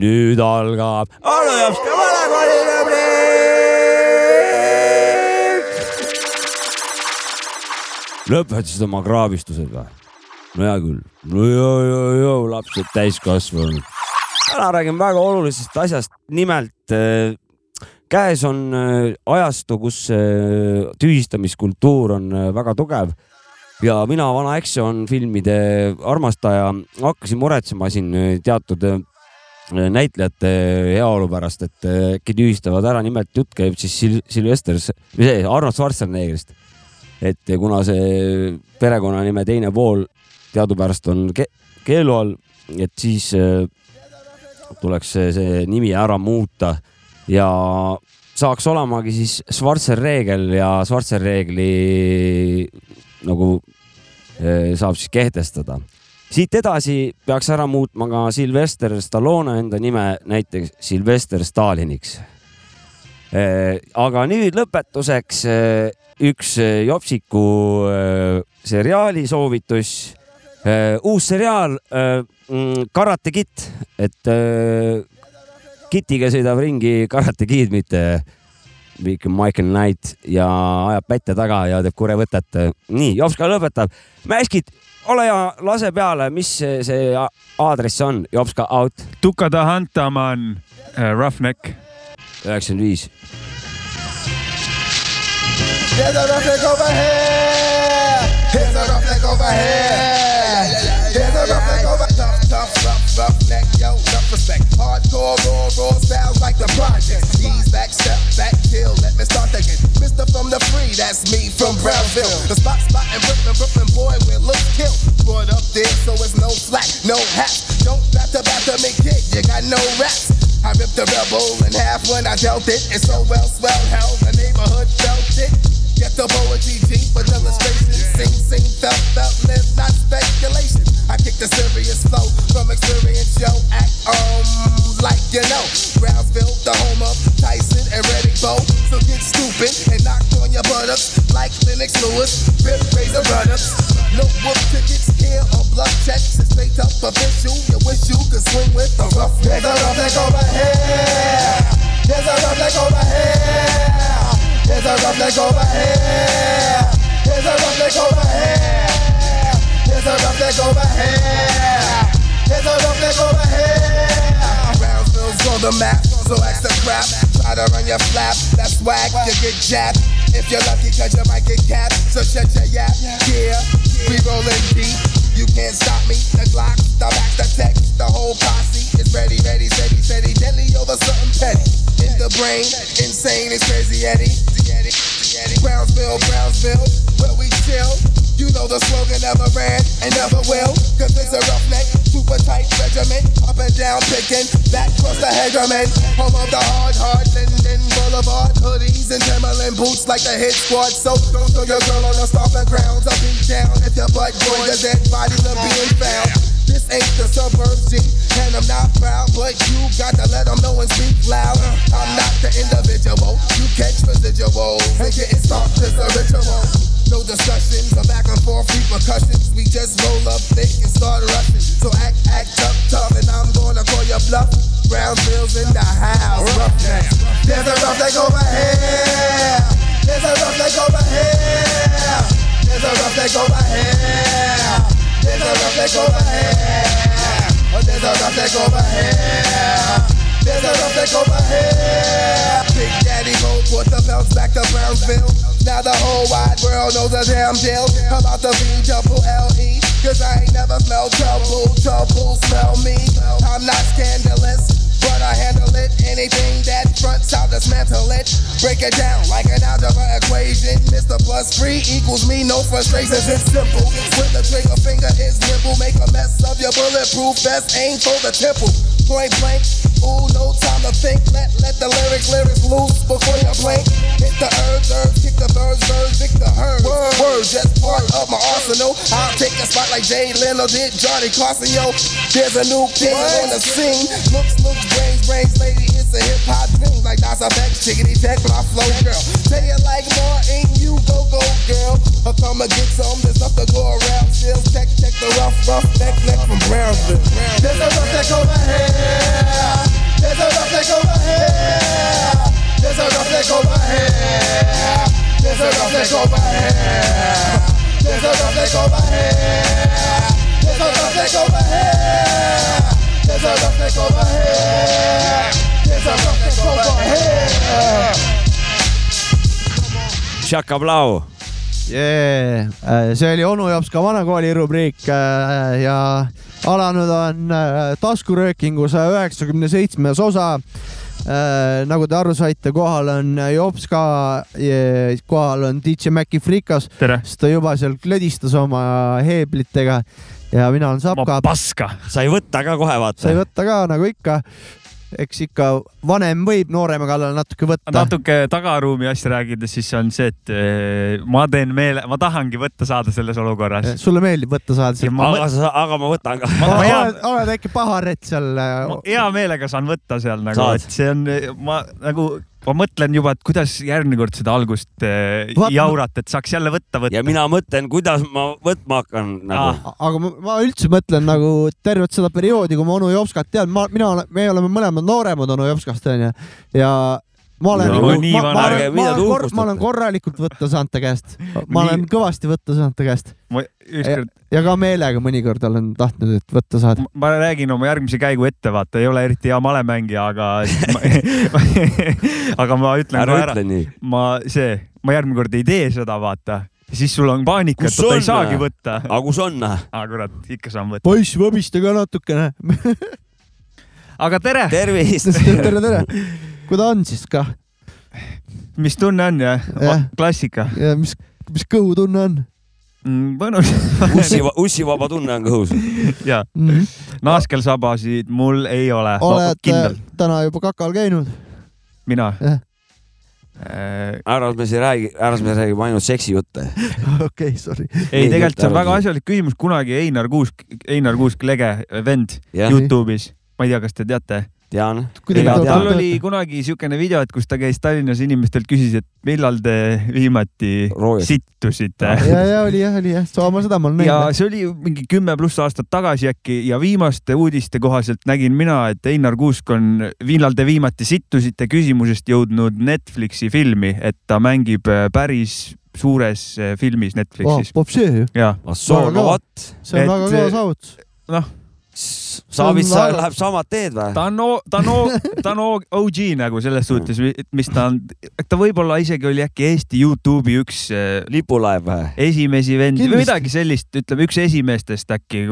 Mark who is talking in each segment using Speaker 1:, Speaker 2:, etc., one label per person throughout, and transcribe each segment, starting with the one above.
Speaker 1: nüüd algab Anu Jopska vanakooli rubriik . lõpetasid oma kraavistused või ? no hea küll . no joo , joo , joo , lapsed täiskasvanud . täna räägime väga olulisest asjast , nimelt eh, käes on eh, ajastu , kus eh, tühistamiskultuur on eh, väga tugev ja mina , vana Action filmide armastaja , hakkasin muretsema siin eh, teatud eh, näitlejate heaolu pärast , et äh, äkki tühistavad ära , nimelt jutt käib siis Sil- Sylvester , või see Arnold Schwarzeneggist . et kuna see perekonnanime teine pool teadupärast on ke keelu all , et siis äh, tuleks see, see nimi ära muuta ja saaks olemagi siis Schwarzenegger ja Schwarzeneggeri nagu äh, saab siis kehtestada siit edasi peaks ära muutma ka Sylvester Stallone enda nime näiteks Sylvester Staliniks . aga nüüd lõpetuseks eh, üks eh, jopsiku eh, seriaali soovitus . uus seriaal eh, mm, Karate Kid , et eh, Kitiga sõidab ringi Karate Kid , mitte ikka Michael Knight ja ajab pätte taga ja teeb kurevõtet . nii , Jopska lõpetab . Mäskid , ole hea , lase peale , mis see- see a- aadress on , Jopska out
Speaker 2: Tuka Tahantaman , Roughneck .
Speaker 1: üheksakümmend viis .
Speaker 3: There's a roughneck over here. There's a roughneck over here. There's a roughneck over Tough, tough, rough, roughneck, yo, rough respect. Hardcore, raw, raw styles like the project. Ease back, step back, chill, let me start again. Mister from the free, that's me from Brownsville. The spot, spot in Brooklyn, Brooklyn boy, where look kill. Brought up there, so it's no slack, no hat. Don't rap to rap to me, kid, you got no raps. I ripped the rebel in half when I dealt it. It's so well swell, hell, the neighborhood felt it. Get the poetry deep with illustration. Sing, sing, felt, felt, live, not speculation. I kick the serious flow from experience, yo. Act um like you know. Brownsville, the home of Tyson and Reddick Bow. So get stupid and knock on your buttocks like Lennox Lewis. Rip razor run-ups. No whoop tickets, care or blood checks. It's straight up official. You wish you could swing with the rough. There's a rough neck over here. There's a rough neck over here. There's a roughneck over here. There's a roughneck over here. There's a roughneck over here. There's a roughneck over here. Brownsville's on the map, so extra crap. Try to run your flap, that's whack, you get japped. If you're lucky, cause you might get capped. So shut your yap, yeah. We rollin' deep. You can't stop me. The Glock, the back, the tech, the whole posse is ready, ready, steady, steady, deadly over something petty. In the brain, insane is crazy Eddie. Eddie, Eddie. Brownsville, Brownsville, where we chill. You know the slogan never ran and never will. Cause it's a roughneck, super tight regiment. Up and down picking, back across the hegemon. Home of the hard, hard, Linden Boulevard. Hoodies and Timberland boots like the hit squad. So don't throw your girl on the stomping grounds. I'll be down if your butt joins the dead bodies are being found. This ain't the suburbs, G, and I'm not proud, but you got to let them know and speak loud. I'm not the individual, you catch residuals and getting stopped is a ritual. No discussions, a back and forth repercussions. We just roll up thick and start rushing. So act, act up, tough, and I'm gonna call your bluff. Brownsville's in the house. Roughneck. There's a roughneck over here. There's a roughneck over here. There's a roughneck over here. There's a roughneck over here. Oh, there's a roughneck over here. There's a roughneck over here. Big Daddy Gold brought the belts back to Brownsville. Now the whole wide world knows a damn deal about the V double L E. Cause I ain't never smelled trouble. Trouble smell me. I'm not scandalous. But I handle it. Anything that fronts, I'll dismantle it. Break it down like an algebra equation. Mr. Plus three equals me. No frustrations. It's simple. With the trigger finger is nimble. Make a mess of your bulletproof vest. Aim for the temple. Point blank. Ooh, no time to think. Let let the lyrics lyrics loose before you blink. Hit the herbs, herbs, kick the birds, birds, kick the herbs. Words, words just part of my arsenal. I'll take a spot like Jay Leno did Johnny Carson. Yo, there's a new kid on the scene. Looks, looks, brains, brains, lady, it's a hip hop thing. Like Nas Effects, chickadee tech, but I flow, girl. Say it like Martin, you go, go, girl. I'll come and get some, there's nothing to go around. Still check, check the rough, rough neck, neck from Brownsville. There's a rough neck over here. There's a roughneck over here. There's a roughneck over here. There's a roughneck over here. There's a roughneck over here. There's a roughneck over here. There's a roughneck over here. There's a roughneck over here.
Speaker 1: Shaka Blau ,
Speaker 4: yeah. . see oli onu Jops ka vanakooli rubriik äh, ja alanud on äh, taskuröökingu saja üheksakümne seitsmes osa . nagu te aru saite , kohal on Jops ka , kohal on DJ Maci Frikas ,
Speaker 2: tere .
Speaker 4: sest ta juba seal klõdistas oma heeblitega ja mina olen
Speaker 2: ma
Speaker 4: Sapka .
Speaker 2: paska .
Speaker 1: sai võtta ka kohe vaata
Speaker 4: sai . võtta ka nagu ikka , eks ikka vanem võib noorema kallal natuke võtta .
Speaker 2: natuke tagaruumi asja rääkides , siis on see , et eh, ma teen meele , ma tahangi võtta saada selles olukorras .
Speaker 4: sulle meeldib võtta saada
Speaker 2: ja
Speaker 4: sealt ?
Speaker 2: ma,
Speaker 1: aga sa , aga ma võtan ka .
Speaker 2: ma, ma hea ,
Speaker 4: oled , oled äkki paharet seal ?
Speaker 2: ma hea meelega saan võtta seal nagu ,
Speaker 1: Saad.
Speaker 2: et see on , ma nagu , ma mõtlen juba , et kuidas järgmine kord seda algust eh,
Speaker 4: Vaat-
Speaker 2: jaurat , et saaks jälle võtta võtta .
Speaker 1: ja mina mõtlen , kuidas ma võtma hakkan nagu
Speaker 2: Ah.
Speaker 1: ah. .
Speaker 4: aga ma, ma üldse mõtlen nagu tervet seda perioodi , kui ma onu Jopskat tean , ma , mina , me oleme mõlemad nooremad onu Jopskast onju ja ma olen
Speaker 1: No,
Speaker 4: nagu,
Speaker 2: nii
Speaker 4: ma,
Speaker 2: vana
Speaker 4: ma,
Speaker 1: ärge
Speaker 4: olen- ma,
Speaker 1: mida
Speaker 4: olen
Speaker 1: te
Speaker 4: kor- ma olen
Speaker 1: uhkustate.
Speaker 4: korralikult võtta saanud ta käest , ma
Speaker 2: Nii-
Speaker 4: olen kõvasti võtta saanud ta käest
Speaker 2: ma ükskord ,
Speaker 4: ja ka meelega mõnikord olen tahtnud , et võtta saada .
Speaker 2: ma räägin oma järgmise käigu ette , vaata , ei ole eriti hea malemängija , aga aga ma ütlen
Speaker 1: ära
Speaker 2: kohe ära
Speaker 1: ütle nii .
Speaker 2: ma see , ma järgmine kord ei tee seda , vaata . siis sul on paanika , et
Speaker 1: Kus
Speaker 2: oota
Speaker 1: on?
Speaker 2: ei saagi võtta .
Speaker 1: aga kus on ?
Speaker 2: aga kurat , ikka saan võtta .
Speaker 4: poiss , võbista ka natukene .
Speaker 2: aga tere ,
Speaker 1: tervist .
Speaker 4: tere , tere . kuidas on siis kah ?
Speaker 2: mis tunne on ja
Speaker 4: Jah. ?
Speaker 2: klassika .
Speaker 4: ja mis , mis kõhutunne on
Speaker 2: mõnus
Speaker 1: ussi , ussivaba tunne on kõhus .
Speaker 2: ja
Speaker 4: mm ? -hmm.
Speaker 2: naaskelsabasid mul ei ole .
Speaker 4: oled äh,
Speaker 2: kindel ,
Speaker 4: täna juba kakal käinud ?
Speaker 2: mina Äh,
Speaker 4: jah. .
Speaker 1: ära me siin räägi , ära me räägime ainult seksijutte .
Speaker 4: okei , sorry .
Speaker 2: ei ,
Speaker 1: Ei,
Speaker 2: tegelikult see on
Speaker 1: ära-
Speaker 2: väga asjalik küsimus , kunagi Einar Kuusk , Einar Kuusk , lege vend
Speaker 1: jah ,
Speaker 2: Youtube'is , ma ei tea , kas te teate .
Speaker 1: tean .
Speaker 4: Kuidagi
Speaker 1: Ei,
Speaker 4: ta-
Speaker 1: tean.
Speaker 2: tal oli kunagi siukene video , et kus ta käis Tallinnas inimestelt , küsis , et millal te viimati
Speaker 1: Roojus .
Speaker 2: sittusite
Speaker 4: ja , ja oli jah , oli jah , sama seda ma olen
Speaker 2: ja
Speaker 4: näinud .
Speaker 2: see oli mingi kümme pluss aastat tagasi äkki ja viimaste uudiste kohaselt nägin mina , et Einar Kuusk on Viinal te viimati sittusite küsimusest jõudnud Netflixi filmi , et ta mängib äh, päris suures äh, filmis
Speaker 4: Oh,
Speaker 2: Netflixis .
Speaker 4: Pops see ju ,
Speaker 2: ja
Speaker 1: ah soo ,
Speaker 4: Väga
Speaker 1: no
Speaker 4: kõva.
Speaker 1: vot .
Speaker 4: see on
Speaker 2: Et,
Speaker 4: et, väga kõva
Speaker 2: eh,
Speaker 4: saavutus .
Speaker 1: Savits
Speaker 4: See on väga-
Speaker 1: läheb samad teed või ?
Speaker 2: ta on , ta on , ta on o- OG nagu selles suhtes , mis ta on , ta võib-olla isegi oli äkki Eesti Youtube'i üks äh,
Speaker 1: lipulaev või ?
Speaker 2: esimesi vendi või
Speaker 4: Kindlasti.
Speaker 2: midagi sellist , ütleme üks esimestest äkki ,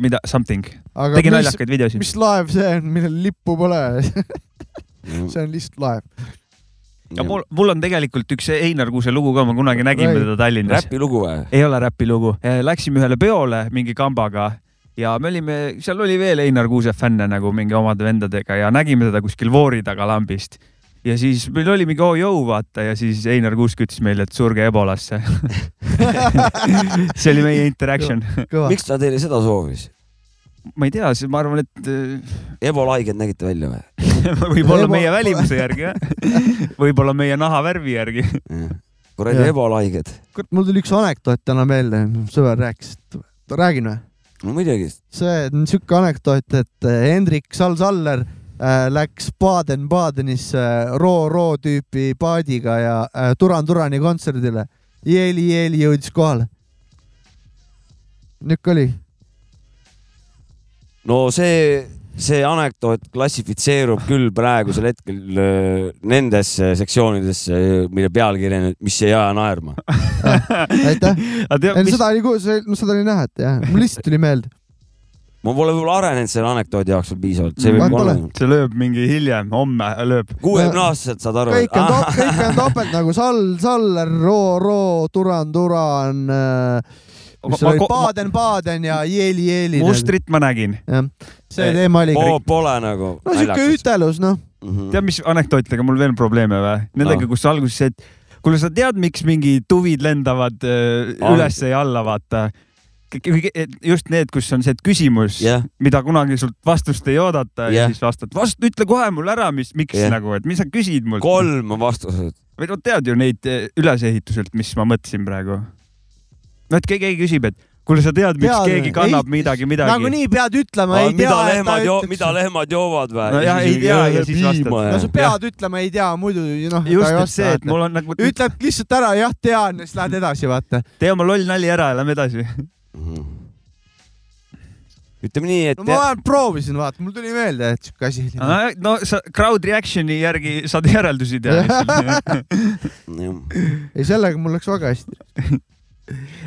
Speaker 2: mida , something ,
Speaker 4: aga
Speaker 2: tegi
Speaker 4: mis ,
Speaker 2: naljakaid videosid .
Speaker 4: mis laev see on , millel lippu pole ? see on lihtsalt laev .
Speaker 2: ja mul , mul on tegelikult üks Einar Kuuse lugu ka , ma kunagi nägin
Speaker 4: Räägi.
Speaker 2: teda Tallinnas .
Speaker 1: räpilugu või ?
Speaker 2: ei ole räpilugu , läksime ühele peole mingi kambaga ja me olime , seal oli veel Einar Kuuse fänne nagu mingi omade vendadega ja nägime teda kuskil voori taga lambist . ja siis meil oli mingi oo-joo vaata ja siis Einar Kuusk ütles meile , et surge ebolasse . see oli meie interaction .
Speaker 4: kõva .
Speaker 1: miks ta teile seda soovis ?
Speaker 2: ma ei tea , ma arvan , et äh,
Speaker 1: Ebola haiged nägite välja või ?
Speaker 2: võib-olla
Speaker 4: Ebo-
Speaker 2: meie välimuse järgi jah . võib-olla meie nahavärvi järgi .
Speaker 1: kuradi
Speaker 4: Jah.
Speaker 1: Ebola haiged .
Speaker 4: kurat , mul tuli üks anekdoot täna meelde , sõber rääkis , et räägin või ?
Speaker 1: no muidugi ,
Speaker 4: see on siuke anekdoot , et eh, Hendrik Sal-Saller äh, läks Baden-Badenisse äh, Roo-Roo tüüpi paadiga ja äh, Turan Turani kontserdile . jeeli-jeeli jõudis kohale . nihuke oli .
Speaker 1: no see , see anekdoot klassifitseerub küll praegusel hetkel öö, nendesse sektsioonidesse , mille pealkiri on , et mis ei aja naerma .
Speaker 4: Ah, aitäh .
Speaker 2: aga tead ,
Speaker 4: ei no
Speaker 2: mis
Speaker 4: seda oli , no seda oli näha , et jah , mul lihtsalt tuli meelde .
Speaker 1: ma pole võib-olla arenenud selle anekdoodi jaoks veel piisavalt , see
Speaker 4: Mm. Ma
Speaker 1: võib
Speaker 4: pole.
Speaker 1: olla .
Speaker 2: see lööb mingi hiljem , homme lööb .
Speaker 1: kuuekümne aastaselt saad aru ,
Speaker 4: kõik
Speaker 1: et
Speaker 4: on
Speaker 1: ah,
Speaker 4: top , kõik on topelt nagu Sall , Saller , Roo , Roo , Turan , Turan , mis seal oli , Baden , Baden ja Jeeli , Jeeli .
Speaker 2: mustrit ma nägin .
Speaker 4: see teema oli .
Speaker 1: po-
Speaker 4: no
Speaker 1: pole nagu
Speaker 4: siuke
Speaker 1: naljakas . Mhm.
Speaker 4: ütelus , noh .
Speaker 2: tead , mis anekdootidega mul veel probleeme või ? Nendega ,
Speaker 1: No.
Speaker 2: kus alguses see , et kuule , sa tead , miks mingi tuvid lendavad äh,
Speaker 1: Ah.
Speaker 2: ülesse ja alla , vaata . just need , kus on see et küsimus
Speaker 1: jah ,
Speaker 2: mida kunagi sult vastust ei oodata ja
Speaker 1: Jah.
Speaker 2: siis vastad , vast ütle kohe mulle ära , mis , miks
Speaker 1: Jah.
Speaker 2: nagu , et mis sa küsid mult .
Speaker 1: kolm on vastused .
Speaker 2: või no tead ju neid eh, ülesehituselt , mis ma mõtlesin praegu . no et keegi keegi küsib , et kuule , sa tead , miks
Speaker 4: Tead,
Speaker 2: tead, keegi kannab
Speaker 4: ei-
Speaker 2: ei, midagi , midagi .
Speaker 4: nagunii pead ütlema , ei tea
Speaker 1: mida . lehmad joo- , mida lehmad joovad või ?
Speaker 2: No jah, ei tea ja siis vastad.
Speaker 4: no sa
Speaker 2: jah.
Speaker 4: pead ütlema , ei tea , muidu ju noh .
Speaker 2: just , et see , et mul on nagu ,
Speaker 4: ütleb lihtsalt ära , jah , tean ja siis lähed edasi , vaata .
Speaker 2: tee oma loll nali ära ja lähme edasi .
Speaker 1: Mhm. ütleme nii , et
Speaker 4: no ma vähemalt proovisin , vaata , mul tuli meelde , et siuke asi oli .
Speaker 2: no sa crowd reaction'i järgi saad järeldusi teha .
Speaker 1: jah.
Speaker 4: ei , sellega mul läks väga hästi .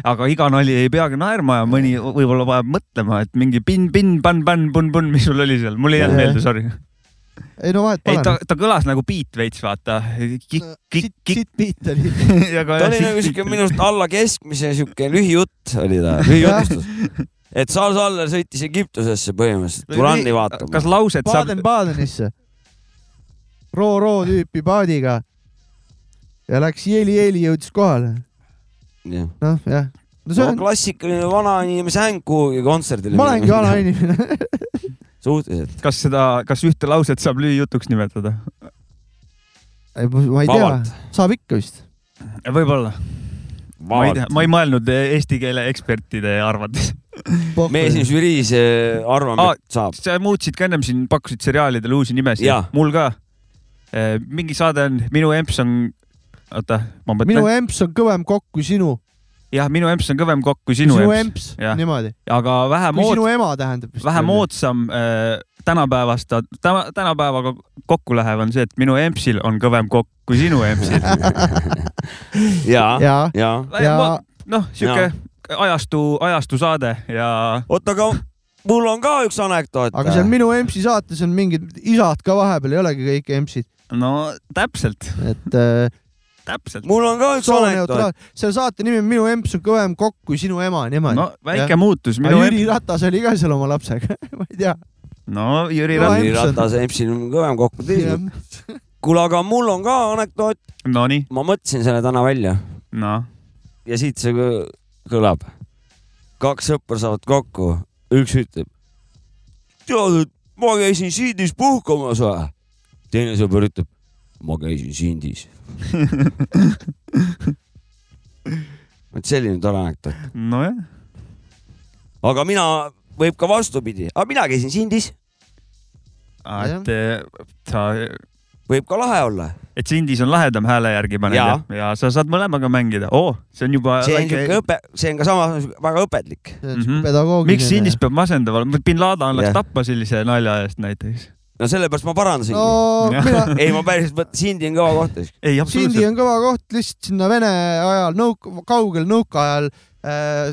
Speaker 2: aga iga nali ei peagi naerma ja mõni võib-olla vajab mõtlema , et mingi pin-pin-pan-pan-pun-pun , mis sul oli seal , mul ei jäänud
Speaker 4: Jah.
Speaker 2: meelde , sorry .
Speaker 4: ei no vahet
Speaker 2: ei ,
Speaker 4: pole
Speaker 2: ta , ta kõlas nagu beat veits , vaata .
Speaker 4: Äh,
Speaker 2: kikk , kikk , kikk .
Speaker 4: sitt beat oli .
Speaker 1: ta oli nagu siuke minu arust alla keskmise siuke lühijutt oli ta , lühijutustus . et Charles Aller sõitis Egiptusesse põhimõtteliselt Turani vaatama
Speaker 2: kas . lauset saab ,
Speaker 4: Baden-Badenisse . Ro-Ro tüüpi paadiga . ja läks jeli-jeli , jõudis kohale .
Speaker 1: no
Speaker 4: noh , jah . no see on ,
Speaker 1: klassikaline vanainimese häng kuhugi kontserdile .
Speaker 4: ma olengi vana . inimene .
Speaker 1: suhteliselt ,
Speaker 2: kas seda , kas ühte lauset saab lühijutuks nimetada ?
Speaker 4: ei , ma ei tea
Speaker 1: Vabalt. ,
Speaker 4: saab ikka vist .
Speaker 2: võib-olla , ma ei tea ,
Speaker 1: vabalt .
Speaker 2: ma ei mõelnud eh, eesti keele ekspertide arvates .
Speaker 1: me siin žüriis eh, arvame
Speaker 2: Aa, ,
Speaker 1: et saab .
Speaker 2: sa muutsid ka ennem siin , pakkusid seriaalidele uusi
Speaker 1: Jaa.
Speaker 2: nimesid , mul ka . mingi saade on Minu emps on , oota , ma
Speaker 4: minu
Speaker 2: mõtlen ,
Speaker 4: emps on kõvem kokk kui sinu .
Speaker 2: jah , Minu emps on kõvem kokk kui
Speaker 4: sinu
Speaker 2: Sinu emps ,
Speaker 4: emps ,
Speaker 2: jah.
Speaker 4: niimoodi .
Speaker 2: aga vähem
Speaker 4: kui
Speaker 2: oodatud .
Speaker 4: sinu ema tähendab vist .
Speaker 2: vähe . moodsam äh, tänapäevast , tänapäevaga kokku lähev on see , et minu empsil on kõvem kokk kui sinu empsil .
Speaker 1: ja ,
Speaker 4: jaa ,
Speaker 1: ja .
Speaker 4: ja
Speaker 2: noh , sihuke ajastu , ajastusaade ja
Speaker 1: oota , aga mul on ka üks anekdoot .
Speaker 4: aga seal minu empsi saates on mingid isad ka vahepeal , ei olegi kõik empsid ,
Speaker 2: no täpselt ,
Speaker 4: et äh,
Speaker 2: täpselt .
Speaker 1: mul on ka üks anekdoot .
Speaker 4: sooneutraal , selle saate nimi on Minu emps on kõvem kokk kui sinu ema , niimoodi no, .
Speaker 2: no väike muutus , minu
Speaker 4: Jüri
Speaker 2: emps ,
Speaker 4: Ratas oli ka seal oma lapsega , ma ei tea .
Speaker 2: no Jüri
Speaker 4: No,
Speaker 2: Ratas ,
Speaker 1: Jüri
Speaker 4: Emps on-
Speaker 1: Ratas , Empsil on kõvem kokku teinud . kuule , aga mul on ka anekdoot ,
Speaker 2: nonii ,
Speaker 1: ma mõtlesin selle täna välja
Speaker 2: noh ,
Speaker 1: ja siit see kõ- kõlab . kaks sõpra saavad kokku , üks ütleb . tead , et ma käisin Sindis puhkamas või ? teine sõber ütleb , ma käisin Sindis . vot selline tore anekdoot .
Speaker 2: nojah ,
Speaker 1: aga mina , võib ka vastupidi , aga mina käisin Sindis ,
Speaker 2: et eh, sa ,
Speaker 1: võib ka lahe olla .
Speaker 2: et Sindis on lahedam hääle järgi paned ja,
Speaker 1: Jaa.
Speaker 2: ja sa saad mõlemaga mängida oh, , see on
Speaker 4: Äh,
Speaker 2: juba
Speaker 1: see on
Speaker 2: väike-
Speaker 1: siuke õpe , see on ka samas väga õpetlik .
Speaker 2: Mhm.
Speaker 4: pedagoogiline .
Speaker 2: miks Sindis ? peab masendav olema , bin Laden läks
Speaker 1: Jah.
Speaker 2: tappa sellise nalja eest näiteks .
Speaker 1: no sellepärast ma parandasingi
Speaker 4: no
Speaker 1: no. .
Speaker 2: Jah.
Speaker 4: mina ,
Speaker 1: ei , ma päriselt mõtlen , Sindi on kõva koht .
Speaker 2: ei ,
Speaker 4: Sindi
Speaker 2: absoluutselt .
Speaker 4: on kõva koht lihtsalt sinna Vene ajal , nõuk- , kaugel nõukaajal äh,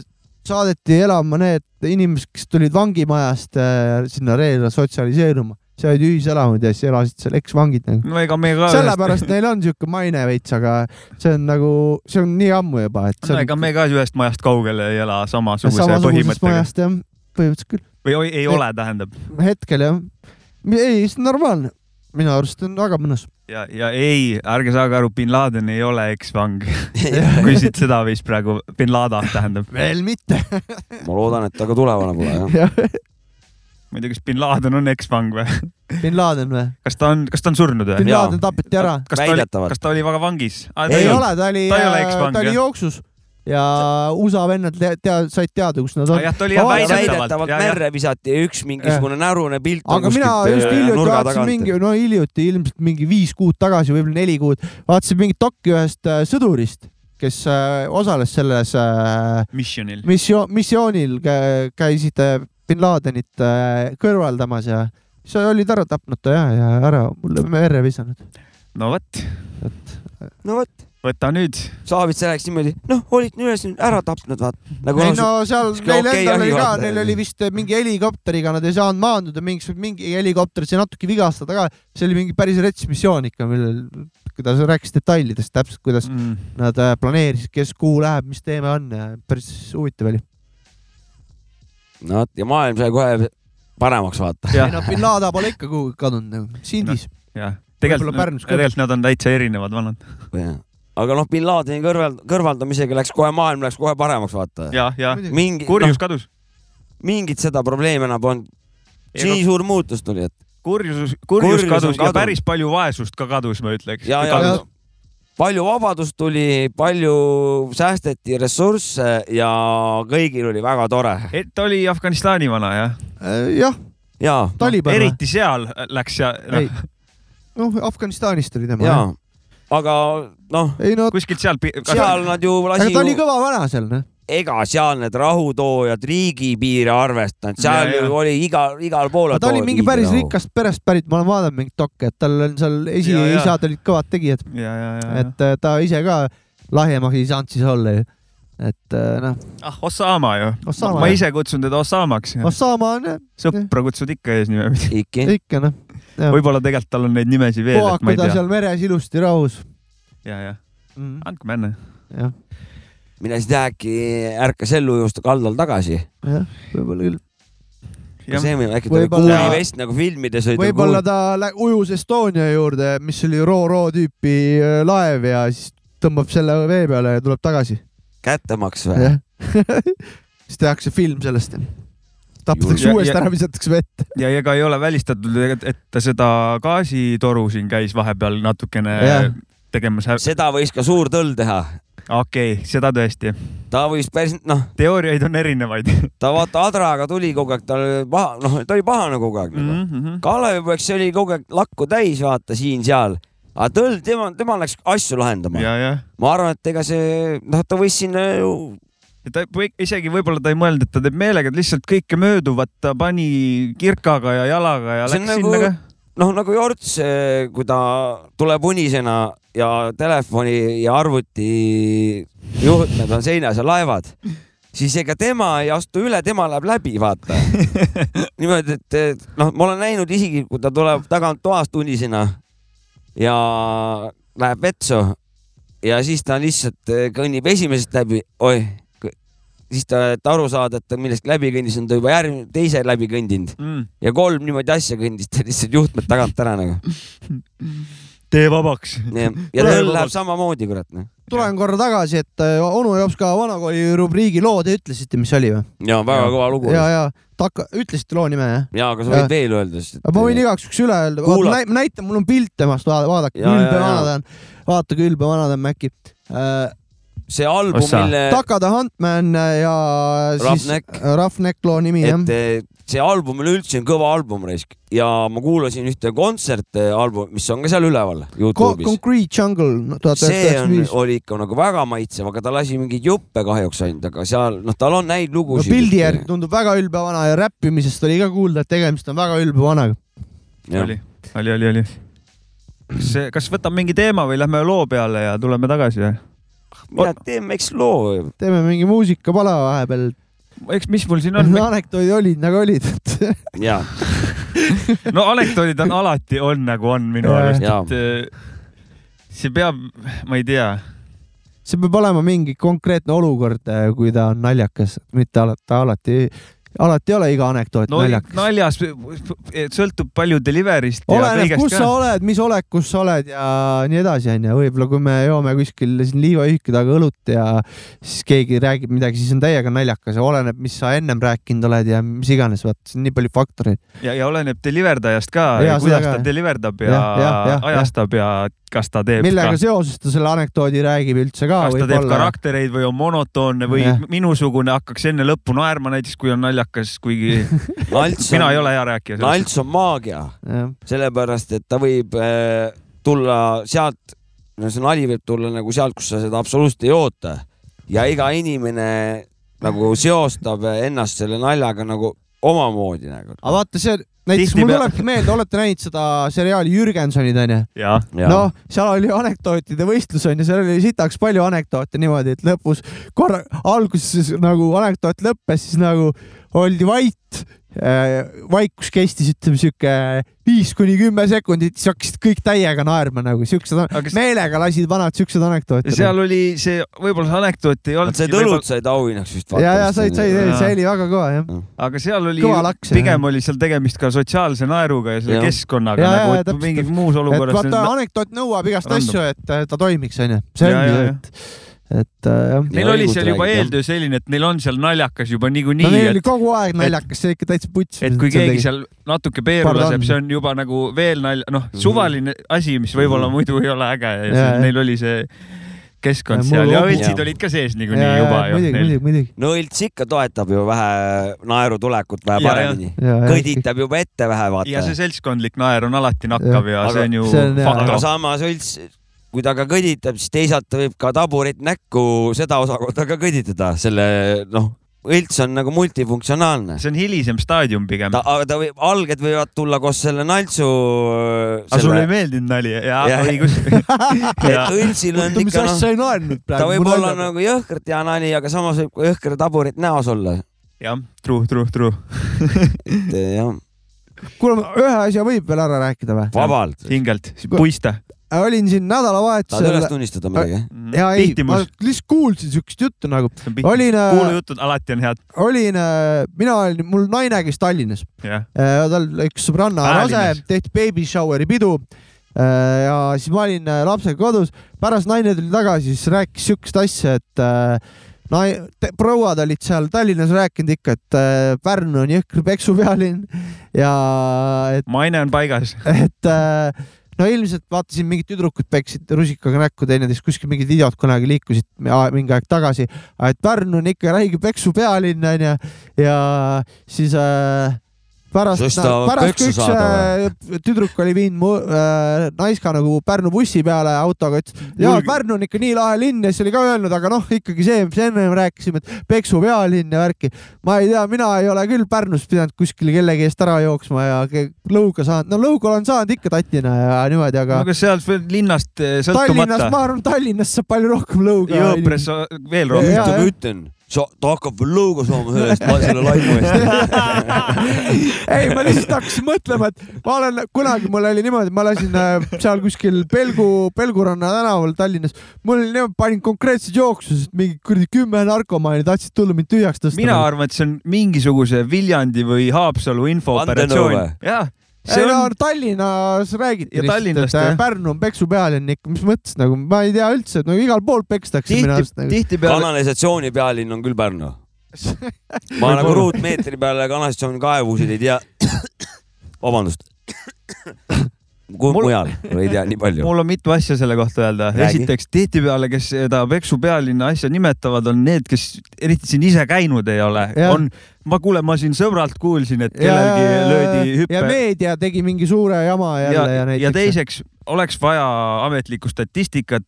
Speaker 4: saadeti elama need inimesed , kes tulid vangimajast äh, sinna Reedele sotsialiseeruma , seal olid ühiselamud ja siis elasid seal eksvangid nagu .
Speaker 2: no ega me ka .
Speaker 4: sellepärast neil on siuke maine veits , aga see on nagu , see on nii ammu juba , et
Speaker 2: no
Speaker 4: see on
Speaker 2: ega me ka ühest majast kaugele ei ela samasuguse
Speaker 4: samasuguses
Speaker 2: põhimõttega .
Speaker 4: majast jah , põhimõtteliselt küll ,
Speaker 2: või oi, ei ole , tähendab .
Speaker 4: hetkel jah . ei , see on normaalne , minu arust on väga mõnus .
Speaker 2: ja , ja ei , ärge saage aru , bin Laden ei ole eksvang . kui siit seda vist praegu , bin Laden tähendab .
Speaker 4: veel mitte .
Speaker 1: ma loodan , et ta ka tulevane pole jah .
Speaker 2: ma ei tea , kas bin Laden on eksvang või ?
Speaker 4: bin Laden või ?
Speaker 2: kas ta on , kas ta on surnud või ?
Speaker 4: bin
Speaker 1: Jaa.
Speaker 4: Laden tapeti ära .
Speaker 2: kas ta oli ,
Speaker 1: Väidetavalt.
Speaker 2: kas ta oli väga vangis ?
Speaker 4: ei ole , ta oli ,
Speaker 2: ta ei ole eksvang,
Speaker 4: ta oli
Speaker 2: jah.
Speaker 4: jooksus ja USA vennad le- tea- , said teada , kus nad on .
Speaker 2: Ah, jah , ta oli jah
Speaker 4: Aga
Speaker 1: väidetavalt
Speaker 2: väidetavalt .
Speaker 1: merre visati ja üks mingisugune närune pilt . äh,
Speaker 4: aga mina
Speaker 2: äh,
Speaker 4: just hiljuti vaatasin mingi , no hiljuti ilmselt mingi viis kuud tagasi , võib-olla neli kuud , vaatasin mingit dokki ühest äh, sõdurist , kes äh, osales selles äh,
Speaker 2: Missionil .
Speaker 4: missioon , missioonil kä- käisid äh, bin Ladenit äh, kõrvaldamas ja siis olid ära tapnud ta ja , ja ära mulle merre visanud .
Speaker 2: no vot ,
Speaker 1: no vot ,
Speaker 2: võta nüüd .
Speaker 1: Saavits rääkis niimoodi , noh , olid üles nüüd ära tapnud , vaat . nagu
Speaker 4: ei
Speaker 1: on
Speaker 4: no seal
Speaker 1: sihuke
Speaker 4: neil
Speaker 1: okei
Speaker 4: endal oli ka
Speaker 1: jahivaataja. ,
Speaker 4: neil oli vist mingi helikopteriga , nad ei saanud maanduda , mingi , mingi helikopter sai natuke vigastada ka , see oli mingi päris rets missioon ikka , millel , kui ta rääkis detailidest täpselt , kuidas
Speaker 2: Mm,
Speaker 1: Mm.
Speaker 4: nad äh, planeerisid , kes kuhu läheb , mis teema on ja päris huvitav oli .
Speaker 1: no vot ja maailm sai kohe paremaks vaata .
Speaker 4: ei no bin Laden pole ikka kuhugi kadunud nagu , Sindis no, ,
Speaker 2: jah ,
Speaker 4: Võib-olla
Speaker 2: tegelikult ,
Speaker 4: Pärnus ka.
Speaker 2: tegelikult nad on täitsa erinevad vanad .
Speaker 1: aga noh , bin Ladeni kõrval , kõrvaldamisega läks kohe , maailm läks kohe paremaks vaata .
Speaker 2: ja , ja
Speaker 4: muidugi . Noh.
Speaker 1: mingi , noh,
Speaker 2: kurjus kadus .
Speaker 1: mingit seda probleemi enam polnud . nii suur muutus tuli , et
Speaker 2: kurjus ,
Speaker 1: Kurjus
Speaker 2: kurjus
Speaker 1: on
Speaker 2: kadus ja
Speaker 1: kadunud.
Speaker 2: päris palju vaesust ka kadus , ma ütleks .
Speaker 1: ja , ja
Speaker 4: Kadus.
Speaker 1: palju vabadust tuli , palju säästeti ressursse ja kõigil oli väga tore .
Speaker 2: et oli Afganistani vana jah ?
Speaker 4: Äh, jah ,
Speaker 1: ja ,
Speaker 4: Taliban või ?
Speaker 2: eriti seal läks ja
Speaker 4: ei
Speaker 2: noh, ,
Speaker 4: noh Afganistanist oli tema
Speaker 1: ja . aga noh ,
Speaker 4: ei no ,
Speaker 2: kuskilt seal .
Speaker 1: seal nad ju
Speaker 4: aga
Speaker 1: lasi
Speaker 4: ta oli
Speaker 1: ju ,
Speaker 4: kõva vana seal noh .
Speaker 1: ega seal need rahutoojad riigipiire arvestanud , seal
Speaker 2: Ja, ja.
Speaker 1: ju oli igal , igal pool .
Speaker 4: ta oli mingi päris .
Speaker 2: nagu.
Speaker 4: rikkast perest pärit , ma olen vaadanud mingit dokke , et tal on seal
Speaker 2: Ja, ja.
Speaker 4: esiisad olid kõvad tegijad ,
Speaker 2: ja , ja , ja , ja .
Speaker 4: et äh, ta ise ka lahjemaks ei saanud siis olla ju . et äh, noh ,
Speaker 2: ah , Osama ju .
Speaker 4: Osama.
Speaker 2: ma ise kutsun teda Osamaks .
Speaker 4: Osama noh, on jah,
Speaker 2: sõpra kutsud ikka eesnime .
Speaker 1: ikka ,
Speaker 4: ikka noh ,
Speaker 2: võib-olla tegelikult tal on neid nimesid veel , et
Speaker 4: puhaku
Speaker 2: ma ei
Speaker 4: ta
Speaker 2: tea .
Speaker 4: seal meres ilusti rahus
Speaker 2: ja , ja ,
Speaker 4: mm, .
Speaker 2: andku männe .
Speaker 4: jah ,
Speaker 1: mine siis tea , äkki ärkas ellu just kaldal tagasi .
Speaker 4: jah , võib-olla küll .
Speaker 2: Jah.
Speaker 1: see meil äkki tuli
Speaker 4: Võib-olla-
Speaker 1: kuulivest nagu filmides olid .
Speaker 4: võib-olla ta lä- ujus Estonia juurde , mis oli Ro-Ro tüüpi äh, laev ja siis tõmbab selle vee peale ja tuleb tagasi .
Speaker 1: kättemaks või ?
Speaker 4: jah , siis tehakse film sellest . tapetakse
Speaker 2: Julge-
Speaker 4: uuesti
Speaker 2: ja-
Speaker 4: ära , visatakse vette .
Speaker 2: ja ega ei ole välistatud , et ta seda gaasitoru siin käis vahepeal natukene
Speaker 4: Jah.
Speaker 2: tegemas .
Speaker 1: seda võis ka suur tõll teha .
Speaker 2: okei okay, , seda tõesti .
Speaker 1: ta võis päris , noh ,
Speaker 2: teooriaid on erinevaid .
Speaker 1: ta vaata Adraga tuli kogu aeg , tal oli paha , noh , ta oli pahane kogu aeg
Speaker 2: Mhm.
Speaker 1: nagu mm. . Kalevipoiss oli kogu aeg lakku täis , vaata siin-seal . aga tõll , tema , tema läks asju lahendama .
Speaker 2: ja , ja .
Speaker 1: ma arvan , et ega see , noh , ta võis sinna ju ,
Speaker 2: ta või, isegi võib-olla ta ei mõelnud , et ta teeb meelega , et lihtsalt kõike mööduvat ta pani kirkaga ja jalaga ja
Speaker 1: See on
Speaker 2: läks
Speaker 1: nagu-
Speaker 2: sinna ka .
Speaker 1: noh , nagu Jorts , kui ta tuleb unisena ja telefoni ja arvuti juhtmed on seinas ja laevad , siis ega tema ei astu üle , tema läheb läbi , vaata . niimoodi , et et noh , ma olen näinud isegi , kui ta tuleb tagant toast unisena ja läheb vetsu ja siis ta lihtsalt eh, kõnnib esimesest läbi , oih , siis ta , et aru saada , et ta millestki läbi kõndis , on ta juba järgmine , teise läbi kõndinud
Speaker 2: Mm.
Speaker 1: ja kolm niimoodi asja kõndis , ta lihtsalt juhtmed tagant ära nagu .
Speaker 2: tee vabaks .
Speaker 1: ja ja tal
Speaker 4: Tule vabalt.
Speaker 1: läheb samamoodi , kurat , noh .
Speaker 4: tulen korra tagasi , et äh, onu jaoks ka vanakooli rubriigi loo te ütlesite , mis oli või ?
Speaker 1: ja väga
Speaker 2: Ja.
Speaker 1: kõva lugu .
Speaker 4: ja
Speaker 1: ja ,,
Speaker 4: ja taka- , ütlesite loo nime jah ?
Speaker 1: aga sa võid
Speaker 4: Ja.
Speaker 1: veel öelda , sest
Speaker 4: ma võin igaks juhuks üle öelda ,
Speaker 1: Kuula-
Speaker 4: näita , näita , mul on pilt temast , vaadake ,
Speaker 1: Ja, ja,
Speaker 4: ülbe
Speaker 1: ja.
Speaker 4: vana ta on . vaata , kui ülbe vana ta on äkki äh, .
Speaker 1: see album ,
Speaker 2: Ossa.
Speaker 1: mille ,
Speaker 4: Taka the Huntman ja siis
Speaker 1: Äh. Roughneck.
Speaker 4: Roughneck loo nimi jah
Speaker 1: et . eh, see album üleüldse on kõva album , raisk . ja ma kuulasin ühte kontsertalbumi , mis on ka seal üleval Youtube'is .
Speaker 4: Concrete Jungle tuhat
Speaker 1: see
Speaker 4: üheksasada
Speaker 1: on ,
Speaker 4: üheksakümmend
Speaker 1: oli ikka nagu väga maitsev , aga ta lasi mingeid juppe kahjuks ainult , aga seal , noh , tal on häid
Speaker 4: viis .
Speaker 1: lugusid .
Speaker 4: pildi järgi . tundub väga ülbe vana ja räppimisest oli ka kuulda , et tegemist on väga ülbe vanaga .
Speaker 2: oli , oli , oli , oli . kas , kas võtame mingi teema või lähme loo peale ja tuleme tagasi või ?
Speaker 1: mina teen , eks loo .
Speaker 4: teeme mingi muusikapala vahepeal .
Speaker 2: eks , mis mul siin on ?
Speaker 4: anekdoodid olid nagu olid , et
Speaker 1: ja ,
Speaker 2: no anekdoodid on alati on nagu on minu
Speaker 4: Jaa.
Speaker 2: arust ,
Speaker 1: Jaa.
Speaker 2: et eh, see peab , ma ei tea ,
Speaker 4: see peab olema mingi konkreetne olukord , kui ta on naljakas , mitte alati , alati , alati ei ole iga anekdoot no,
Speaker 2: no
Speaker 4: naljakas no, .
Speaker 2: naljas eh, sõltub palju delivery'st ja
Speaker 4: oleneb , kus
Speaker 2: kõigest
Speaker 4: sa
Speaker 2: ka .
Speaker 4: oled , mis olekus sa oled ja nii edasi , onju . võib-olla kui me joome kuskil siin liivaühiki taga õlut ja siis keegi räägib midagi , siis on täiega naljakas ja oleneb , mis sa ennem rääkinud oled ja mis iganes , vaata , siin on nii palju faktoreid .
Speaker 2: ja , ja oleneb deliveredajast ka
Speaker 4: Jaa, , seda
Speaker 2: kuidas
Speaker 4: ka,
Speaker 2: ta
Speaker 4: jah.
Speaker 2: deliverdab ja,
Speaker 4: Jah,
Speaker 2: ja,
Speaker 4: jah,
Speaker 2: ja
Speaker 4: jah,
Speaker 2: ajastab ja kas ta teeb
Speaker 4: millega
Speaker 2: ka ,
Speaker 4: seoses ta selle anekdoodi räägib üldse ka
Speaker 2: kas ta teeb
Speaker 4: võib-olla .
Speaker 2: karaktereid või on monotoonne või
Speaker 4: Jah.
Speaker 2: minusugune hakkaks enne lõppu naerma näiteks , kui on naljakas , kuigi
Speaker 1: nalts
Speaker 2: mina ei
Speaker 1: on ,
Speaker 2: ole hea rääkija selles .
Speaker 1: nalts on maagia sellepärast et ta võib äh, tulla sealt , no see nali võib tulla nagu sealt , kus sa seda absoluutselt ei oota ja iga inimene nagu seostab ennast selle naljaga nagu omamoodi nagu .
Speaker 4: aga vaata , see näiteks
Speaker 2: Tihti
Speaker 4: mul
Speaker 2: pea-
Speaker 4: tulebki meelde , olete näinud seda seriaali Jürgensonid onju ?
Speaker 2: jah ,
Speaker 4: noh , seal oli anekdootide võistlus onju , seal oli sitaks palju anekdoote niimoodi , et lõpus korra , alguses nagu anekdoot lõppes , siis nagu oldi vait . vaikus kestis , ütleme sihuke viis kuni kümme sekundit , siis hakkasid kõik täiega naerma nagu siuksed
Speaker 2: Aga , kas-
Speaker 4: meelega lasid vanad siuksed anekdootid .
Speaker 2: seal oli see , võib-olla see anekdoot ei
Speaker 1: Nad
Speaker 2: olnud .
Speaker 1: said õlut , said auhinnaks vist .
Speaker 4: ja , ja said , said ,
Speaker 1: nagu.
Speaker 2: Jaa.
Speaker 4: see oli väga kõva jah .
Speaker 2: aga seal oli
Speaker 4: Kõva laks,
Speaker 2: pigem
Speaker 4: jah.
Speaker 2: oli seal tegemist ka sotsiaalse naeruga ja selle
Speaker 1: Jah.
Speaker 2: ja. keskkonnaga
Speaker 4: Jaa,
Speaker 2: ja, nagu
Speaker 4: jaa,
Speaker 2: et
Speaker 4: täpselt,
Speaker 2: mingis muus
Speaker 4: et
Speaker 2: olukorras .
Speaker 4: vaata , anekdoot nõuab igast
Speaker 2: Random.
Speaker 4: asju , et äh, ta toimiks onju . see
Speaker 2: Jaa,
Speaker 4: ongi
Speaker 2: jaa,
Speaker 4: see ,
Speaker 2: jaa.
Speaker 4: et et äh, jah .
Speaker 2: Neil
Speaker 1: Ja
Speaker 2: oli
Speaker 1: õigult
Speaker 2: seal juba
Speaker 1: räägid, jah.
Speaker 2: eeltöö selline , et neil on seal naljakas juba
Speaker 4: no neil
Speaker 2: niikuinii ,
Speaker 4: oli
Speaker 2: et ,
Speaker 4: kogu aeg naljakas , see ikka täitsa puts .
Speaker 2: et kui keegi seal natuke peeru
Speaker 4: Pardon.
Speaker 2: laseb , see on juba nagu veel nalja , noh ,
Speaker 1: Mhm.
Speaker 2: suvaline asi , mis võib-olla muidu ei ole äge ja
Speaker 4: Jaa,
Speaker 2: see-
Speaker 4: jah.
Speaker 2: neil oli see keskkond
Speaker 4: Ja
Speaker 2: seal
Speaker 4: mul
Speaker 2: ja
Speaker 4: hobi-
Speaker 2: õltsid
Speaker 1: jaa.
Speaker 2: olid ka sees niikuinii juba ju
Speaker 4: muidugi ,
Speaker 2: neil .
Speaker 4: muidugi , muidugi .
Speaker 1: no õlts ikka toetab ju vähe naerutulekut vähe
Speaker 2: Ja,
Speaker 1: paremini .
Speaker 4: ja, ja.
Speaker 1: kõditab juba ette vähe ,
Speaker 2: ja
Speaker 1: vaata .
Speaker 2: see seltskondlik naer on alati nakkav ja
Speaker 1: Aga
Speaker 2: see on ju
Speaker 4: see on hea.
Speaker 1: aga
Speaker 2: fakt .
Speaker 1: samas õlts , kui ta ka kõditab , siis teisalt võib ka taburit näkku seda osakonda ka kõditada , selle noh , õlts on nagu multifunktsionaalne .
Speaker 2: see on hilisem staadium pigem .
Speaker 1: ta , aga ta võib , alged võivad tulla koos selle naltsu .
Speaker 2: aga sulle ei meeldinud nali ? jaa
Speaker 1: Jah. ,
Speaker 2: õigus .
Speaker 1: et õltsil on
Speaker 4: oota , mis
Speaker 1: ikka noh ,
Speaker 4: asja ei naernud
Speaker 1: ta
Speaker 4: praegu ?
Speaker 1: võib olla nagu jõhkralt hea nali , aga samas võib ka jõhkralt taburit näos olla ,
Speaker 2: jah , true , true , true .
Speaker 1: et jah , nagu-
Speaker 4: kuule , ühe asja võib veel ära rääkida või ?
Speaker 1: vabalt .
Speaker 2: hingelt , puista .
Speaker 4: olin siin
Speaker 1: tahad üles
Speaker 4: nädalavahetusel .
Speaker 1: tunnistada midagi ?
Speaker 4: ja ei , ma
Speaker 2: Mm. pihtimus .
Speaker 4: lihtsalt kuulsin siukest juttu nagu , olin ,
Speaker 2: kuulujutud alati on head ,
Speaker 4: olin , mina olin , mul naine käis Tallinnas ,
Speaker 2: jah .
Speaker 4: Äh, tal oli üks sõbranna
Speaker 2: Päälinnas.
Speaker 4: rase , tehti baby shower'i pidu . ja siis ma olin äh, lapsega kodus , pärast naine tuli tagasi , siis rääkis siukest asja , et äh, nai- , prouad olid seal Tallinnas rääkinud ikka , et äh, Pärnu on jõhkri peksu pealinn ja et
Speaker 2: maine on paigas .
Speaker 4: et äh, no ilmselt vaatasin , mingid tüdrukud peksid rusikaga näkku teineteist , kuskil mingid videod kunagi liikusid a- mingi aeg tagasi , et Pärnu on ikka räige peksu pealinn onju ja siis äh, pärast
Speaker 1: Sest , ta
Speaker 4: pärast
Speaker 1: peksu
Speaker 4: kui üks
Speaker 1: saada
Speaker 4: äh, tüdruk oli viinud mu äh, naiska nagu Pärnu bussi peale autoga , ütles , et jaa ,
Speaker 2: Julge-
Speaker 4: Pärnu on ikka nii lahe linn ja siis oli ka öelnud , aga noh , ikkagi see , mis enne rääkisime , et peksu pealinn ja värki . ma ei tea , mina ei ole küll Pärnus pidanud kuskil kellegi eest ära jooksma ja ke- lõuga saanud , no lõuga olen saanud ikka tatina ja niimoodi , aga
Speaker 2: aga sealt veel linnast eh,
Speaker 4: Tallinnas , ma
Speaker 2: sõltumata .
Speaker 4: arvan , Tallinnas saab palju rohkem lõuga .
Speaker 2: Jõõpres veel
Speaker 4: Jaa,
Speaker 1: ühte
Speaker 2: rohkem .
Speaker 1: ma
Speaker 4: jah.
Speaker 1: ütlen , sa , ta hakkab veel lõuga saama selle eest , ma selle laimu eest .
Speaker 4: ei , ma lihtsalt hakkasin mõtlema , et ma olen kunagi , mul oli niimoodi , ma elasin äh, seal kuskil Pelgu , Pelguranna tänaval Tallinnas , mul oli niimoodi , panin konkreetselt jooksus , et mingi kuradi kümme narkomaani tahtsid tulla mind tühjaks tõsta .
Speaker 2: mina arvan , et see on mingisuguse Viljandi või Haapsalu infooperatsioon
Speaker 1: Vandenõu .
Speaker 2: jah ,
Speaker 4: see
Speaker 2: see
Speaker 4: ei
Speaker 2: on
Speaker 4: on... no Tallinnas räägiti
Speaker 2: Ja Tallinnast,
Speaker 4: et
Speaker 2: jah.
Speaker 4: äh, Pärnu on peksu pealinn ikka , mis mõttes nagu ma ei tea üldse , et nagu igal pool pekstakse minu arust
Speaker 2: tihti ,
Speaker 4: nagu .
Speaker 2: tihtipeale
Speaker 1: kanalisatsiooni pealinn on küll Pärnu . ma nagu ruutmeetri peale kanalisatsiooni kaevusid ei tea . vabandust . kuhu
Speaker 2: Mul-
Speaker 1: mujal , ei tea nii palju .
Speaker 2: mul on mitu asja selle kohta öelda .
Speaker 1: Räägi.
Speaker 2: esiteks tihtipeale , kes seda peksu pealinna asja nimetavad , on need , kes eriti siin ise käinud ei ole
Speaker 4: Jah. .
Speaker 2: on , ma kuule , ma siin sõbralt kuulsin , et kellelgi löödi
Speaker 4: ja
Speaker 2: hüpe .
Speaker 4: meedia tegi mingi suure jama jälle ja, ja näiteks .
Speaker 2: ja teiseks oleks vaja ametlikku statistikat ,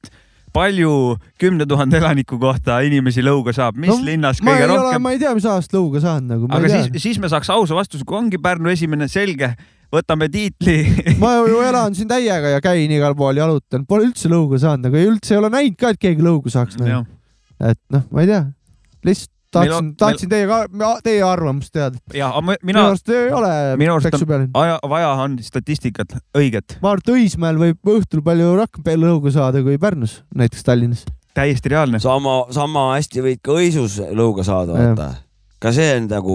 Speaker 2: palju kümne tuhande elaniku kohta inimesi lõuga saab , mis
Speaker 4: No,
Speaker 2: no, linnas
Speaker 4: ma ei
Speaker 2: kõige
Speaker 4: ole ,
Speaker 2: rohkem .
Speaker 4: ma ei tea , mis ajast lõuga saanud nagu , ma
Speaker 2: aga
Speaker 4: ei tea
Speaker 2: siis , siis me saaks ausa vastuse , kui ongi Pärnu esimene , selge , võtame tiitli .
Speaker 4: ma ju- ju elan siin täiega ja käin igal pool , jalutan , pole üldse lõuga saanud , aga üldse ei ole näinud ka , et keegi lõuga saaks nagu. . et noh , ma ei tea , lihtsalt
Speaker 2: Meil
Speaker 4: tahtsin
Speaker 2: on- ,
Speaker 4: tahtsin teiega , teie arvamust teada .
Speaker 2: ja aga ma-
Speaker 4: minu
Speaker 2: mina ,
Speaker 4: arust ei ole
Speaker 2: minu arust on-
Speaker 4: peksu pealinn .
Speaker 2: aja , vaja on statistikat , õiget ,
Speaker 4: ma arvan , et Õismäel võib õhtul palju rohkem peale lõuga saada kui Pärnus , näiteks Tallinnas .
Speaker 2: täiesti reaalne .
Speaker 1: sama , sama hästi võid ka Õisus lõuga saada ,
Speaker 4: Jah.
Speaker 1: vaata . ka see on nagu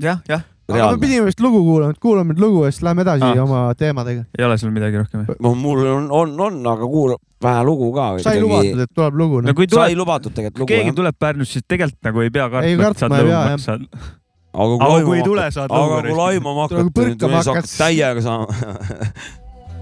Speaker 2: jah , jah ,
Speaker 4: aga me
Speaker 1: reaalne .
Speaker 4: pidime vist lugu kuulama , et kuulame nüüd lugu ja siis lähme edasi
Speaker 2: Ah.
Speaker 4: ah. oma teemadega .
Speaker 2: ei ole sul midagi rohkem .
Speaker 1: no Noh, mul on , on , on , aga kuula vähe lugu ka .
Speaker 4: sai lubatud , et tuleb lugu noh.
Speaker 2: no
Speaker 4: no, .
Speaker 2: kui
Speaker 1: sai
Speaker 2: tuleb ,
Speaker 1: lubatud tegelikult
Speaker 2: kui keegi
Speaker 1: lugu ,
Speaker 2: tuleb Pärnust , siis tegelikult nagu ei pea kartma ,
Speaker 4: Ei
Speaker 2: et saad
Speaker 4: kartma ei pea,
Speaker 2: lõuga
Speaker 4: jah.
Speaker 2: maksta .
Speaker 1: jah .
Speaker 2: aga kui ei tule , saad
Speaker 1: aga kui
Speaker 2: lõuga .
Speaker 1: laimama hakata ,
Speaker 4: Tuleb
Speaker 1: nüüd
Speaker 4: põrkama
Speaker 1: sa hakkad
Speaker 4: hakkad.
Speaker 1: täiega saama .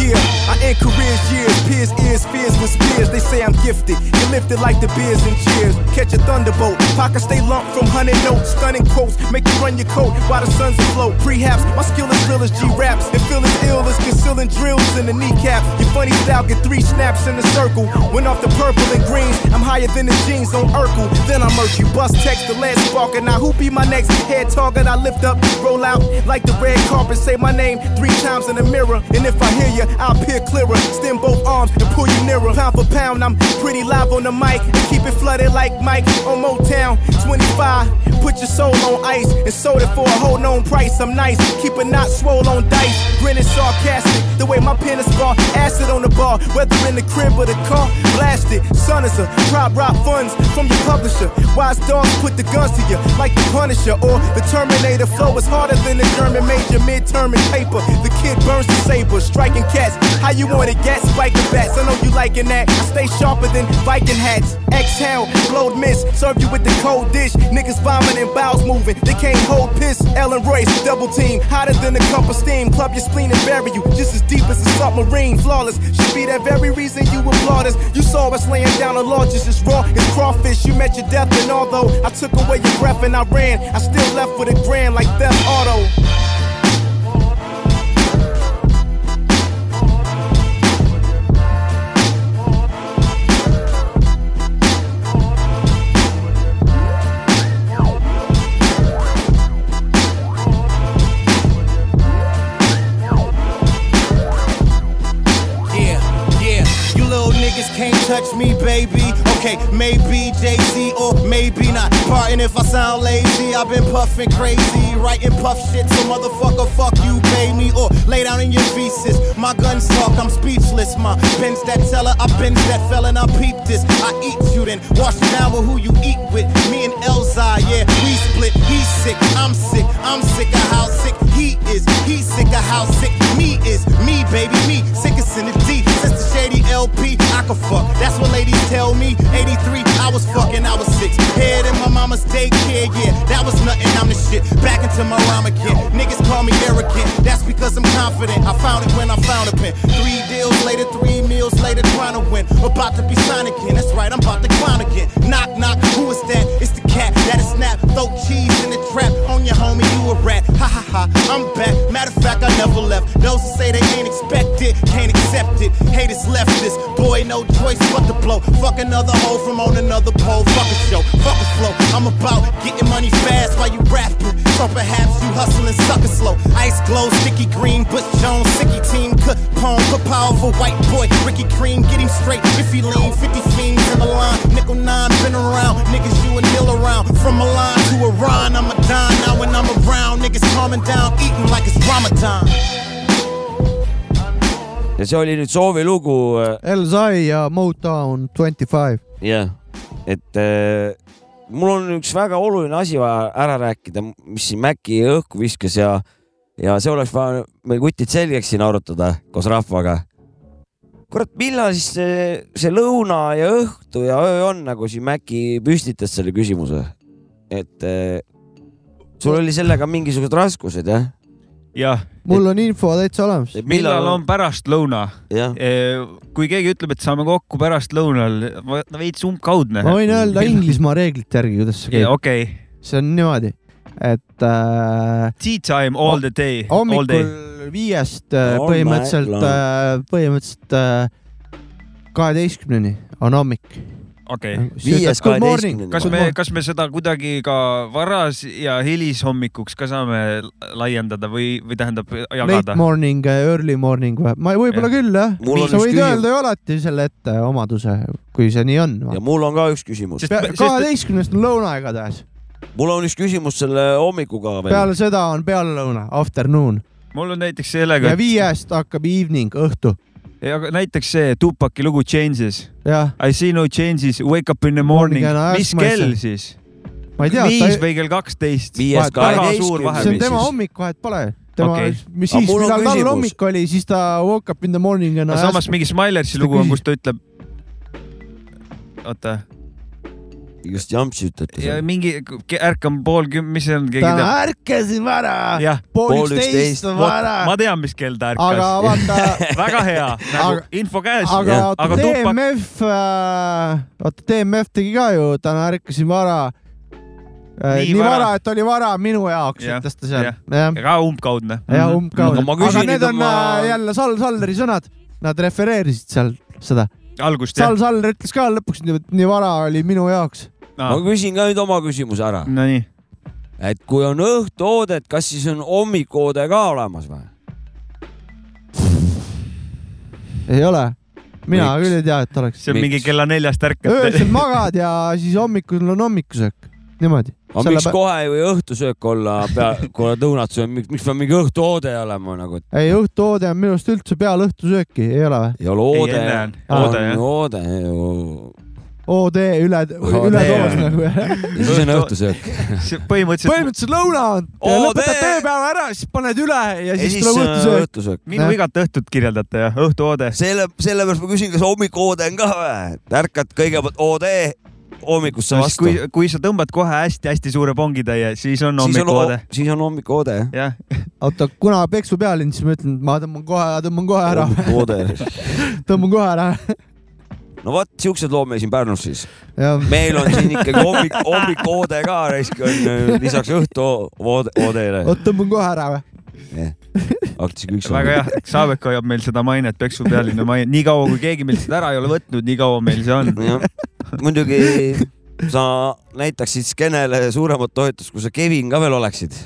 Speaker 5: Yeah, I end careers, years, peers, ears, fears with spears. They say I'm gifted, you lifted like the beers and cheers. Catch a thunderbolt, pockets stay lumped from hundred notes, stunning quotes, make you run your coat while the sun's afloat. Prehaps my skill is real as G raps, and feel as ill as concealing drills in the kneecap. Your funny style get three snaps in a circle. Went off the purple and greens, I'm higher than the jeans on Urkel. Then I murk you, bust text the last spark, and now who be my next head target? I lift up, roll out like the red carpet, say my name three times in the mirror. And if I hear you, I'll peer clearer. Stem both arms and pull you nearer. Pound for pound, I'm pretty live on the mic. And keep it flooded like Mike on Motown. 25, put your soul on ice and sold it for a whole known price. I'm nice, keep a knot swole on dice. Grinning sarcastic, The way my pen is scarred, acid on the bar, whether in the crib or the car, blast it. Son is a drop rock funds from your publisher. Wise dogs put the guns to you, like the Punisher or the Terminator. Flow is harder than the German major, midterm and paper. The kid burns the saber, striking cats. How you want it, gas? Spike the bats. I know you liking that. I stay sharper than Viking hats. Exhale, blowed mist, serve you with the cold dish. Niggas vomiting, bowels moving. They can't hold piss. Ellen Royce, double team, hotter than a cup of steam. Club your spleen and bury you, just as deep as a submarine. Flawless, should be that very reason you applaud us. You saw us laying down on lodges, it's raw, it's crawfish. You met your death, and although I took away your breath and I ran, I still left with a grand like Death Auto.
Speaker 6: Yeah, yeah. You little niggas can't touch me, baby. Okay, maybe Jay Z or maybe not. Pardon if I sound lazy. I've been puffing crazy, writing puff shit. So motherfucker, fuck you, pay me or lay down in your feces. My guns talk, I'm speechless. My pins that teller, I bend that felon, I peep this. I eat you then wash it down with who you eat with. Me and Elzai, yeah, we split. He's sick, I'm sick, I'm sick of how sick he is. He's sick of how sick me is. Me, baby, me, sickest in the D. Sister Shady LP, I could fuck. That's what ladies tell me. 83, I was fucking, I was six. Head in my mama's daycare, yeah, that was nothing, I'm the shit. Back into my rhyme again. Niggas call me arrogant, that's because I'm confident. I found it when I found a pen. Three deals later, three meals later, trying to win. About to be signed again, that's right, I'm about to clown again. Knock, knock, who is that? It's the cat that is snap. Throw cheese in the trap on your homie, you a rat. Ha ha ha, I'm back. Matter of fact, I never left. Those who say they ain't expect it, can't accept it. Haters left this boy, no choice but to blow. Fuck another hoe from on another pole. Fuck a show, fuck a flow. I'm about getting money fast while you rapping. So perhaps you hustling sucker slow. Ice glow, sticky green, Bush Jones, sicky team, Capone, put powerful white boy, Ricky Cream, get him straight. If he lean, 50 fiends in the line, nickel nine, been around. Niggas you a nil around. From Milan to Iran, I'm a dime now when I'm around. Niggas calming down, eating like it's Ramadan.
Speaker 1: ja see oli nüüd soovilugu äh,
Speaker 4: Elzai ja Motown 25 .
Speaker 1: jah , et äh, mul on üks väga oluline asi vaja ära rääkida , mis siin Mäkki õhku viskas ja , ja see oleks vaja meil kutid selgeks siin arutada koos rahvaga . kurat , millal siis see, see lõuna ja õhtu ja öö on , nagu siin Mäkki püstitas selle küsimuse , et äh, sul oli sellega mingisugused raskused jah ?
Speaker 2: jah ,
Speaker 4: mul on info täitsa olemas .
Speaker 2: millal on pärastlõuna ?
Speaker 1: jah ,
Speaker 2: kui keegi ütleb , et saame kokku pärastlõunal , veits umbkaudne .
Speaker 4: ma võin öelda . Inglismaa reeglite järgi , kuidas see käib .
Speaker 2: okei ,
Speaker 4: see on niimoodi , et äh,
Speaker 2: tea time all the day , all
Speaker 4: hommikul
Speaker 2: day .
Speaker 4: viiest äh,
Speaker 1: All
Speaker 4: põhimõtteliselt äh,
Speaker 1: night ,
Speaker 4: põhimõtteliselt äh, kaheteistkümneni on hommik .
Speaker 2: okei ,
Speaker 1: viies
Speaker 2: kas
Speaker 1: kaheteistkümnendal
Speaker 2: me , kas me seda kuidagi ka varas ja hilishommikuks ka saame laiendada või , või tähendab
Speaker 4: Late
Speaker 2: jagada ?
Speaker 4: morning , early morning või ? ma võib-olla
Speaker 2: Jah.
Speaker 4: küll jah ,
Speaker 1: Mul on
Speaker 4: sa
Speaker 1: üks
Speaker 4: võid
Speaker 1: küsimus.
Speaker 4: öelda ju alati selle ette omaduse , kui see nii on .
Speaker 1: ja mul on ka üks küsimus ,
Speaker 2: Sest- sest-
Speaker 4: kaheteistkümnest on lõuna igatahes ,
Speaker 1: mul on üks küsimus selle hommikuga veel .
Speaker 4: peale seda on pealelõuna , afternoon
Speaker 2: mul on näiteks sellega
Speaker 4: ja , viiest hakkab evening , õhtu .
Speaker 2: näiteks see Tupaki lugu Changes
Speaker 4: jah ,
Speaker 2: I see no changes , wake up in the morning
Speaker 4: Morning and . I
Speaker 2: mis
Speaker 4: ask
Speaker 2: kell
Speaker 4: myself.
Speaker 2: siis ?
Speaker 4: ma ei tea ,
Speaker 2: viis või kell kaksteist ?
Speaker 1: viies
Speaker 4: Vahet- väga
Speaker 2: suur vahe.
Speaker 4: see on
Speaker 1: kaheteistkümnes
Speaker 4: tema . hommik , vahet pole . tema
Speaker 2: Okei.
Speaker 4: okay. , mis
Speaker 1: Aga
Speaker 4: siis ,
Speaker 1: mul on
Speaker 4: millal tal
Speaker 1: küsimus.
Speaker 4: hommik oli , siis ta woke up in the morning ja
Speaker 2: no samas mingi Smilersi
Speaker 4: Kas ta
Speaker 2: lugu on ,
Speaker 4: küsis-
Speaker 2: kus ta ütleb . oota ,
Speaker 1: just jamps ütlete
Speaker 2: ja
Speaker 1: seal .
Speaker 2: mingi ke- ärkan pool küm- , mis see on , keegi
Speaker 4: täna
Speaker 2: teab ?
Speaker 4: ärkasin vara ,
Speaker 2: jah ,
Speaker 4: pool
Speaker 1: Pool
Speaker 4: üksteist
Speaker 1: üksteist,
Speaker 4: on
Speaker 2: ma
Speaker 4: vara ,
Speaker 2: tean , mis kell ta
Speaker 4: aga
Speaker 2: ärkas .
Speaker 4: vaata ,
Speaker 2: väga hea , nagu
Speaker 4: Aga-
Speaker 2: info käes .
Speaker 4: aga
Speaker 1: Jah.
Speaker 4: vaata
Speaker 2: Aga tupak-
Speaker 4: TMF , vaata TMF tegi ka ju , täna ärkasin vara .
Speaker 2: Nii
Speaker 4: nii
Speaker 2: vara.
Speaker 4: vara , et oli vara minu jaoks ,
Speaker 2: Jah,
Speaker 4: ütles ta seal
Speaker 2: jah. ,
Speaker 4: jah ,
Speaker 2: ka umbkaudne .
Speaker 4: ja umbkaudne
Speaker 1: Aga . Mhm. ma
Speaker 4: aga
Speaker 1: küsin
Speaker 4: need
Speaker 1: nüüd
Speaker 4: on
Speaker 1: oma-
Speaker 4: äh, jälle Sal Salleri sõnad , nad refereerisid seal seda .
Speaker 2: algust jah
Speaker 4: Sal ? Saller ütles ka lõpuks , nii vara oli minu jaoks .
Speaker 1: ma küsin ka nüüd oma küsimuse ära ,
Speaker 2: Nonii ,
Speaker 1: et kui on õhtuoodet , kas siis on hommikuoode ka olemas või ?
Speaker 4: ei ole , mina
Speaker 1: Miks?
Speaker 4: küll ei tea , et oleks .
Speaker 2: see on mingi
Speaker 1: Miks?
Speaker 2: kella neljast ärkad .
Speaker 4: öösel magad ja siis hommikul on hommikusöök . täpselt niimoodi .
Speaker 1: aga miks Selle... kohe ei või õhtusöök olla , kui oled õunat söönud , miks peab mingi õhtuoode olema nagu , et
Speaker 4: ei , õhtuoode on minu arust üldse peale õhtusööki , ei ole või ?
Speaker 1: ei ole oode .
Speaker 2: enne on oode, jah.
Speaker 1: oode ju .
Speaker 4: OD üle , üledoos nagu .
Speaker 1: ja siis on õhtusöök .
Speaker 2: põhimõtteliselt
Speaker 4: põhimõtteliselt lõuna on ,
Speaker 1: OD.
Speaker 4: lõpetad tööpäeva ära , siis paned üle ja
Speaker 1: ja
Speaker 4: siis
Speaker 1: siis äh,
Speaker 4: tuleb
Speaker 1: on
Speaker 4: õhtusöök .
Speaker 1: õhtusöök .
Speaker 2: minu igat õhtut kirjeldate jah , õhtuoode .
Speaker 1: selle , sellepärast ma küsin , kas hommikuoode on ka või ? ärkad kõigepealt oode hommikusse vastu .
Speaker 2: kui , kui sa tõmbad kohe hästi-hästi suure pongitäie , siis on
Speaker 1: siis on
Speaker 2: hommikuoode .,
Speaker 1: siis on hommikuoode jah .
Speaker 2: jah ,
Speaker 4: oota , kuna peksu pealinn , siis ma ütlen , et ma tõmban kohe , tõmban kohe ära ,
Speaker 1: hommikuoode .
Speaker 4: tõmban kohe ära .
Speaker 1: no vot , siuksed lood meil siin Pärnus siis .
Speaker 4: jah ,
Speaker 1: meil on siin ikkagi hommik , hommikuoode ka raisk on , lisaks õhtuoodele .
Speaker 4: oot tõmban kohe ära või ?
Speaker 1: hakkasin üks .
Speaker 2: väga hea , Saabek hoiab meil seda mainet , Peksu pealinna mainet , nii kaua kui keegi meilt seda ära ei ole võtnud , nii kaua meil see on .
Speaker 1: jah , muidugi sa näitaksid skeenele suuremat toetust , kui sa Kevin ka veel oleksid .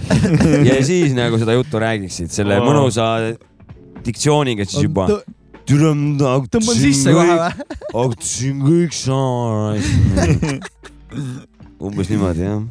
Speaker 1: ja siis nagu seda juttu räägiksid selle
Speaker 2: Oo.
Speaker 1: mõnusa diktsiooniga siis juba .
Speaker 4: tõmban sisse kohe . või ?
Speaker 1: hakkasin kõik saama . umbes niimoodi jah .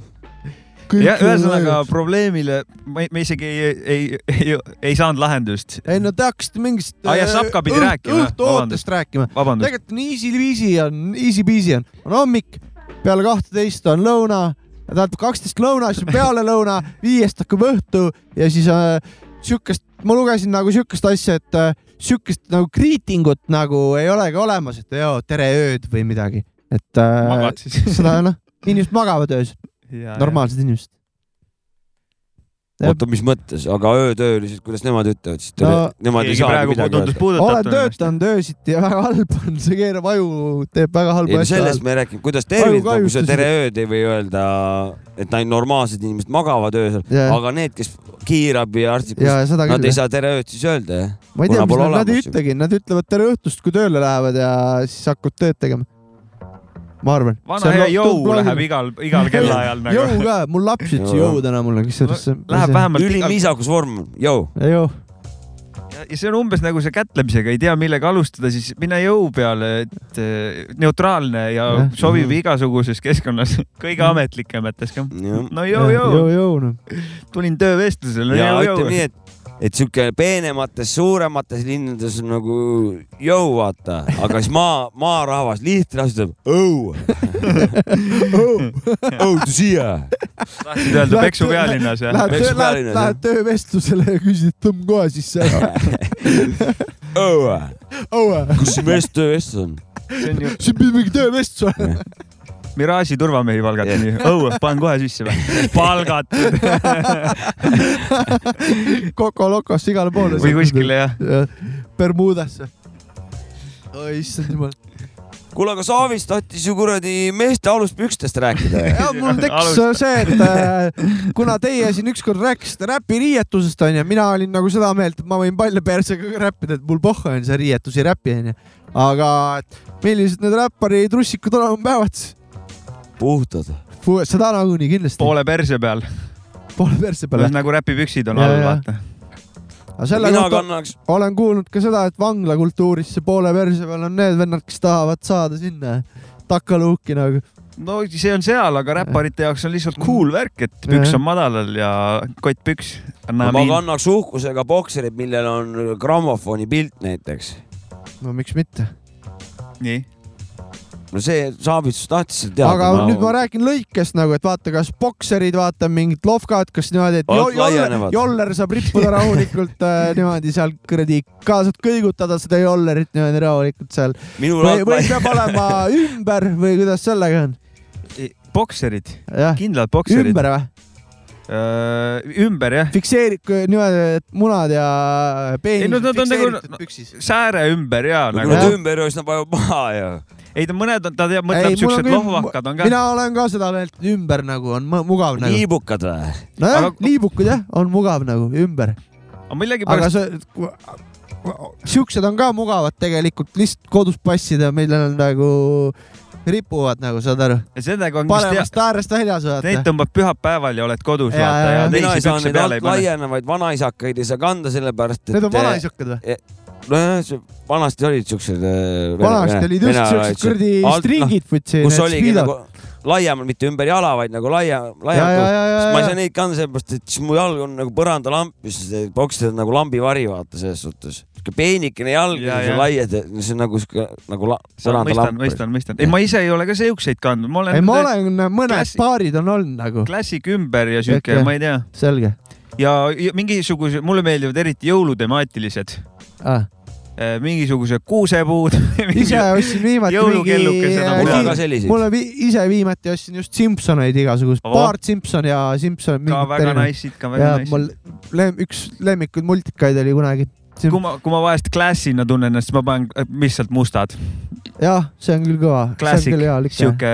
Speaker 2: jah , ühesõnaga . probleemile me, me isegi ei , ei, ei , ei saanud lahendust .
Speaker 4: ei no te hakkasite mingist . äh,
Speaker 2: Aa, jah, Sapka pidi rääkima. Vabandust.
Speaker 4: õhtuootest rääkima .
Speaker 2: vabandust ,
Speaker 4: tegelikult on easy-peasy on , easy-peasy on , on hommik , peale kahteteist on lõuna , tähendab kaksteist lõuna , siis on pealelõuna , viiest hakkab õhtu ja siis äh, siukest , ma lugesin nagu siukest asja , et äh, siukest nagu greeting ut nagu ei olegi olemas , et joo , tere ööd või midagi , et äh,
Speaker 2: magad siis .
Speaker 4: seda noh , inimesed magavad öösel , normaalsed inimesed .
Speaker 1: oota , mis mõttes , aga öötöölised , kuidas nemad ütlevad siis
Speaker 4: No,
Speaker 1: no, ? Nemad ei
Speaker 2: keegi
Speaker 1: saa
Speaker 2: praegu
Speaker 1: midagi
Speaker 2: tundus
Speaker 1: öelda .
Speaker 4: olen
Speaker 2: puudutatud .
Speaker 4: töötanud öösiti ja väga halb on , see keerab aju , teeb väga
Speaker 1: ei
Speaker 4: halba
Speaker 1: no sellest me ei rääkinud , kuidas tervist , kui sa
Speaker 4: Ajukahjustusi.
Speaker 1: tere ööd ei või öelda , et ainult normaalsed inimesed magavad öösel ,
Speaker 4: Jaa.
Speaker 1: aga need , kes kiirabi ja arstid ,
Speaker 4: ja seda küll
Speaker 1: nad ei saa tere ööd siis öelda , jah ?
Speaker 4: ma ei tea ,
Speaker 1: kuna
Speaker 4: mis
Speaker 1: pole
Speaker 4: nad , nad ei
Speaker 1: olemas ju.
Speaker 4: ütlegi , nad ütlevad tere õhtust , kui tööle lähevad ja siis hakkavad tööd tegema . ma arvan .
Speaker 2: vana hea jõu läheb igal , igal kellaajal
Speaker 4: jõu
Speaker 2: nagu .
Speaker 4: ka , mul laps ütles
Speaker 1: Jõu, jah.
Speaker 4: jõu täna mulle , kusjuures .
Speaker 2: Läheb . vähemalt
Speaker 1: ülim
Speaker 2: igal-
Speaker 1: viisakus vorm , jõu .
Speaker 4: jõu ,
Speaker 2: ja see on umbes nagu see kätlemisega , ei tea , millega alustada , siis mine jõu peale , et eh, neutraalne ja
Speaker 4: Jah. Mhm.
Speaker 2: sobib igasuguses keskkonnas , kõige ametlikumates ka . no jõu , jõu
Speaker 4: jõu ,, jõu noh .
Speaker 2: tulin töövestlusele ,
Speaker 1: ja
Speaker 2: jõu ,
Speaker 1: ütleme
Speaker 2: jõu .
Speaker 1: nii , et , et sihuke peenemates , suuremates linnades on nagu jõu , vaata , aga siis maa , maarahvas lihtne asi ütleb õu . õu , tu siia .
Speaker 2: tahtsid öelda Peksu pealinnas jah ?
Speaker 4: Lähed
Speaker 1: Peksu
Speaker 4: töö , lähed ,
Speaker 1: pealinnas, jah.
Speaker 4: lähed töövestlusele ja küsid , et tõmba kohe sisse ära .
Speaker 1: õu ,
Speaker 4: aua ,
Speaker 1: kus see vest , vestlus on ?
Speaker 2: see on ju
Speaker 4: siin pidi mingi töövestlus olema .
Speaker 2: Mirage'i turvamehi palgati nii , õue , panen kohe sisse või ? palgatud
Speaker 4: Coco-Locosse igale poole .
Speaker 2: või kuskile jah .
Speaker 4: Bermudasse . oi issand jumal .
Speaker 1: kuule , aga Saavist tahtis ju kuradi meeste aluspükstest rääkida .
Speaker 4: ja mul tekkis
Speaker 2: Alusta.
Speaker 4: see , et äh, kuna teie siin ükskord rääkisite räpiriietusest onju , mina olin nagu seda meelt , et ma võin palja persega ka räppida , et mul pohhu on see riietus ja räpi onju . aga et millised need räppari trussikud olema peavad siis ?
Speaker 1: puhtad .
Speaker 4: seda nagunii kindlasti ,
Speaker 2: poole perse peal ,
Speaker 4: poole perse peale .
Speaker 2: nagu räpipüksid on
Speaker 4: Jaa,
Speaker 2: all ,
Speaker 4: jaa.
Speaker 2: vaata .
Speaker 4: aga selle
Speaker 1: mina
Speaker 4: kohta
Speaker 1: kannaks ,
Speaker 4: olen kuulnud ka seda , et vanglakultuuris see poole perse peal on need vennad , kes tahavad saada sinna takaluuki nagu .
Speaker 2: no see on seal , aga räpparite jaoks on lihtsalt cool värk , et püks
Speaker 4: Jaa.
Speaker 2: on madalal ja kottpüks .
Speaker 1: ma kannaks uhkusega bokserid , millel on grammofoni pilt näiteks .
Speaker 4: no miks mitte .
Speaker 2: nii ,
Speaker 1: no see Saavits tahtis seda teada .
Speaker 4: aga nüüd ma räägin lõikest nagu , et vaata , kas bokserid , vaata mingid lofkad , kas niimoodi , et jo-
Speaker 1: Vaat
Speaker 4: joller,
Speaker 1: laienevad.
Speaker 4: joller saab rippuda rahulikult äh, niimoodi seal kuradi , kaasad kõigutada seda jollerit niimoodi rahulikult seal
Speaker 1: minul
Speaker 4: või , või
Speaker 1: algpla-
Speaker 4: peab olema ümber või kuidas sellega on ?
Speaker 2: bokserid ,
Speaker 4: jah ,
Speaker 2: kindlad bokserid .
Speaker 4: ümber või ?
Speaker 2: ümber jah ,
Speaker 4: fikseerid kui niimoodi , et munad ja
Speaker 2: Ei, no
Speaker 4: peenised
Speaker 2: nad on nagu-
Speaker 4: fikseeritud
Speaker 2: no-
Speaker 4: püksis .
Speaker 2: sääre ümber ja
Speaker 1: no kui
Speaker 2: nagu
Speaker 1: nad
Speaker 4: Jah. .
Speaker 1: ümber ei ole , siis nad panevad maha ja .
Speaker 2: ei ta mõned , ta teab ,
Speaker 4: Ei,
Speaker 2: mõtleb
Speaker 4: mul on
Speaker 2: siuksed
Speaker 4: küll-
Speaker 2: lohvakad on ka .
Speaker 4: mina olen ka seda meelt , et ümber nagu on mu- mugav nagu .
Speaker 1: liibukad või ?
Speaker 4: nojah
Speaker 2: aga- ,
Speaker 4: liibukud jah , on mugav nagu ümber
Speaker 2: aga
Speaker 4: aga
Speaker 2: millegipärast ,
Speaker 4: see , siuksed on ka mugavad tegelikult , lihtsalt kodus passida , millel on nagu ripuvad nagu , saad aru ,
Speaker 2: sellega on vist
Speaker 4: paremast äärest väljas
Speaker 2: jah , neid
Speaker 4: vaata .
Speaker 2: tõmbab pühapäeval ja oled kodus ,
Speaker 4: Jaa,
Speaker 2: vaata
Speaker 4: jaa,
Speaker 2: ja
Speaker 4: jaa.
Speaker 1: mina ei
Speaker 2: teisi
Speaker 1: saa
Speaker 2: pükse
Speaker 1: neid
Speaker 2: peale ei pane .
Speaker 1: laienevaid vanaisakaid ei saa kanda , sellepärast et . eh,
Speaker 4: Need on vanaisukad või ?
Speaker 1: nojah , vanasti olid siuksed . eh,
Speaker 2: noh,
Speaker 1: noh,
Speaker 4: vanasti olid just siuksed kuradi stringid või see .
Speaker 1: kus oligi nagu , laiemalt , mitte ümber jala , vaid nagu laia ,
Speaker 4: Ja, ja,
Speaker 1: laiemalt .
Speaker 4: ja, ja,
Speaker 1: siis ma ei
Speaker 4: ja.
Speaker 1: saa neid kanda sellepärast , et siis mu jalg on nagu põrandalamp , mis poksib nagu lambivari , vaata selles suhtes . sihuke peenikene jalg
Speaker 2: Ja,
Speaker 1: ja see
Speaker 2: ja.
Speaker 1: laiad , see on nagu sihuke nagu la,
Speaker 2: mõistan ,
Speaker 1: põrandalamp .
Speaker 2: mõistan , mõistan . ei , ma ise ei ole ka siukseid kandnud , ma olen
Speaker 4: ei , ma olen , mõned
Speaker 2: Klassi-
Speaker 4: paarid on olnud nagu ,
Speaker 2: klassik ümber ja siuke
Speaker 4: Sihuke- ,
Speaker 2: ma ei tea ,
Speaker 4: selge
Speaker 2: ja ja mingisuguse , mulle meeldivad eriti jõulutemaatilised ,
Speaker 4: ah. .
Speaker 2: mingisugused kuusepuud .
Speaker 4: ise ostsin viimati mingi
Speaker 2: jõulukellukesed on
Speaker 1: mul on
Speaker 2: Siin-
Speaker 1: ka
Speaker 4: äh,
Speaker 1: selliseid .
Speaker 4: mulle vi- ise viimati ostsin just Simpsoneid igasugust ,
Speaker 2: Ohoh.
Speaker 4: paar Simpson ja Simpson .
Speaker 2: ka väga . nice , ikka väga
Speaker 4: ja
Speaker 2: nice .
Speaker 4: mul lem- , üks lemmikuid multikaid oli kunagi .
Speaker 2: kui ma , kui ma vahest klassina tunnen ennast , siis ma panen äh, lihtsalt mustad .
Speaker 4: jah , see on küll kõva .
Speaker 2: Classic,
Speaker 4: see on küll hea lükk .
Speaker 2: sihuke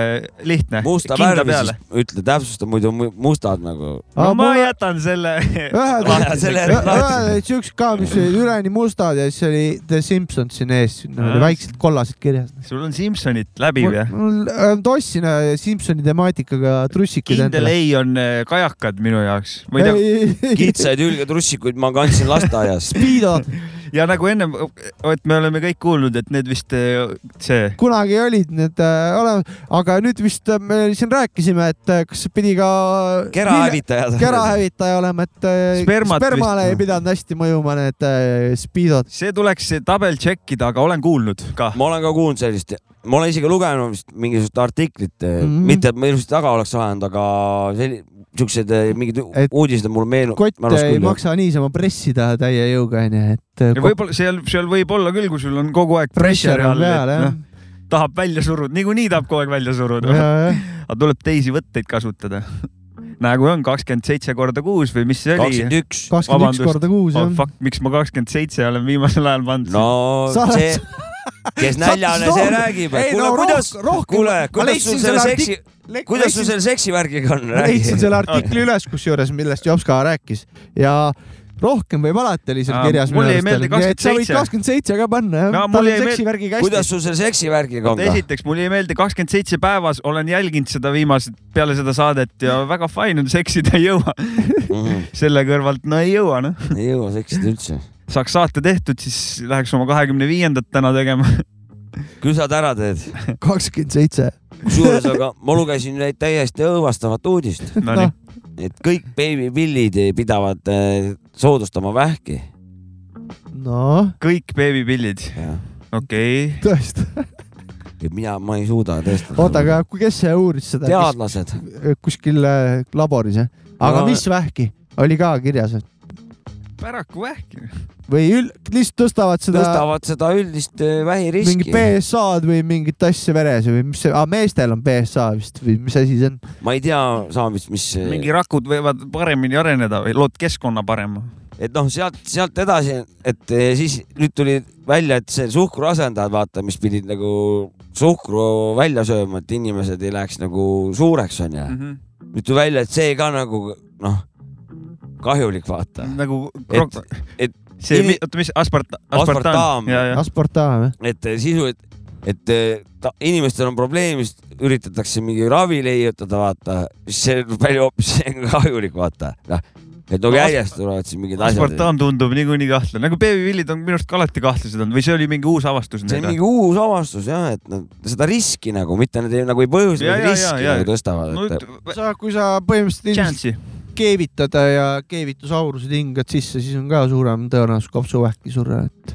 Speaker 2: lihtne .
Speaker 1: musta värvi siis ütle , täpsusta , muidu mu- mustad nagu .
Speaker 2: no ma jätan selle .
Speaker 4: ühed
Speaker 1: Vaja selle järgi lahti.
Speaker 4: olid siuksed ka , mis olid üleni mustad ja siis oli The Simpsons siin ees , sinna oli
Speaker 2: Ah.
Speaker 4: väiksed kollased kirjas .
Speaker 2: sul on Simsonit läbiv jah ?
Speaker 4: mul äh, on tossina Simpsoni temaatikaga trussikuid
Speaker 2: kindel . ei on äh, kajakad minu jaoks . ma ei tea ,
Speaker 4: Speedo .
Speaker 1: kitsaid hülged russikuid ma kandsin lasteaias .
Speaker 2: ja nagu ennem , et me oleme kõik kuulnud , et need vist äh, see ,
Speaker 4: kunagi olid need äh, olemas , aga nüüd vist äh, me siin rääkisime , et äh, kas pidi ka
Speaker 1: kerahävitajad .
Speaker 4: kerahävitaja olema , et äh,
Speaker 2: Spermat
Speaker 4: spermale
Speaker 2: vist- noh.
Speaker 4: ei pidanud hästi mõjuma need äh, speedod .
Speaker 2: see tuleks see tabel tšekkida , aga olen kuulnud ka .
Speaker 1: ma olen ka kuulnud sellist , ma olen isegi lugenud vist mingisugust artiklit mm ,
Speaker 4: Mhm.
Speaker 1: -hmm. mitte et ma ilusti taga oleks ajanud , aga selli- , siuksed eh, mingid u-
Speaker 4: Et
Speaker 1: uudised on mulle meelunud .
Speaker 4: kotte ei . maksa niisama pressida täie jõuga onju , et äh, kott-
Speaker 2: võib-olla seal , seal võib olla küll , kui sul on kogu aeg
Speaker 4: pressure on peal jah .
Speaker 2: noh, tahab välja suruda , niikuinii tahab kogu aeg välja suruda ,
Speaker 4: jah ,
Speaker 2: aga tuleb teisi võtteid kasutada . nagu on kakskümmend seitse korda kuus või mis see oli ?
Speaker 1: kakskümmend üks .
Speaker 4: kakskümmend üks
Speaker 2: Vabandust.
Speaker 4: korda kuus
Speaker 2: oh
Speaker 4: jah .
Speaker 2: fuck , miks ma kakskümmend seitse olen viimasel ajal pannud
Speaker 1: no
Speaker 2: no. ?
Speaker 4: Sa oled-
Speaker 1: see , kes näljane , see
Speaker 4: Sattus
Speaker 1: räägib .
Speaker 4: Ei,
Speaker 1: kuule
Speaker 4: no ,
Speaker 1: kuidas ,
Speaker 4: rohkem-
Speaker 1: kuule
Speaker 4: ma ,
Speaker 1: kuidas
Speaker 4: leidsin
Speaker 1: sul selle
Speaker 4: selle
Speaker 1: seksi , kuidas sul selle seksivärgiga on , räägi
Speaker 4: leidsin . selle
Speaker 2: Ah.
Speaker 4: artikli üles , kusjuures , millest Jops ka rääkis ja rohkem võib alati oli seal
Speaker 2: Aa,
Speaker 4: kirjas .
Speaker 2: Ah, mulle ei meeldi
Speaker 4: sa võid
Speaker 2: 27.
Speaker 4: kakskümmend seitse ka panna jah
Speaker 2: No
Speaker 4: no, ,
Speaker 2: mulle
Speaker 4: tal
Speaker 2: ei
Speaker 4: on
Speaker 2: meeldi-
Speaker 4: seksivärgiga
Speaker 1: kuidas
Speaker 4: hästi .
Speaker 1: sul selle seksivärgiga on ka ?
Speaker 2: esiteks , mulle ei meeldi kakskümmend seitse päevas , olen jälginud seda viimased , peale seda saadet
Speaker 1: Mm.
Speaker 2: ja väga fine on , seksida ei jõua . selle kõrvalt , no ei jõua noh .
Speaker 1: Mhm. ei jõua seksida üldse .
Speaker 2: saaks saate tehtud , siis läheks oma kahekümne viiendat täna tegema .
Speaker 1: küll saad ära teed .
Speaker 4: kakskümmend seitse .
Speaker 1: kusjuures , aga ma lugesin neid täiesti õõvastavat uudist .
Speaker 2: Nonii
Speaker 4: Noh.
Speaker 2: no. ,
Speaker 1: et kõik beebipillid pidavad eh, soodustama vähki .
Speaker 4: noh ,
Speaker 2: kõik beebipillid , okei okay. .
Speaker 4: tõesti .
Speaker 1: et mina , ma ei suuda tõesti .
Speaker 4: oota , aga kui- kes see uuris seda ?
Speaker 1: teadlased ,
Speaker 4: kuskil äh, laboris jah ? aga
Speaker 1: No-
Speaker 4: mis vähki oli ka kirjas või?
Speaker 2: päraku vähki .
Speaker 4: või ül- , lihtsalt tõstavad seda
Speaker 1: tõstavad seda üldist eh,
Speaker 4: mingi
Speaker 1: vähiriski .
Speaker 4: BSA-d või mingit asja veres või mis see , meestel on BSA vist või mis asi see on ?
Speaker 1: ma ei tea , Saamis , mis , äh,
Speaker 2: mingi rakud võivad paremini areneda või lood keskkonna parema .
Speaker 1: et noh , sealt , sealt edasi , et eh, siis nüüd tuli välja , et see suhkruasendajad , vaata , mis pidid nagu suhkru välja sööma , et inimesed ei läheks nagu suureks , onju .
Speaker 2: Mm. Mhm.
Speaker 1: nüüd tuli välja , et see ka nagu noh , kahjulik , vaata .
Speaker 2: nagu
Speaker 1: et , et
Speaker 2: see
Speaker 1: ini- ,
Speaker 2: oota , mis aspart- ,
Speaker 1: Aspartam.
Speaker 2: aspartam . ja , ja ,
Speaker 4: Asporta või ?
Speaker 1: et sisuliselt , et eh, ta, inimestel on probleem , siis üritatakse mingi ravi leiutada , vaata , siis see on palju hoopis kahjulik , vaata , noh , et nagu
Speaker 2: No,
Speaker 1: järjest tulevad siin mingid asjad .
Speaker 2: aspartam tundub niikuinii kahtlane , nagu beebipillid on minu arust ka alati kahtlased olnud või see oli mingi uus avastus
Speaker 1: see on
Speaker 2: neil ?
Speaker 1: mingi uus avastus jah , et nad seda riski nagu , mitte nad ei, nagu ei põhjusta ,
Speaker 2: Ja,
Speaker 1: vaid
Speaker 2: ja,
Speaker 1: riski
Speaker 2: ja, ja.
Speaker 1: nagu tõstavad
Speaker 2: no
Speaker 1: no, , et
Speaker 2: üt-
Speaker 4: sa , kui sa põhimõtteliselt
Speaker 2: chance'i .
Speaker 4: ilmselt keevitad ja keevitusaurused hingad sisse , siis on ka suurem tõenäosus kopsuvähki surra , et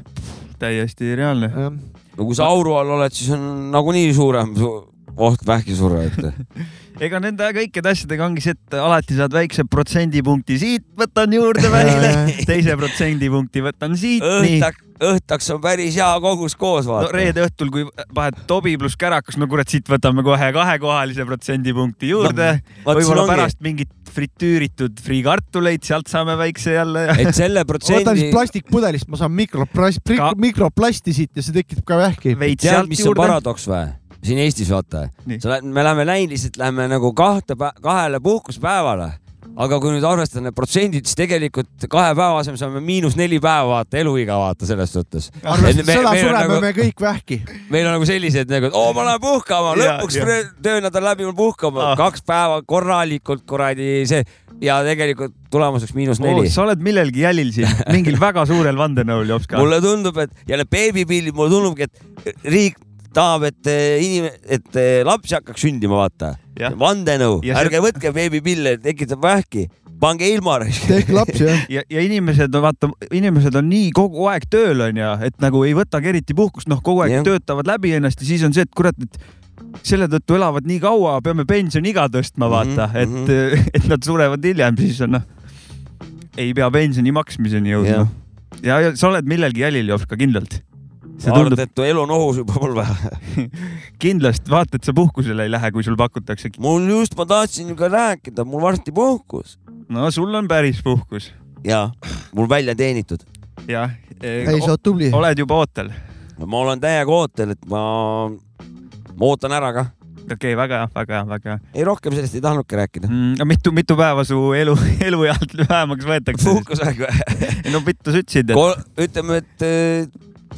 Speaker 2: täiesti reaalne .
Speaker 4: jah .
Speaker 1: no kui sa auru all oled , siis on nagunii suurem su oht vähki surra , et
Speaker 2: ega nende kõikide asjadega ongi see , et alati saad väikse protsendipunkti siit , võtan juurde välja , teise protsendipunkti võtan siit , nii .
Speaker 1: õhtak , õhtaks on päris hea kogus koos
Speaker 2: no
Speaker 1: vaata .
Speaker 2: reede õhtul , kui vahet Tobi pluss Kärakas , no kurat , siit võtame kohe kahekohalise protsendipunkti juurde no, .
Speaker 1: Vaat siin
Speaker 2: võib-olla
Speaker 1: ongi,
Speaker 2: pärast mingit fritüüritud friikartuleid , sealt saame väikse jälle ja
Speaker 1: et selle
Speaker 4: võtan
Speaker 1: protsendi
Speaker 4: siis , plastikpudelist , ma saan mikroplast-
Speaker 2: Ka- ,
Speaker 4: mikroplasti siit ja see tekitab ka vähki .
Speaker 2: veits
Speaker 1: tead ,
Speaker 2: sealt
Speaker 1: mis on
Speaker 2: juurde .
Speaker 1: paradoks või ? siin Eestis vaata ,
Speaker 2: Nii.
Speaker 1: sa lähed , me läheme näiliselt läheme nagu kahte , kahele puhkuspäevale , aga kui nüüd arvestada need protsendid , siis tegelikult kahe päeva asemel saame miinus neli päeva vaata eluiga vaata selles suhtes .
Speaker 4: arvestades seda
Speaker 1: meil, on
Speaker 4: sureme
Speaker 1: nagu,
Speaker 4: me kõik vähki .
Speaker 1: meil on nagu sellised nagu , et oo , ma lähen puhkama ,
Speaker 2: Jaa,
Speaker 1: lõpuks
Speaker 2: jaa.
Speaker 1: töö- töönädal läbi ma lähen puhkama
Speaker 2: Ah.
Speaker 1: ah. , kaks päeva korralikult kuradi see ja tegelikult tulemuseks miinus neli .
Speaker 2: sa oled millelgi jälil siin , mingil väga suurel vandenõul , Jopska .
Speaker 1: mulle tundub , et ja need beebipillid , äh, mulle tundubki , et riik tahab , et eh, inim- , et eh, lapsi äh, hakkaks sündima , vaata .
Speaker 2: Jah.
Speaker 1: vandenõu ,
Speaker 2: Ja see-
Speaker 1: ärge võtke beebipille , tekitab vähki , pange ilma .
Speaker 4: tehke lapsi jah .
Speaker 2: ja , ja inimesed on vaata , inimesed on nii kogu aeg tööl onju , et nagu ei võtagi eriti puhkust , noh , kogu aeg
Speaker 1: Jah.
Speaker 2: ja. töötavad läbi ennast ja siis on see , et kurat , et selle tõttu elavad nii kaua , peame pensioniiga tõstma , vaata mm ,
Speaker 1: Mhm,
Speaker 2: -hmm. et , et nad surevad hiljem , siis on noh , ei pea pensioni maksmiseni
Speaker 1: Jah.
Speaker 2: jõudma . ja, ja sa oled millelgi jälil , Jopska , kindlalt . see tundub
Speaker 1: arvate , et elu on ohus juba polve ?
Speaker 2: kindlasti , vaata , et sa puhkusele ei lähe , kui sul pakutakse .
Speaker 1: mul just , ma tahtsin ju ka rääkida , mul varsti puhkus
Speaker 2: no sul on päris puhkus .
Speaker 1: ja mul välja teenitud .
Speaker 2: jah .
Speaker 4: ei , sa oled tubli .
Speaker 2: oled juba ootel .
Speaker 1: ma olen täiega ootel , et ma , ma ootan ära ka .
Speaker 2: okei okay, , väga hea , väga hea , väga hea .
Speaker 1: ei , rohkem sellest ei tahtnudki rääkida .
Speaker 2: mm, . mitu , mitu päeva su elu , eluealt vähemaks võetakse ?
Speaker 1: puhkusaeg või ?
Speaker 2: no mitu sa ütlesid , et
Speaker 1: ütleme , et eh,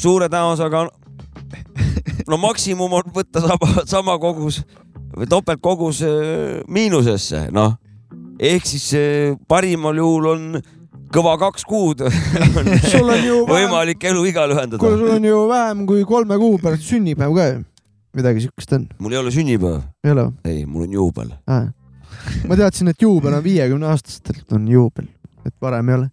Speaker 1: suure tõenäosusega on , no maksimum on võtta sama , sama kogus või topeltkogus eh, miinusesse , noh . ehk siis eh, parimal juhul on kõva kaks kuud on
Speaker 4: sul on ju vähem ,
Speaker 1: võimalik elu iga lühendada
Speaker 4: kuule , sul on ju vähem kui kolme kuu pärast sünnipäev ka ju . midagi siukest on ,
Speaker 1: mul ei ole sünnipäev ,
Speaker 4: ei ole
Speaker 1: ei , mul on juubel .
Speaker 4: või ? ma teadsin , et juubel on viiekümne aastastelt on juubel , et varem ei ole .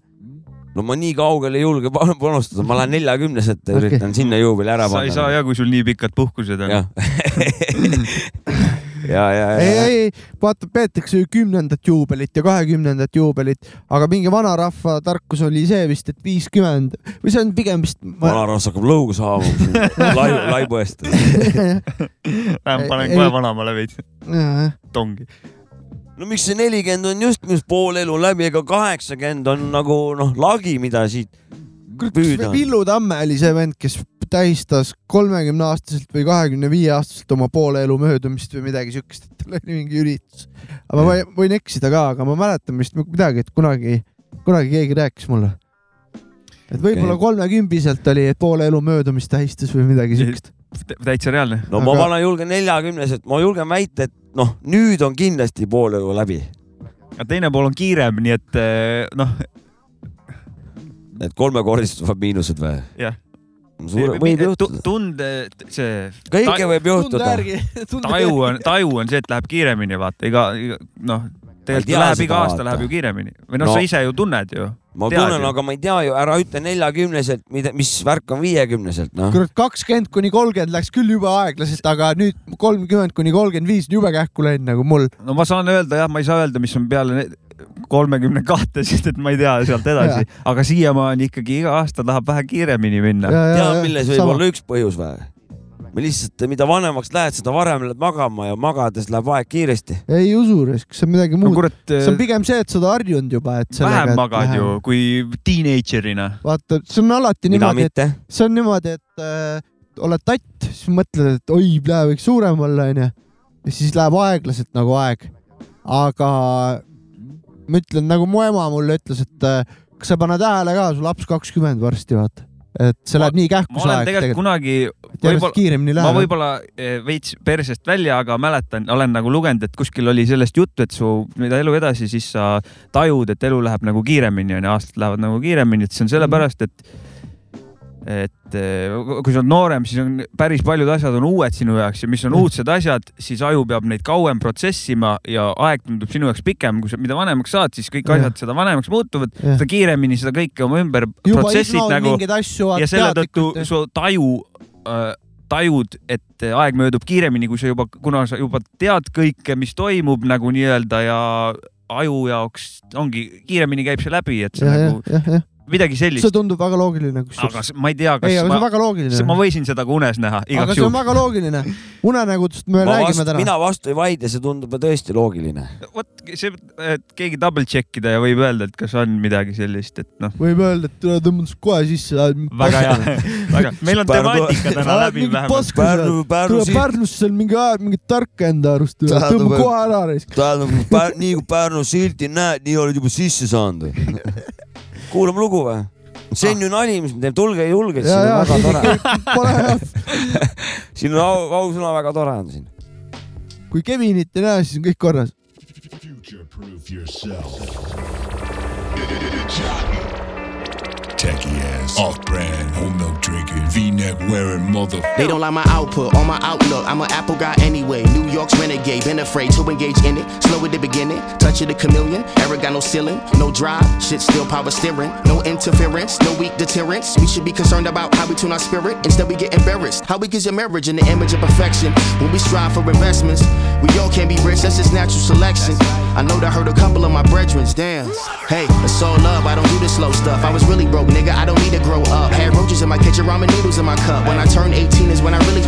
Speaker 1: no ma nii kaugele ei julge pa- panustada , ma lähen neljakümneselt okay. ,
Speaker 4: Okei.
Speaker 1: üritan sinna juubeli ära
Speaker 2: sa ei saa ja kui sul nii pikad puhkused on .
Speaker 1: jah , ja , ja , ja ,
Speaker 4: ei ,
Speaker 1: ja ,
Speaker 4: ei , ei , vaata , peetakse ju kümnendat juubelit ja kahekümnendat juubelit , aga mingi vanarahva tarkus oli see vist , et viiskümmend või see on pigem vist ,
Speaker 1: vanarahvas hakkab lõugu saama laibu , laibu eest .
Speaker 2: Lähen panen
Speaker 4: Ei-
Speaker 2: kohe
Speaker 4: ei-
Speaker 2: vanaemale veits tongi .
Speaker 1: no miks see nelikümmend on just , mis pool elu läbi , ega kaheksakümmend on nagu noh , lagi , mida siit püüda .
Speaker 4: Villu Tamme oli see vend , kes tähistas kolmekümne aastaselt või kahekümne viie aastaselt oma poole elu möödumist või midagi siukest , et tal oli mingi üritus . aga ma võin- võin eksida ka , aga ma mäletan vist midagi , et kunagi , kunagi keegi rääkis mulle . et võib-olla kolmekümbiselt oli , et poole elu möödumist tähistas või midagi siukest .
Speaker 2: täitsa reaalne .
Speaker 1: no ma
Speaker 4: aga-
Speaker 1: vana julgen neljakümneselt , ma julgen väita , et noh , nüüd on kindlasti pool elu läbi ,
Speaker 2: aga teine pool on kiirem , nii et eh, noh ,
Speaker 1: et kolmekordistuvad miinused või ?
Speaker 2: Jah.
Speaker 1: suure , võib juhtuda .
Speaker 2: tunde , see
Speaker 1: kõike võib
Speaker 4: tunde
Speaker 1: juhtuda .
Speaker 4: järgi , tunde
Speaker 2: taju on , taju on see , et läheb kiiremini , vaata iga , noh ,
Speaker 1: tea
Speaker 2: tegelikult läheb
Speaker 1: seda,
Speaker 2: iga aasta
Speaker 1: vaata.
Speaker 2: läheb ju kiiremini või noh no. ,
Speaker 1: No.
Speaker 2: sa ise ju tunned ju .
Speaker 1: ma
Speaker 2: Tead
Speaker 1: tunnen ,
Speaker 2: ju.
Speaker 1: aga ma ei tea ju , ära ütle neljakümneselt , mida , mis värk on viiekümneselt , noh .
Speaker 4: kurat , kakskümmend kuni kolmkümmend läks küll jube aeglaselt , aga nüüd kolmkümmend kuni kolmkümmend viis on jube kähku läinud nagu mul .
Speaker 2: no ma saan öelda jah , ma ei saa öelda , mis on peale kolmekümne kahte , sest et ma ei tea sealt edasi , aga siiamaani ikkagi iga aasta tahab vähe kiiremini minna .
Speaker 1: tead , milles võib olla üks põhjus või ? või lihtsalt , mida vanemaks lähed , seda varem lähed magama ja magades läheb aeg kiiresti .
Speaker 4: ei usu , kas see on midagi
Speaker 2: no
Speaker 4: muud .
Speaker 2: kurat ,
Speaker 4: see on pigem see , et sa oled harjunud juba , et
Speaker 2: äh, vähem
Speaker 4: et
Speaker 2: magad
Speaker 4: vähem.
Speaker 2: ju kui teenager'ina .
Speaker 4: vaata , see on alati
Speaker 1: mina
Speaker 4: niimoodi ,
Speaker 1: mitte .
Speaker 4: et see on niimoodi , et äh, oled tatt , siis mõtled , et oi , plee , võiks suurem olla , onju . ja siis läheb aeglaselt nagu aeg . aga ma ütlen , nagu mu ema mulle ütles , et äh, kas sa pane tähele ka , su laps kakskümmend varsti , vaata . et see
Speaker 2: Ma-
Speaker 4: läheb nii
Speaker 2: ma
Speaker 4: kähku see
Speaker 2: olen
Speaker 4: aeg
Speaker 2: tegelikult
Speaker 4: tegelikult ,
Speaker 2: kunagi ,
Speaker 4: et järjest
Speaker 2: võib-olla ,
Speaker 4: kiiremini
Speaker 2: ma
Speaker 4: läheb .
Speaker 2: võib-olla eh, veits persest välja , aga mäletan , olen nagu lugenud , et kuskil oli sellest juttu , et su , mida elu edasi , siis sa tajud , et elu läheb nagu kiiremini onju , aastad lähevad nagu kiiremini , et see on sellepärast , et et eh, kui sa oled noorem , siis on päris paljud asjad on uued sinu jaoks ja mis on uudsed asjad , siis aju peab neid kauem protsessima ja aeg tundub sinu jaoks pikem , kui sa , mida vanemaks saad , siis kõik
Speaker 4: Jah.
Speaker 2: asjad seda vanemaks muutuvad ,
Speaker 4: Jah.
Speaker 2: seda kiiremini seda kõike oma ümber
Speaker 4: juba
Speaker 2: protsessid
Speaker 4: ignoreerid
Speaker 2: nagu
Speaker 4: mingeid asju ,
Speaker 2: ja selle tõttu su taju äh, tajud , et äh, aeg möödub kiiremini , kui sa juba , kuna sa juba tead kõike , mis toimub nagu nii-öelda ja aju jaoks ongi , kiiremini käib see läbi , et see
Speaker 4: jah ,
Speaker 2: nagu
Speaker 4: jah , jah , jah ,
Speaker 2: midagi
Speaker 4: see
Speaker 2: sellist .
Speaker 4: tundub väga loogiline ,
Speaker 2: aga
Speaker 4: kusjuures .
Speaker 2: s- ma ei tea ,
Speaker 4: ei ,
Speaker 2: kas
Speaker 4: aga see
Speaker 2: ma
Speaker 4: on , väga loogiline .
Speaker 2: ma võisin seda ka unes näha
Speaker 4: aga
Speaker 2: igaks
Speaker 4: see on
Speaker 2: juhuks .
Speaker 4: väga loogiline . unenägudest me
Speaker 1: ma
Speaker 4: räägime
Speaker 1: vastu ,
Speaker 4: täna .
Speaker 1: mina vastu ei vaidle , see tundub tõesti loogiline .
Speaker 2: vot see , et keegi double check ida ja võib öelda , et kas on midagi sellist , et noh ,
Speaker 4: võib öelda , et tule tõmba siis kohe sisse .
Speaker 2: väga hea , väga , meil on
Speaker 1: Pärnu-
Speaker 2: temaatika täna läbi vähemalt .
Speaker 4: Pärnu ,
Speaker 1: Pärnu
Speaker 4: tule Pärnusse , mingi ajab mingit tarka enda arust ,
Speaker 1: Tähendab,
Speaker 4: tõmba
Speaker 1: et-
Speaker 4: kohe ära raisk .
Speaker 1: tähendab , nii kui Pärnu silti näed , nii oled juba sisse saanud . kuulame lugu või ? see
Speaker 4: Ah.
Speaker 1: on ju nali , mis me teeme , tulge julgelt ,
Speaker 4: ja ,
Speaker 1: siin
Speaker 4: ja
Speaker 1: on väga tore ,
Speaker 4: pole hea .
Speaker 1: siin on au , ausõna väga tore on siin .
Speaker 4: kui Kevinit ei näe , siis on kõik korras .
Speaker 7: Future proof yourself. tacky ass, off brand, whole milk drinking, v neck wearing mother.
Speaker 8: They don't like my output or my outlook. I'm an apple guy anyway. New York's renegade. Been afraid to engage in it. Slow at the beginning. Touch of the chameleon. Eric got no ceiling. No drive. Shit still power steering. No interference. No weak deterrence. We should be concerned about how we tune our spirit. Instead, we get embarrassed. How we get your marriage in the image of perfection. When we strive for investments, we all can't be rich. That's just natural selection. I know that hurt a couple of my brethrens. Damn. Hey, it's all love. I don't do the slow stuff. I was really broke, nigga. I don't need to grow up. Had roaches in my kitchen, ramen noodles in my cup. When I turned 18 is when I really.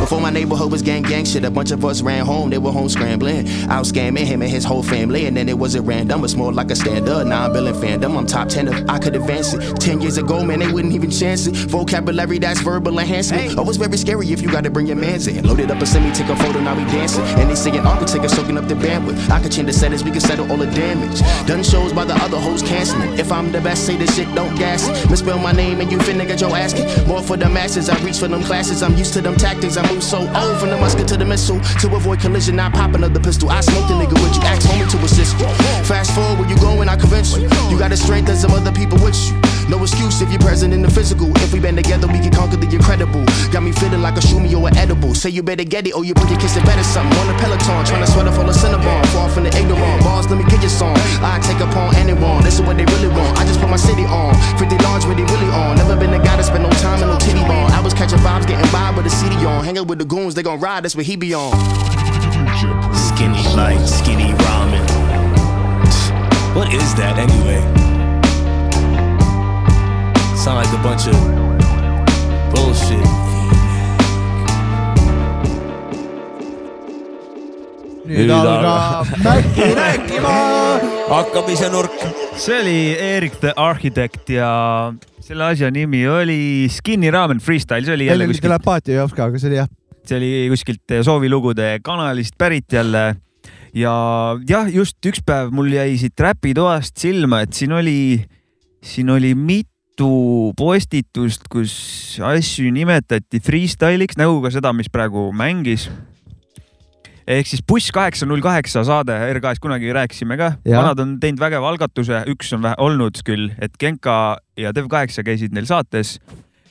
Speaker 8: Before my neighborhood was gang gang shit, a bunch of us ran home. They were home scrambling. I was scamming him and his whole family. And then it wasn't random. It's more like a stand up. Now I'm building fandom. I'm top 10 if I could advance it. 10 years ago, man, they wouldn't even chance it. Vocabulary that's verbal enhancement. Oh, it's very scary if you gotta bring your mans in. Loaded up a semi, take a photo, now we dancing. And they singing architect, soaking up the bandwidth. I could change the settings, we can settle all the damage. Done shows by the other hoes canceling. If I'm the best, say this shit, don't gas it. Misspell my name and you finna get your ass kicked. More for the masses, I reach for them classes. I'm used to them tactics, I move so old from the musket to the missile. To avoid collision, I pop another pistol. I smoke the nigga with you, ask homie to assist you. Fast forward, where you going, I convince you. You got the strength as some other people with you. No excuse if you're present in the physical. If we band together, we can conquer the incredible. Got me feeling like a shumi or an edible. Say you better get it or you put your kiss it better something. On the peloton, trying to sweat up all the Cinnabon. Far from the ignorant. Bars, let me get your song. I take a pawn and it wrong. This is what they really want. I just put my city on. 50 large, where they really on. Never been a guy to spend no time in no titty bar. I was catching vibes, getting by with the city on. Hanging with the goons, they gon' ride, that's what he be on.
Speaker 9: Skinny light, skinny ramen. What is that anyway? Sound like a bunch of bullshit.
Speaker 1: Nüüd
Speaker 4: nüüd algab Mäkki rääkima .
Speaker 1: hakkamise nurk .
Speaker 2: see oli Erik the Architect ja selle asja nimi oli Skinny Ramen Freestyle , see oli jälle
Speaker 4: jälle kuskil
Speaker 2: kuskilt ,
Speaker 4: telepaati ei oska , aga see oli jah .
Speaker 2: see oli kuskilt soovilugude kanalist pärit jälle . ja jah , just üks päev mul jäi siit räpitoast silma , et siin oli , siin oli mitu postitust , kus asju nimetati freestyle'iks , nagu ka seda , mis praegu mängis ehk siis buss kaheksa null kaheksa saade RKS kunagi rääkisime ka ,
Speaker 4: Jah.
Speaker 2: vanad on teinud vägeva algatuse , üks on vähe olnud küll , et Genka ja Dev8 käisid neil saates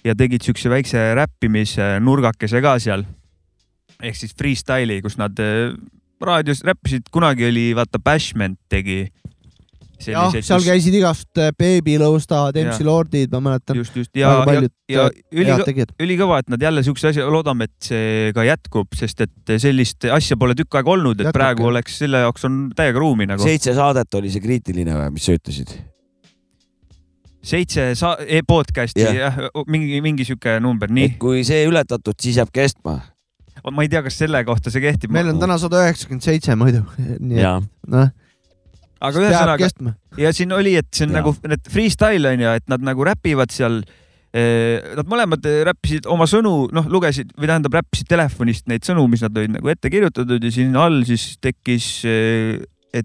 Speaker 2: ja tegid siukse väikse räppimise nurgakese ka seal . ehk siis freestyle'i , kus nad eh, raadios räppisid , kunagi oli vaata Bashment tegi .
Speaker 4: jah , seal käisid igast äh, Baby Lõustad , MC
Speaker 2: Jah.
Speaker 4: Lordid , ma mäletan .
Speaker 2: just , just ja
Speaker 4: Väga ,
Speaker 2: ja
Speaker 4: paljud ,
Speaker 2: ja ülikõ-
Speaker 4: head , tegijad .
Speaker 2: ülikõva , et nad jälle siukse asja , loodame , et see ka jätkub , sest et sellist asja pole tükk aega olnud , et
Speaker 4: Jätkubki.
Speaker 2: praegu oleks selle jaoks on täiega ruumi nagu .
Speaker 1: seitse saadet oli see kriitiline või , mis sa ütlesid ?
Speaker 2: seitse sa- , e-podcast'i
Speaker 1: Jah.
Speaker 2: jah , mingi , mingi siuke number ,
Speaker 1: et
Speaker 2: nii .
Speaker 1: kui see ületatud , siis jääb kestma .
Speaker 2: ma ei tea , kas selle kohta see kehtib .
Speaker 4: meil on täna sada üheksakümmend seitse muidu . nii et
Speaker 1: jaa .
Speaker 4: noh ,
Speaker 2: aga
Speaker 4: peab
Speaker 2: ühesõnaga ,
Speaker 4: kestma .
Speaker 2: ja siin oli , et see on
Speaker 1: Jaa.
Speaker 2: nagu need freestyle on ju , et nad nagu räpivad seal . Nad mõlemad eh, räppisid oma sõnu , noh , lugesid või tähendab , räppisid telefonist neid sõnu , mis nad olid nagu ette kirjutatud ja siin all siis tekkis eh,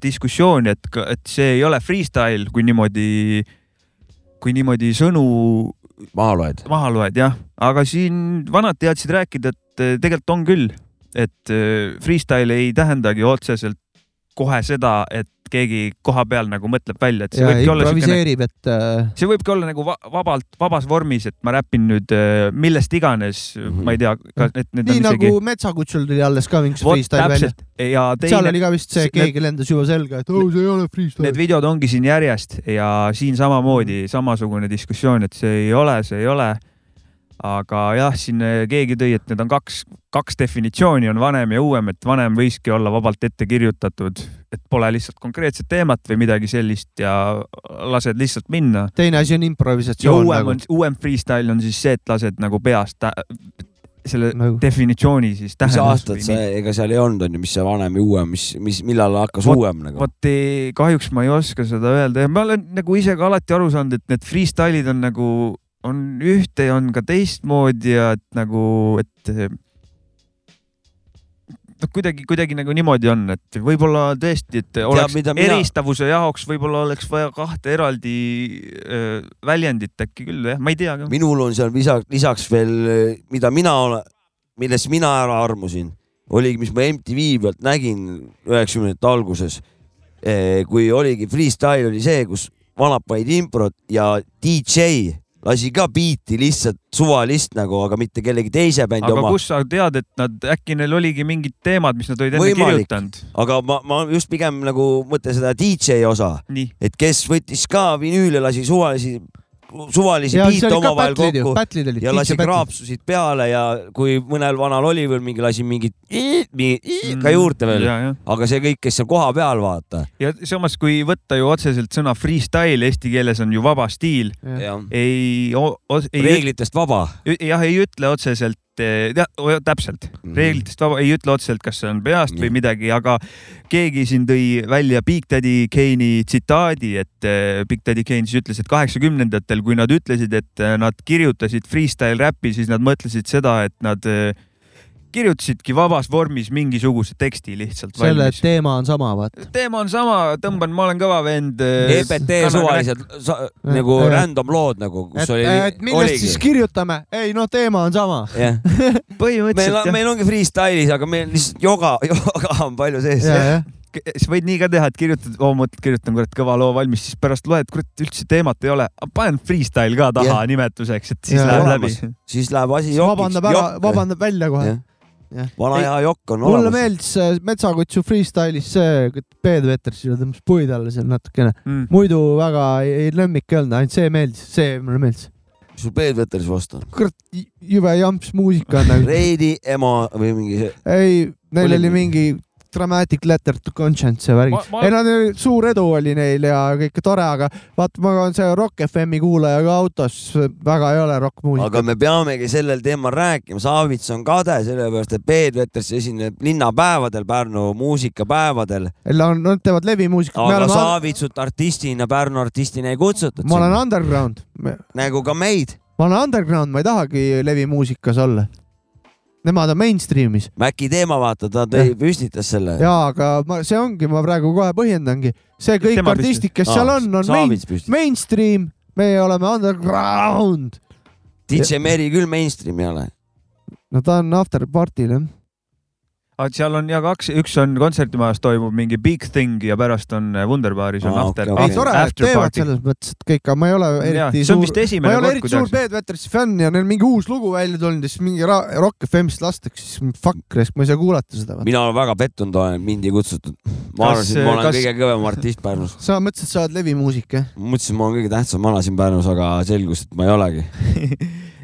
Speaker 2: diskussioon , et , et see ei ole freestyle , kui niimoodi , kui niimoodi sõnu
Speaker 1: maha loed ?
Speaker 2: maha loed , jah , aga siin vanad teadsid rääkida , et eh, tegelikult on küll , et eh, freestyle ei tähendagi otseselt kohe seda , et keegi koha peal nagu mõtleb välja , et see
Speaker 4: ja
Speaker 2: võibki olla siukene ,
Speaker 4: improviseerib , et äh,
Speaker 2: see võibki olla nagu va- vabalt , vabas vormis , et ma räpin nüüd eh, millest iganes mm ,
Speaker 1: Mhm.
Speaker 2: -hmm. ma ei tea , kas need , need
Speaker 4: nii
Speaker 2: on isegi
Speaker 4: nagu . Metsakutsul tuli alles ka mingi
Speaker 2: vot
Speaker 4: freestyle välja .
Speaker 2: täpselt ja
Speaker 4: seal
Speaker 2: teine
Speaker 4: oli , ka vist see ,
Speaker 2: see-
Speaker 4: keegi lendas juba selga , et oh , see ei ole freestyle
Speaker 2: need . videod ongi siin järjest ja siin samamoodi samasugune diskussioon , et see ei ole , see ei ole . aga jah , siin eh, keegi tõi , et need on kaks , kaks definitsiooni on vanem ja uuem , et vanem võiski olla vabalt ette kirjutatud , et pole lihtsalt konkreetset teemat või midagi sellist ja lased lihtsalt minna .
Speaker 4: teine asi on
Speaker 2: ja
Speaker 4: improvisatsioon
Speaker 2: uuem
Speaker 4: nagu
Speaker 2: on , uuem freestyle on siis see , et lased nagu peast tä- selle
Speaker 4: Nagu-
Speaker 2: definitsiooni siis
Speaker 1: mis
Speaker 2: tähendust
Speaker 1: aastad
Speaker 2: või
Speaker 1: see
Speaker 2: nii. ,
Speaker 1: ega seal ei olnud , on ju , mis see vanem ja uuem , mis , mis , millal hakkas
Speaker 2: Vot-
Speaker 1: uuem nagu ?
Speaker 2: vot eh, kahjuks ma ei oska seda öelda ja ma olen nagu ise ka alati aru saanud , et need freestyle'id on nagu , on ühte ja on ka teistmoodi ja et nagu , et eh, noh , kuidagi , kuidagi nagu niimoodi on , et võib-olla tõesti , et oleks
Speaker 1: mida
Speaker 2: Teab,
Speaker 1: mina-
Speaker 2: eristavuse mina... jaoks võib-olla oleks vaja kahte eraldi öö, väljendit äkki küll jah , ma ei tea ka .
Speaker 1: minul on seal lisaks , lisaks veel , mida mina olen , millest mina ära armusin , oligi , mis ma MTV pealt nägin üheksakümnendate alguses , kui oligi eh, freestyle oli see , kus vanapaid improt ja DJ lasi ka biiti lihtsalt suvalist nagu , aga mitte kellegi teise bändi
Speaker 2: aga
Speaker 1: oma .
Speaker 2: kust sa tead , et nad , äkki neil oligi mingid teemad , mis nad olid enne
Speaker 1: Võimalik.
Speaker 2: kirjutanud ?
Speaker 1: aga ma , ma just pigem nagu mõtlen seda DJ osa ,
Speaker 2: nii ,
Speaker 1: et kes võttis ka vinüüle , lasi suvalisi , suvalisi
Speaker 4: ja see
Speaker 1: biite
Speaker 4: oli ka
Speaker 1: omavahel
Speaker 4: battle'id ju ,
Speaker 1: kokku
Speaker 4: battle'id olid .
Speaker 1: ja lasi . kraapsusid peale ja kui mõnel vanal oli veel mingi , lasi mingit mingi
Speaker 2: Mm,
Speaker 1: ka juurde veel ,
Speaker 2: ja , ja ,
Speaker 1: aga see kõik , kes seal kohapeal vaata .
Speaker 2: ja samas , kui võtta ju otseselt sõna freestyle , eesti keeles on ju vaba stiil , ei , ei ,
Speaker 1: reeglitest vaba .
Speaker 2: jah , ei ütle otseselt , täpselt ,
Speaker 1: Mhm.
Speaker 2: reeglitest vaba , ei ütle otseselt , kas see on peast või
Speaker 1: Jah.
Speaker 2: midagi , aga keegi siin tõi välja Big Daddy Kane'i tsitaadi , et eh, Big Daddy Kane siis ütles , et kaheksakümnendatel , kui nad ütlesid , et eh, nad kirjutasid freestyle räppi , siis nad mõtlesid seda , et nad eh, kirjutasidki vabas vormis mingisuguse teksti lihtsalt
Speaker 4: selle
Speaker 2: valmis .
Speaker 4: teema on sama , vaata .
Speaker 2: teema on sama , tõmban , ma olen kõva vend . eh,
Speaker 1: EPT E suvalised sa- nagu
Speaker 4: Jah.
Speaker 1: random lood nagu , kus
Speaker 4: et ,
Speaker 1: oli ,
Speaker 4: et millest
Speaker 1: oligi
Speaker 4: siis . kirjutame ? ei no teema on sama .
Speaker 1: jah , meil
Speaker 2: põhimõtteliselt
Speaker 1: on , meil ongi freestyle'is , aga meil lihtsalt joga , joga on palju sees .
Speaker 4: jah ,
Speaker 2: sa võid nii ka teha , et kirjutad , oo mõtled , kirjutan kurat kõva loo valmis , siis pärast loed , kurat üldse teemat ei ole , panen freestyle ka taha
Speaker 1: Jah.
Speaker 2: nimetuseks , et siis
Speaker 4: Jah.
Speaker 2: läheb läbi
Speaker 1: Olemas. . siis läheb asi jokiks .
Speaker 4: vabandab ära , vabandab välja kohe
Speaker 1: Jah. . vana
Speaker 4: Ei,
Speaker 1: hea jokk on
Speaker 4: mulle
Speaker 1: olemas .
Speaker 4: meeldis äh, Metsakutsu freestyle'is see , Peet Veters ju tõmbas puid alla seal natukene .
Speaker 2: mm. .
Speaker 4: muidu väga ei, ei lemmik ei olnud , ainult see meeldis , see mulle meeldis .
Speaker 1: sul Peetveteris vastu on .
Speaker 4: kurat , jube jamps muusika on nagu .
Speaker 1: Reidi ema või mingi see .
Speaker 4: ei , neil
Speaker 1: Oli
Speaker 4: oli mingi Dramatic Letter to Conscience ja värgid
Speaker 2: Ma- . ma-
Speaker 4: ei , nad , suur edu oli neil ja kõik tore , aga vaata , ma olen see Rock FM-i kuulaja ka autos , väga ei ole rokkmuusika .
Speaker 1: aga me peamegi sellel teemal rääkima , Savits on kade , sellepärast et Peetveteris esineb linnapäevadel , Pärnu muusikapäevadel ,
Speaker 4: Nad nad teevad levimuusikat , me
Speaker 1: aga
Speaker 4: oleme ,
Speaker 1: Savitsut artistina , Pärnu artistina ei kutsutud .
Speaker 4: ma olen underground , ma
Speaker 1: nagu ka meid .
Speaker 4: olen underground , ma ei tahagi levimuusikas olla . Nemad on mainstream'is .
Speaker 1: Mäki teema , vaata , ta tõi , püstitas selle .
Speaker 4: jaa , aga ma , see ongi , ma praegu kohe põhjendangi , see kõik
Speaker 2: Tema
Speaker 4: artistid , kes seal on , on main,
Speaker 1: Savits püstitas .
Speaker 4: mainstream , meie oleme underground .
Speaker 1: DJ Meri küll mainstream ei ole .
Speaker 4: no ta on after party'l jah .
Speaker 2: Ah, seal on ja kaks , üks on kontserdimajas toimub mingi big thing ja pärast on eh, Wunderbaaris on
Speaker 1: Aa,
Speaker 2: after
Speaker 1: okei,
Speaker 4: ei
Speaker 1: okei.
Speaker 4: tore , et
Speaker 2: after
Speaker 4: teevad
Speaker 2: party .
Speaker 4: selles mõttes , et kõik , aga ma ei ole
Speaker 2: jaa ,
Speaker 4: eriti
Speaker 2: see on
Speaker 4: suur
Speaker 2: vist ,
Speaker 4: ma ei
Speaker 2: esimene
Speaker 4: ole
Speaker 2: kord , kui
Speaker 4: eriti suur
Speaker 2: tehakse .
Speaker 4: Peet Vetersi fänn ja neil mingi uus lugu välja tulnud ja siis mingi ra- Rock FM-ist lastakse , siis fuck , ma ei saa kuulata seda .
Speaker 1: mina olen väga pettunud , olen mind ei kutsutud . ma
Speaker 2: Kas,
Speaker 1: arvasin , et
Speaker 4: eh,
Speaker 1: ma olen
Speaker 2: kas-
Speaker 1: kõige kõvem artist Pärnus .
Speaker 4: sa mõtlesid , et sa oled levimuusik jah ?
Speaker 1: mõtlesin , ma olen kõige tähtsam vana siin Pärnus , aga selgus , et ma ei olegi .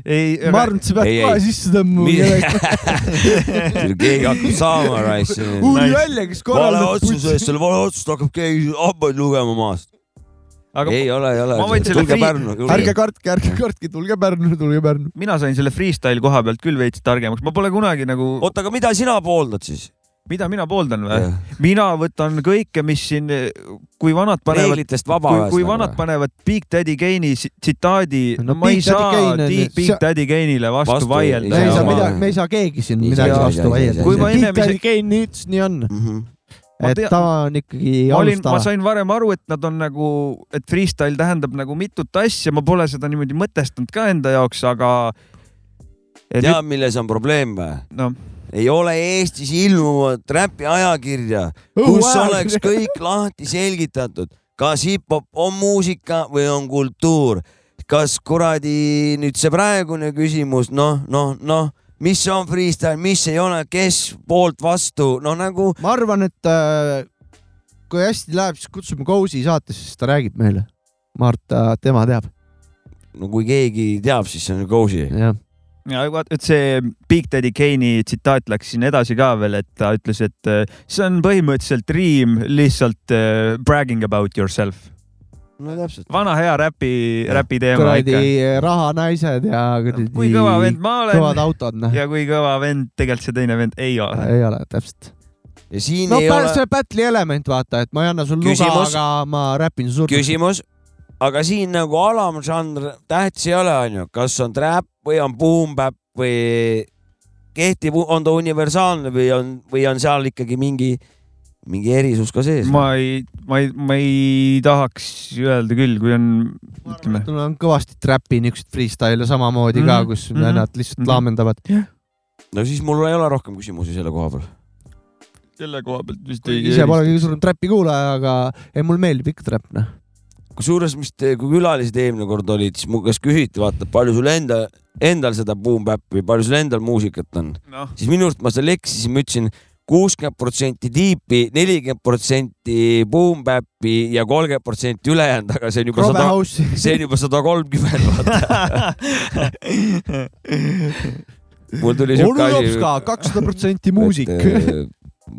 Speaker 2: ei ,
Speaker 4: ma arvan , et sa pead
Speaker 1: Ei,
Speaker 4: kohe
Speaker 1: ei.
Speaker 4: sisse tõmbama .
Speaker 1: keegi hakkab saama raisk .
Speaker 4: uuri
Speaker 2: Nice.
Speaker 4: välja , kes
Speaker 1: vale
Speaker 4: korraldab
Speaker 1: otsuse eest , selle vale otsust hakkab keegi hambaid lugema maast .
Speaker 2: aga
Speaker 1: ei ole , ei ole
Speaker 2: ma võin . selle
Speaker 1: tulge
Speaker 2: free-
Speaker 1: Pärnu .
Speaker 4: ärge kartke , ärge kartke , tulge Pärnu , tulge Pärnu .
Speaker 2: mina sain selle freestyle koha pealt küll veits targemaks , ma pole kunagi nagu ,
Speaker 1: oota , aga mida sina pooldad siis ?
Speaker 2: mida mina pooldan või ? mina võtan kõike , mis siin , kui vanad panevad
Speaker 1: reeglitest vaba
Speaker 2: kui , kui vanad . panevad Big Daddy Kane'i si- tsitaadi
Speaker 4: No
Speaker 2: no, , ma
Speaker 4: Big
Speaker 2: ei
Speaker 4: Daddy
Speaker 2: saa
Speaker 4: Kane on-
Speaker 2: Di- Big
Speaker 4: see-
Speaker 2: Daddy Kane'ile vastu,
Speaker 1: Vastu
Speaker 2: vastu
Speaker 1: ei
Speaker 2: vaielda
Speaker 4: me ei saa
Speaker 1: oma-
Speaker 4: midagi , me ei saa keegi siin
Speaker 1: Ei
Speaker 4: midagi
Speaker 1: saa, ei saa,
Speaker 4: vastu
Speaker 1: ei saa, ei
Speaker 4: vaielda .
Speaker 1: saa. Kui
Speaker 2: ma enne-
Speaker 4: Tiit Kein nii ütles , nii on ,
Speaker 1: Mhm.
Speaker 2: Ma
Speaker 4: et
Speaker 2: tean-
Speaker 4: ta on ikkagi
Speaker 2: ma olin , ma
Speaker 4: alustava .
Speaker 2: sain varem aru , et nad on nagu , et freestyle tähendab nagu mitut asja , ma pole seda niimoodi mõtestanud ka enda jaoks , aga .
Speaker 1: tead , milles on probleem või ?
Speaker 2: noh ,
Speaker 1: ei ole Eestis ilmuvat räpi ajakirja ,
Speaker 4: Õhu
Speaker 1: kus
Speaker 4: ajakirja.
Speaker 1: oleks kõik lahti selgitatud , kas hip-hop on muusika või on kultuur . kas kuradi nüüd see praegune küsimus noh , noh , noh , mis on freestyle , mis ei ole , kes poolt vastu , no nagu
Speaker 4: ma arvan , et äh, kui hästi läheb , siis kutsume Kousi saatesse , siis ta räägib meile . Mart , tema teab .
Speaker 1: no kui keegi teab , siis see on Gozi .
Speaker 4: jah ,
Speaker 2: et see Big Daddy Kane'i tsitaat läks siin edasi ka veel , et ta ütles , et äh, see on põhimõtteliselt riim lihtsalt äh, bragging about yourself .
Speaker 1: no täpselt .
Speaker 2: vana hea räpi , räpi teema ikka Noh,
Speaker 4: kuradi rahanaised ja kuradi
Speaker 2: kui kõva vend ma
Speaker 4: kõvad
Speaker 2: olen
Speaker 4: autod , noh .
Speaker 2: ja kui kõva vend tegelikult see teine vend ei ole .
Speaker 4: ei ole täpselt .
Speaker 1: ja siin
Speaker 4: no
Speaker 1: ei
Speaker 4: pä-
Speaker 1: ole
Speaker 4: see battle'i element , vaata , et ma ei anna sul luga ,
Speaker 1: Küsimus?
Speaker 4: aga ma räpin su surnud .
Speaker 1: küsimus , aga siin nagu alamžanr tähtis ei ole , onju , kas on trap või on boom-bap või kehtib , on ta universaalne või on , või on seal ikkagi mingi , mingi erisus ka sees ?
Speaker 2: ma ei , ma ei , ma ei tahaks öelda küll , kui on , ütleme ,
Speaker 4: mul on kõvasti trapi niisuguseid freestyle'e samamoodi ka ,
Speaker 2: Mhm,
Speaker 4: kus
Speaker 2: mhm,
Speaker 4: nad lihtsalt
Speaker 2: mhm.
Speaker 4: laamendavad .
Speaker 1: no siis mul ei ole rohkem küsimusi selle koha peal .
Speaker 2: selle koha pealt vist ei .
Speaker 4: ise pole kõige suurem trapi kuulaja , aga ei , mulle meeldib ikka trap , noh .
Speaker 1: kusjuures , mis te, kui külalised eelmine kord olid , siis mu käest küsiti , vaata , palju sul enda , endal seda boom bap'i , palju sul endal muusikat on
Speaker 2: noh ,
Speaker 1: siis minu arust ma seal eksisin , ma ütlesin kuuskümmend protsenti tiipi , nelikümmend protsenti boom bap'i ja kolmkümmend protsenti ülejäänud , aga see on juba
Speaker 4: Robe
Speaker 1: sada ,
Speaker 4: House'i .
Speaker 1: see on juba sada kolmkümmend , vaata . mul tuli
Speaker 4: onu
Speaker 1: siuke asi
Speaker 4: Jopska ,. kakssada protsenti muusik .
Speaker 1: äh,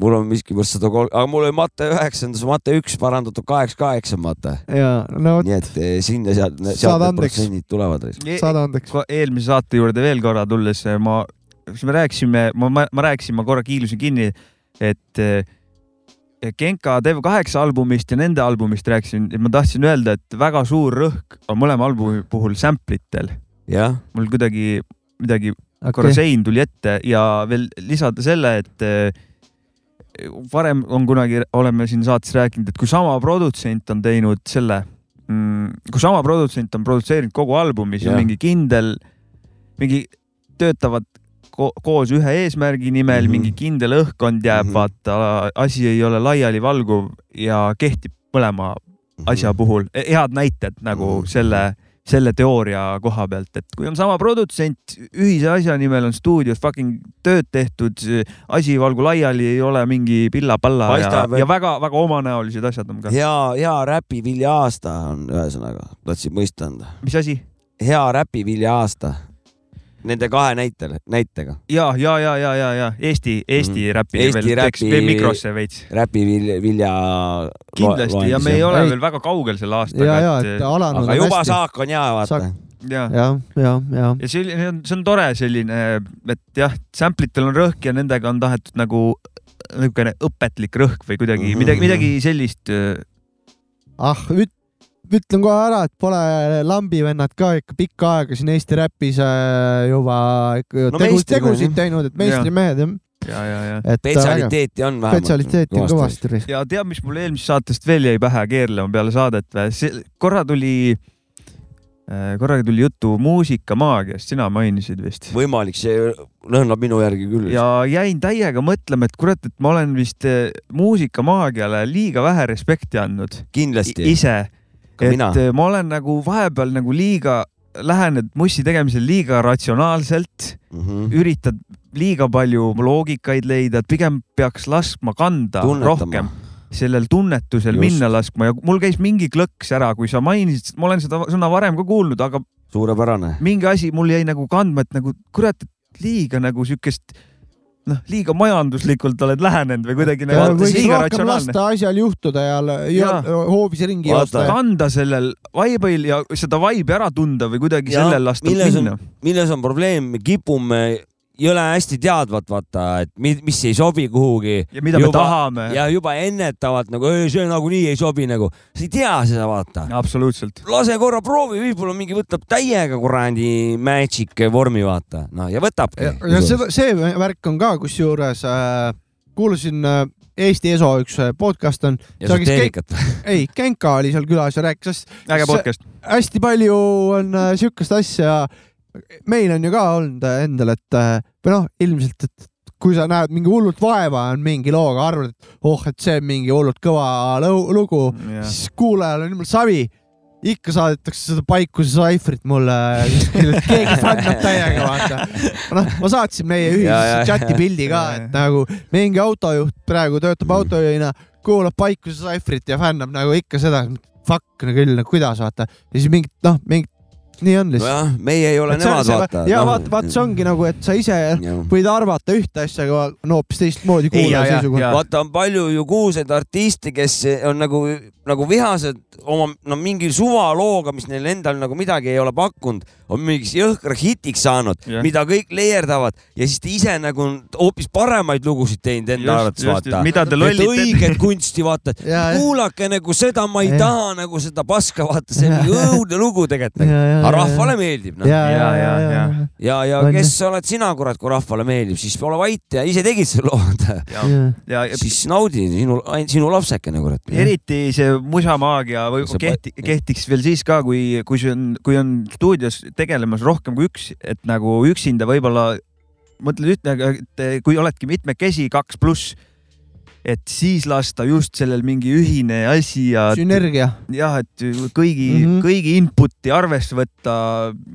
Speaker 1: mul on miskipärast sada kolm , aga mul oli mate üheksandas , mate üks parandatud kaheksa , kaheksa mate .
Speaker 4: ja no vot ,
Speaker 1: nii et eh, sinna sealt , sealt
Speaker 4: Saad
Speaker 1: need
Speaker 4: andeks.
Speaker 1: protsendid tulevad .
Speaker 4: saad andeks .
Speaker 2: Ko- eelmise saate juurde veel korra tulles eh, ma , kas me rääkisime , ma, ma , ma rääkisin , ma korra kiilusin kinni , et eh, Genka Dev8 albumist ja nende albumist rääkisin , et ma tahtsin öelda , et väga suur rõhk on mõlema albumi puhul sample itel .
Speaker 1: jah ,
Speaker 2: mul kuidagi midagi , korra sein tuli ette ja veel lisada selle , et eh, varem on kunagi , oleme siin saates rääkinud , et kui sama produtsent on teinud selle , kui sama produtsent on produtseerinud kogu albumi , siis on
Speaker 1: Jah.
Speaker 2: mingi kindel , mingi töötavad ko koos ühe eesmärgi
Speaker 1: Mhm.
Speaker 2: nimel mm , -hmm. mingi kindel õhkkond jääb mm ,
Speaker 1: Mhm.
Speaker 2: -hmm. vaata , asi ei ole laialivalguv ja kehtib mõlema asja puhul , head näited nagu
Speaker 1: Mhm.
Speaker 2: selle , selle teooria koha pealt , et kui on sama produtsent , ühise asja nimel on stuudios fucking tööd tehtud , asi ei valgu laiali , ei ole mingi pilla-palla ja,
Speaker 1: Paistab, et-
Speaker 2: ja väga-väga omanäolised asjad on ka .
Speaker 1: hea , hea räpivilja aasta on ühesõnaga , tahtsin mõista anda .
Speaker 2: mis asi ?
Speaker 1: hea räpivilja aasta . Nende kahe näitel , näitega .
Speaker 2: ja , ja , ja , ja , ja , ja Eesti , Eesti
Speaker 1: Mhm.
Speaker 2: mm. räpi
Speaker 1: Eesti
Speaker 2: veel teeks
Speaker 1: räpi-
Speaker 2: veel mikrosse veits .
Speaker 1: räpivilja , vilja .
Speaker 2: kindlasti ja me ei ole
Speaker 4: Ei.
Speaker 2: veel väga kaugel selle aastaga .
Speaker 4: ja , ja , et alanud
Speaker 1: aga
Speaker 4: on
Speaker 1: juba
Speaker 4: hästi .
Speaker 1: saak on hea , vaata
Speaker 4: Saak- .
Speaker 2: ja ,
Speaker 4: ja , ja , ja
Speaker 2: ja see , see on , see on tore selline , et jah , sample itel on rõhk ja nendega on tahetud nagu niisugune õpetlik rõhk või kuidagi mm
Speaker 1: Mhm.
Speaker 2: -hmm. midagi , midagi sellist . äh.
Speaker 4: ah , ütlen kohe ära , et pole lambivennad ka ikka pikka aega siin Eesti räpis äh, juba ikka
Speaker 1: No
Speaker 4: tegu,
Speaker 1: meistrimehed, jah.
Speaker 4: tegusid teinud , et meistrimehed jah ,
Speaker 2: ja , ja , ja ,
Speaker 4: et äh, väga-
Speaker 1: spetsialiteeti on vähemalt .
Speaker 4: spetsialiteeti on . kõvasti .
Speaker 2: ja tead , mis mul eelmisest saatest veel jäi pähe keerlema peale saadet või ? korra tuli , korra tuli juttu muusikamaagiast , sina mainisid vist .
Speaker 1: võimalik , see lõhnab minu järgi küll .
Speaker 2: ja jäin täiega mõtlema , et kurat , et ma olen vist eh, muusikamaagiale liiga vähe respekti andnud I
Speaker 1: kindlasti .
Speaker 2: ise
Speaker 1: Ka
Speaker 2: et
Speaker 1: mina.
Speaker 2: eh, ma olen nagu vahepeal nagu liiga , lähened mussi tegemisel liiga ratsionaalselt ,
Speaker 1: Mhm.
Speaker 2: üritad liiga palju loogikaid leida , et pigem peaks laskma kanda rohkem . sellel tunnetusel
Speaker 1: Just.
Speaker 2: Just. minna laskma ja mul käis mingi klõks ära , kui sa mainisid , ma olen seda sõna varem ka kuulnud , aga
Speaker 1: suurepärane .
Speaker 2: mingi asi mul jäi nagu kandma , et nagu kurat , et liiga nagu siukest noh , liiga majanduslikult oled lähenenud või kuidagi nagu
Speaker 4: võiks
Speaker 2: liiga
Speaker 4: rohkem
Speaker 2: ratsionaalne .
Speaker 4: lasta asjal juhtuda ja, l-
Speaker 2: Jaa.
Speaker 4: ja hoovis ringi
Speaker 1: Vaata.
Speaker 4: joosta .
Speaker 2: kanda sellel vibe'il ja seda vibe'i ära tunda või kuidagi
Speaker 1: Jah,
Speaker 2: sellel lasta
Speaker 1: milles on-
Speaker 2: minna .
Speaker 1: milles on probleem , me kipume , ei ole hästi teadvad , vaata , et mi- mis ei sobi kuhugi
Speaker 2: ja mida me
Speaker 1: Juba-
Speaker 2: tahame .
Speaker 1: ja juba ennetavalt nagu "Ei, see nagunii ei sobi nagu , sa ei tea seda , vaata .
Speaker 2: absoluutselt .
Speaker 1: lase korra proovi , võib-olla mingi võtab täiega kuradi magic vormi , vaata , no ja võtabki
Speaker 4: ja, . ja seda , see värk on ka kusjuures äh, , kuulasin äh, Eesti ESO üks äh, podcast on ,
Speaker 1: esoteerikat .
Speaker 4: ei , Genka oli seal külas ja rääkis , See-
Speaker 2: äge podcast .
Speaker 4: hästi palju on äh, siukest asja , meil on ju ka olnud äh, endal , et äh, või noh , ilmselt , et kui sa näed mingi hullult vaeva on mingi looga , arvad , et oh , et see on mingi hullult kõva lõu- lugu , siis kuulajal on jumala savi . ikka saadetakse seda paikuse saifrit mulle , keegi fännab täiega , vaata . noh , ma saatsin meie
Speaker 1: Ja, ja,
Speaker 4: ühise
Speaker 1: ja.
Speaker 4: chati pildi ka , et nagu mingi autojuht praegu töötab autojuhina , kuulab paikuse saifrit ja fännab nagu ikka seda , fuck no küll , no kuidas , vaata . ja siis mingid , noh , mingid , nii on lihtsalt .
Speaker 1: nojah , meie ei Noh, ole nemad , vaata .
Speaker 4: ja vaata , vaata , see ongi nagu , et sa ise
Speaker 1: ongi .
Speaker 4: võid arvata ühte asja , aga no hoopis teistmoodi
Speaker 2: Ei, ja,
Speaker 4: kuulaja
Speaker 2: ja,
Speaker 4: seisukohalt .
Speaker 2: ja.
Speaker 1: vaata , on palju ju kuulsaid artiste , kes on nagu , nagu vihased oma , no mingi suvalooga , mis neil endal nagu midagi ei ole pakkunud , on mingiks jõhkra hitiks saanud
Speaker 2: Jah.
Speaker 1: yeah. , mida kõik leerdavad ja siis ta ise nagu on hoopis paremaid lugusid teinud enda
Speaker 2: Just,
Speaker 1: arvates ,
Speaker 2: just, just.
Speaker 1: vaata .
Speaker 2: Mida te lollid teete?
Speaker 1: õiget kunsti , vaata .
Speaker 4: Jaa, jah.
Speaker 1: kuulake nagu seda , ma ei
Speaker 4: Jah.
Speaker 1: yeah. taha nagu seda paska , vaata , see on nii õudne lugu tegelikult
Speaker 4: Jaa, jaa,
Speaker 1: yeah, . aga
Speaker 4: jaa,
Speaker 1: rahvale meeldib , noh .
Speaker 4: ja , ja , ja ,
Speaker 2: ja,
Speaker 4: ja ,
Speaker 1: ja , ja
Speaker 4: On
Speaker 1: kes oled sina , kurat , kui rahvale meeldib , siis ole vait ja ise tegid selle loo , vaata
Speaker 4: ja .
Speaker 2: ja ja
Speaker 1: siis naudi sinu , sinu lapsekene , kurat .
Speaker 2: eriti see musamaagia või
Speaker 1: See
Speaker 2: kehti, kehtiks veel siis ka , kui , kui see on , kui on stuudios tegelemas rohkem kui üks , et nagu üksinda võib-olla mõtled ühte , et kui oledki mitmekesi , kaks pluss , et siis lasta just sellel mingi ühine asi ja
Speaker 4: sünergia .
Speaker 2: jah , et kõigi mm ,
Speaker 4: Mhm.
Speaker 2: -hmm. kõigi input'i arvesse võtta ,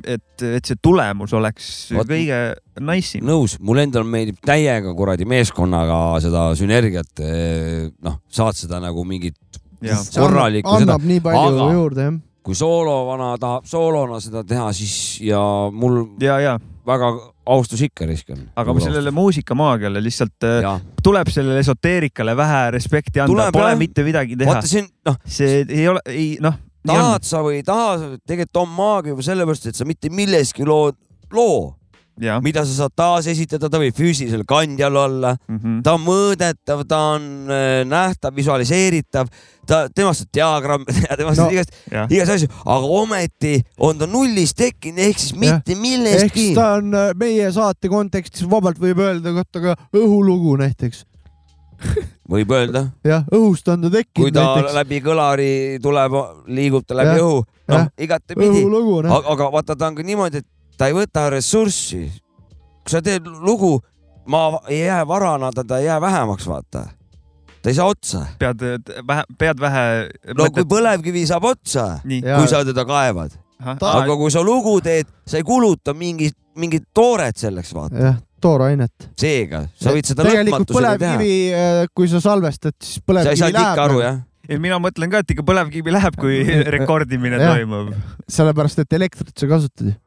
Speaker 2: et , et see tulemus oleks
Speaker 1: Vot-
Speaker 2: Vaat... kõige nice im .
Speaker 1: nõus , mul endal meeldib täiega kuradi meeskonnaga seda sünergiat , noh , saad seda nagu mingit
Speaker 2: ja ,
Speaker 1: korralikku seda ,
Speaker 4: annab nii palju
Speaker 1: aga-
Speaker 4: juurde jah .
Speaker 1: kui soolovana tahab soolona seda teha , siis ja mul
Speaker 2: ja , ja ,
Speaker 1: väga austus ikka risk on .
Speaker 2: aga ma sellele muusikamaagiale lihtsalt äh, ja.
Speaker 1: jah ,
Speaker 2: tuleb sellele esoteerikale vähe respekti anda ,
Speaker 1: Tuleb,
Speaker 2: pole
Speaker 1: jah.
Speaker 2: mitte midagi teha
Speaker 1: vaata . see on , noh ,
Speaker 2: see ei ole , ei noh , nii on
Speaker 1: tahad sa või ei taha , tegelikult on maagia juba sellepärast , et sa mitte milleski lood loo ,
Speaker 2: ja
Speaker 1: mida sa saad taasesitada , ta võib füüsilisel kandjal olla ,
Speaker 2: mm . -hmm.
Speaker 1: ta on mõõdetav , ta on äh, nähtav , visualiseeritav , ta , temast saab diagramme teha , temast
Speaker 4: No.
Speaker 1: no. igast ,
Speaker 2: Jah.
Speaker 1: igast asju , aga ometi on ta nullist tekkinud , ehk siis
Speaker 4: Jah.
Speaker 1: mitte
Speaker 4: ehk
Speaker 1: millestki
Speaker 4: siis . ta on äh, meie saate kontekstis vabalt võib öelda kohta ka õhulugu näiteks .
Speaker 1: võib öelda ,
Speaker 4: jah , õhust on ta
Speaker 1: kui
Speaker 4: tekkinud
Speaker 1: ta
Speaker 4: näiteks .
Speaker 1: läbi kõlari tuleb , liigub ta läbi
Speaker 4: Jah.
Speaker 1: õhu , noh
Speaker 4: Jah. ,
Speaker 1: igatepidi ,
Speaker 4: õhulugu on jah .
Speaker 1: aga vaata , ta on ka niimoodi , et ta ei võta ressurssi . kui sa teed lugu , ma ei jää varana , ta ta ei jää vähemaks , vaata . ta ei saa otsa .
Speaker 2: pead vähe , pead vähe .
Speaker 1: no kui põlevkivi saab otsa ,
Speaker 2: nii .
Speaker 4: Jaa.
Speaker 1: kui sa teda kaevad ,
Speaker 4: Ta-
Speaker 1: aga kui sa lugu teed , sa ei kuluta mingit , mingit tooret selleks , vaata .
Speaker 4: jah , toorainet .
Speaker 1: seega , sa võid seda
Speaker 4: tegelikult
Speaker 1: lõpmatuseni teha .
Speaker 4: põlevkivi , kui sa salvestad , siis
Speaker 1: sa ei
Speaker 4: põlevkivi
Speaker 1: saanud ikka aru ,
Speaker 4: läheb , nagu-
Speaker 1: jah ?
Speaker 2: ei , mina mõtlen ka , et ikka põlevkivi läheb , kui rekordimine
Speaker 4: Jah.
Speaker 2: toimub .
Speaker 4: sellepärast et elektrit sa kasutad ju .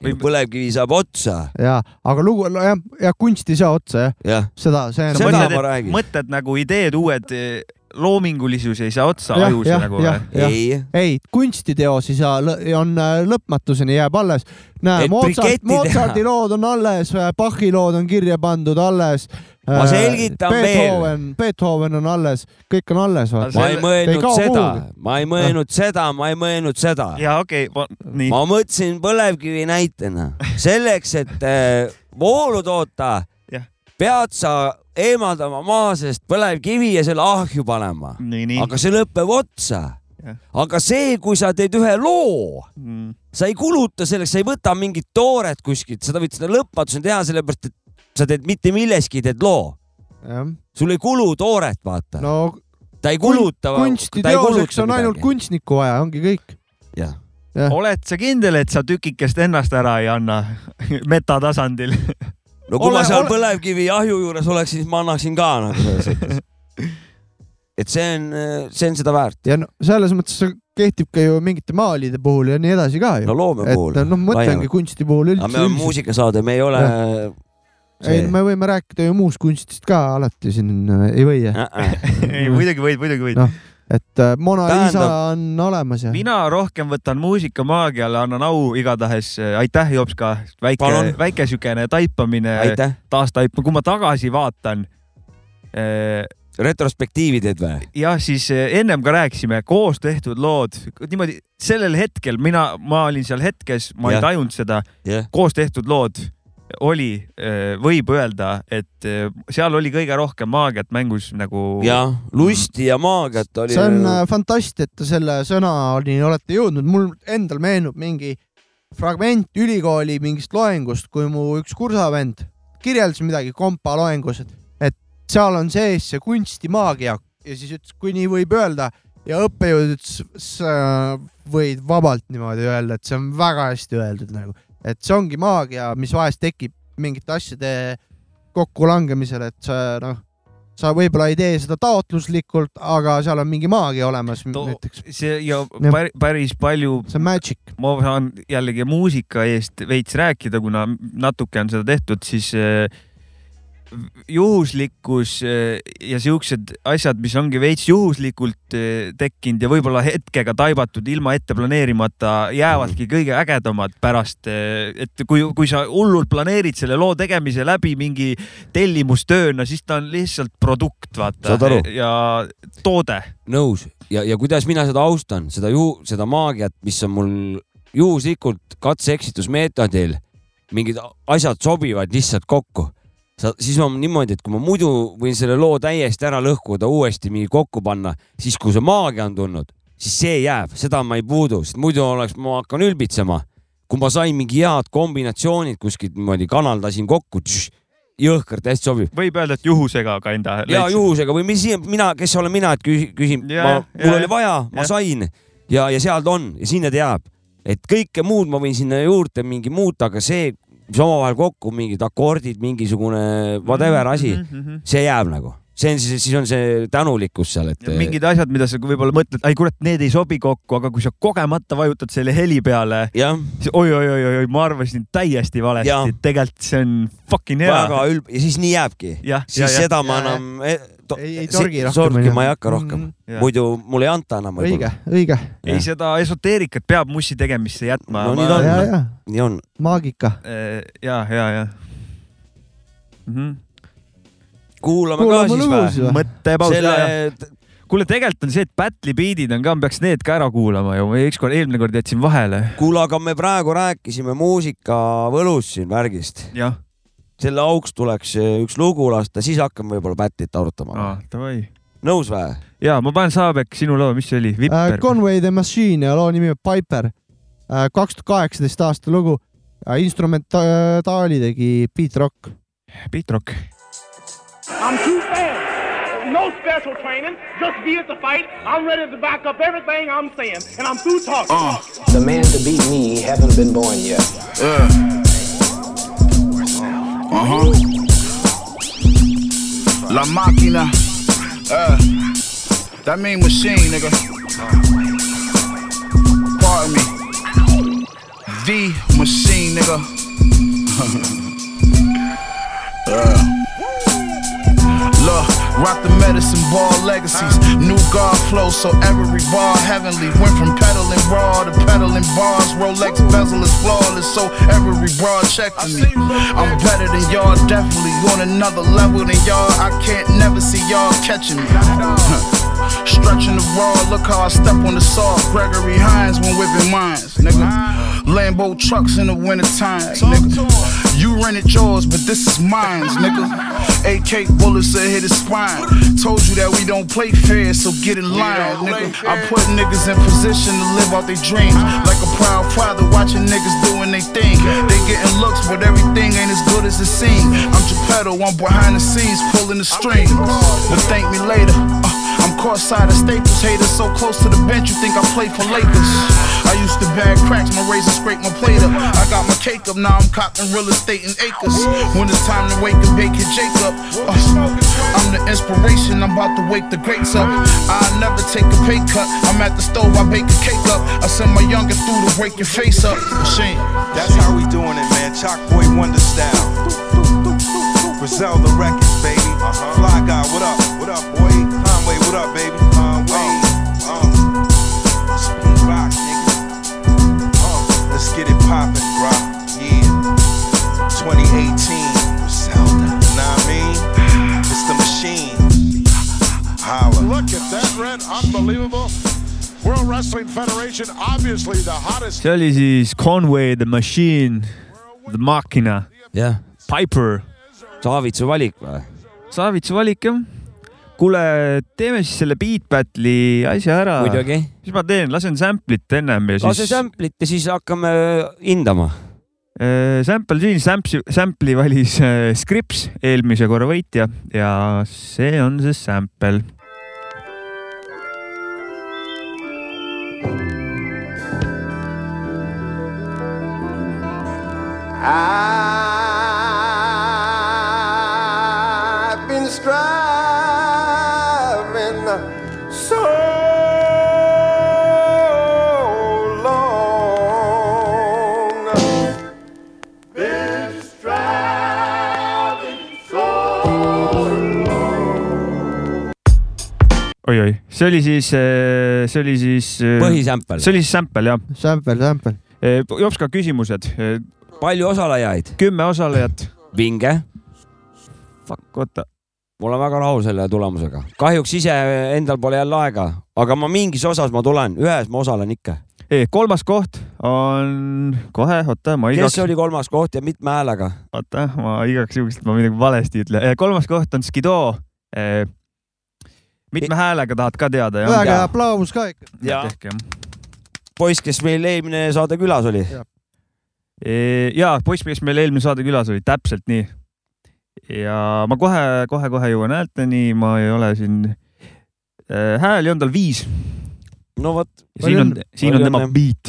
Speaker 2: Või-
Speaker 1: põlevkivi saab otsa ,
Speaker 4: ja , aga lugu , jah , ja kunst ei saa otsa jah ,
Speaker 1: jah .
Speaker 4: seda , see
Speaker 1: Seda
Speaker 4: on .
Speaker 1: ma räägin.
Speaker 2: mõtted nagu ideed uued , loomingulisus ei saa otsa
Speaker 4: Jah,
Speaker 2: ajus
Speaker 4: jah,
Speaker 2: nagu .
Speaker 4: jah.
Speaker 1: ei ,
Speaker 4: ei , kunstiteos ei saa , on äh, lõpmatuseni jääb alles . näe ,
Speaker 1: Et
Speaker 4: Mozart ,
Speaker 1: briketti teha.
Speaker 4: Mozarti lood on alles , Bachi lood on kirja pandud alles .
Speaker 1: Ma selgitan veel.
Speaker 4: Beethoven , Beethoven on alles , kõik on alles .
Speaker 1: ma
Speaker 2: Selle-
Speaker 1: ei
Speaker 2: ei
Speaker 1: mõelnud
Speaker 4: kao
Speaker 1: seda
Speaker 4: kuhugi. ,
Speaker 1: ma ei mõelnud seda , ma ei mõelnud seda
Speaker 2: ja okei , nii .
Speaker 1: ma mõtlesin põlevkivi näitena , selleks , et äh, voolu toota
Speaker 2: Jah. ,
Speaker 1: pead sa eemaldama maa seest põlevkivi ja selle ahju panema ,
Speaker 2: nii , nii .
Speaker 1: aga see lõpeb otsa
Speaker 2: Jah. . aga
Speaker 1: aga see , kui sa teed ühe loo ,
Speaker 2: mm,
Speaker 1: sa ei kuluta selleks , sa ei võta mingit tooret kuskilt , seda võid seda lõpmatuseni teha , sellepärast et sa teed mitte milleski , teed loo . sul ei kulu tooret , vaata no, .
Speaker 4: no
Speaker 1: ta ei kuluta .
Speaker 4: kunstiteoseks on ainult . kunstnikku vaja , ongi kõik .
Speaker 1: jah ,
Speaker 2: oled sa kindel , et sa tükikest ennast ära ei anna metatasandil ?
Speaker 1: no kui
Speaker 4: Ole-
Speaker 1: ma seal
Speaker 4: ole-
Speaker 1: põlevkivi ahju juures oleks , siis ma annaksin ka nagu selles suhtes . et see on , see on seda väärt .
Speaker 4: ja no selles mõttes see kehtib ka ju mingite maalide puhul ja nii edasi ka ju
Speaker 1: no . loome puhul
Speaker 4: et . noh , mõtlengi kunsti puhul
Speaker 1: aga me
Speaker 4: üldse
Speaker 1: oleme . muusikasaade , me ei ole .
Speaker 4: ei , me võime rääkida ju muust kunstist ka alati siin , ei või ?
Speaker 1: Äh,
Speaker 2: ei ,
Speaker 4: Mm.
Speaker 2: muidugi võid , muidugi võid .
Speaker 4: et äh, Mona Lisa
Speaker 1: Tähendab-
Speaker 4: on olemas ja .
Speaker 2: mina rohkem võtan muusikamaagiale , annan au igatahes , aitäh , Jops ka , väike
Speaker 1: Palun. ,
Speaker 2: väike siukene taipamine ,
Speaker 1: aitäh ,
Speaker 2: taastaipamine , kui ma tagasi vaatan .
Speaker 1: retrospektiivi teed või ?
Speaker 2: jah , siis eh, ennem ka rääkisime , koos tehtud lood , niimoodi sellel hetkel mina , ma olin seal hetkes , ma
Speaker 1: Jah.
Speaker 2: ei tajunud seda ,
Speaker 1: jah ,
Speaker 2: koos tehtud lood oli , võib öelda , et eh, seal oli kõige rohkem maagiat mängus nagu .
Speaker 1: ja lusti ja maagiat oli .
Speaker 4: see on äh, fantastia , et te selle sõnani olete jõudnud , mul endal meenub mingi fragment ülikooli mingist loengust , kui mu üks kursavend kirjeldas midagi kompa loengus , et , et seal on sees see kunstimaagia ja siis ütles , kui nii võib öelda ja õppejõud ütles , sa võid vabalt niimoodi öelda , et see on väga hästi öeldud nagu , et see ongi maagia , mis vahest tekib mingite asjade kokkulangemisel , et sa noh , sa võib-olla ei tee seda taotluslikult , aga seal on mingi maagia olemas
Speaker 2: To-
Speaker 4: näiteks ,
Speaker 2: see ja
Speaker 4: Jah.
Speaker 2: pär- päris palju
Speaker 4: see on magic .
Speaker 2: ma saan jällegi muusika eest veits rääkida , kuna natuke on seda tehtud , siis eh, juhuslikkus eh, ja siuksed asjad , mis ongi veits juhuslikult eh, tekkinud ja võib-olla hetkega taibatud ilma ette planeerimata , jäävadki
Speaker 1: Mm.
Speaker 2: kõige ägedamad pärast . et kui , kui sa hullult planeerid selle loo tegemise läbi mingi tellimustööna , siis ta on lihtsalt produkt , vaata
Speaker 1: Saad aru?
Speaker 2: ja toode .
Speaker 1: nõus ja , ja kuidas mina seda austan , seda ju , seda maagiat , mis on mul juhuslikult katse-eksitusmeetodil , mingid a- asjad sobivad lihtsalt kokku . sa , siis on niimoodi , et kui ma muidu võin selle loo täiesti ära lõhkuda , uuesti mingi kokku panna , siis kui see maagia on tulnud , siis see jääb , seda ma ei puudu , sest muidu oleks , ma hakkan ülbitsema . kui ma sain mingi head kombinatsioonid kuskilt niimoodi kanaldasin kokku , jõhkralt hästi sobib .
Speaker 2: võib öelda , et juhusega kinda .
Speaker 1: ja . juhusega või mis , mina , kes olen mina , et küsin , küsin ,
Speaker 2: Jaa,
Speaker 1: mul
Speaker 2: jaa,
Speaker 1: oli vaja , ma
Speaker 2: jah.
Speaker 1: sain ja , ja sealt on ja sinna ta jääb . et kõike muud ma võin sinna juurde mingi muuta , aga see , mis omavahel kokku , mingid akordid , mingisugune whatever asi ,
Speaker 4: Mhm.
Speaker 2: Mhm,
Speaker 1: see jääb nagu , see on siis , siis on see tänulikkus seal , et .
Speaker 2: mingid asjad , mida sa võib-olla mõtled , ai kurat , need ei sobi kokku , aga kui sa kogemata vajutad selle heli peale ,
Speaker 1: jah ,
Speaker 2: siis oi-oi-oi-oi , ma arvasin täiesti
Speaker 1: Jaa.
Speaker 2: valesti , tegelikult see on fucking hea .
Speaker 1: väga ülb- ja siis nii jääbki .
Speaker 2: jah ,
Speaker 1: siis ja, seda ja, ma
Speaker 4: ja,
Speaker 1: enam eh,
Speaker 4: Ei- ei torgi rohkem,
Speaker 1: torgi
Speaker 4: onju.
Speaker 1: ma ei hakka rohkem
Speaker 4: Mhm.
Speaker 1: mm , -hmm. muidu mulle ei anta enam
Speaker 4: õige
Speaker 1: võib-olla .,
Speaker 4: õige .
Speaker 2: ei , seda esoteerikat peab mussi tegemisse jätma .
Speaker 1: No nii ta on.
Speaker 4: ja , ja
Speaker 1: nii on ,
Speaker 4: maagika .
Speaker 2: ja , ja , ja mm . -hmm.
Speaker 1: kuulame ka
Speaker 4: kuulame
Speaker 1: siis
Speaker 4: lõbusi
Speaker 1: või ?
Speaker 4: või ?
Speaker 2: mõttepaus
Speaker 1: selle
Speaker 2: Selle... , kuule , tegelikult on see , et battle'i beat'id on ka , ma peaks need ka ära kuulama ju , ma ükskord , eelmine kord jätsin vahele .
Speaker 1: kuule , aga me praegu rääkisime muusikavõlust siin värgist ,
Speaker 2: jah ,
Speaker 1: selle auks tuleks eh, üks lugu lasta , siis hakkame võib-olla battle'it arutama no. .
Speaker 2: davai .
Speaker 1: nõus või ?
Speaker 2: ja ma panen Saabek sinu loo , mis see oli , Vipper uh, ?
Speaker 4: Äh, Conway the Machine ja loo nimi on Piper . kaks tuhat kaheksateist aasta lugu . Äh, instrumentaali tegi Beat Rock .
Speaker 2: Beat Rock .
Speaker 10: I'm too fast. No special training. Just be at the fight. I'm ready to back up everything I'm saying, and I'm through talking.
Speaker 11: The man to beat me haven't been born yet.
Speaker 7: Uh-huh. La máquina. Uh, that mean machine, nigga. Pardon me. The machine, nigga. Uh. Look, rock the medicine ball legacies. New God flow, so every bar heavenly. Went from peddling raw to peddling bars. Rolex bezel is flawless, so every broad checking me. I'm better than y'all, definitely. On another level than y'all, I can't never see y'all catching me. Stretching the raw, look how I step on the saw. Gregory Hines when whipping mines, nigga. Lambo trucks in the wintertime, nigga. You rented yours, but this is mine, nigga. AK bullets that hit his spine. Told you that we don't play fair, so get in line, nigga. I put niggas in position to live out their dreams. Like a proud father watching niggas doing their thing. They getting looks, but everything ain't as good as it seems. I'm Geppetto, I'm behind the scenes pulling the strings. But thank me later. Uh, I'm cross side of Staples, haters so close to the bench, you think I play for Lakers. I used to bag cracks, my razor scrape my plate up. I got my cake up, now I'm copping real estate in acres. When it's time to wake and bake your Jacob, uh, I'm the inspiration, I'm about to wake the greats up. I never take a pay cut, I'm at the stove, I bake a cake up. I send my youngest through to wake your face up. Machine.
Speaker 5: That's how we doing it, man. Chalk Boy Wonder style. Brazil the records, baby. Fly guy, what up? Uh-huh. What up, boy? Conway, what up, baby? Conway. Uh, Speed rock, nigga. Uh, let's get it poppin', bro. Yeah. 2018. Griselda. Know what I mean? It's the machine. Holla.
Speaker 3: Look at that red, unbelievable. World Wrestling Federation, obviously the hottest.
Speaker 2: see oli siis Conway the Machine , The Machina ,
Speaker 1: jah ,
Speaker 2: Piper .
Speaker 1: Savitsu valik või ?
Speaker 2: Savitsa valik jah . kuule , teeme siis selle Beat Battle'i asja ära .
Speaker 1: muidugi .
Speaker 2: mis ma teen , lasen sample'it ennem ja siis .
Speaker 1: lase sample'it ja siis hakkame eh, hindama .
Speaker 2: Äh, Sample siin , sample'i valis äh, Scripps , eelmise korra võitja ja see on see sample .
Speaker 11: I've been striving so long. Been striving so
Speaker 2: oi-oi , see oli siis , see oli siis . see
Speaker 1: põhisämpel ,
Speaker 2: oli siis sample jah .
Speaker 4: Sample , sample .
Speaker 2: Jopska küsimused ,
Speaker 1: palju osalejaid ?
Speaker 2: kümme osalejat .
Speaker 1: vinge ,
Speaker 2: Fuck , oota ,
Speaker 1: ma olen väga rahul selle tulemusega . kahjuks ise endal pole jälle aega , aga ma mingis osas ma tulen , ühes ma osalen ikka .
Speaker 2: kolmas koht on kohe , oota , ma
Speaker 1: kes
Speaker 2: igaks ,
Speaker 1: oli kolmas koht ja mitme häälega ?
Speaker 2: oota , ma igaks juhuks , et ma midagi valesti ei ütle . kolmas koht on Skido . mitme häälega tahad ka teada jah ?
Speaker 4: väga hea aplaus ka ikka .
Speaker 1: ja
Speaker 2: tehke jah .
Speaker 1: poiss , kes meil eelmine saade külas oli .
Speaker 2: Ee, jaa , poiss , kes meil eelmine saade külas oli , täpselt nii . ja ma kohe-kohe-kohe jõuan häälteni , ma ei ole siin , hääli on tal viis .
Speaker 1: no vot .
Speaker 2: siin on , siin on tema beat .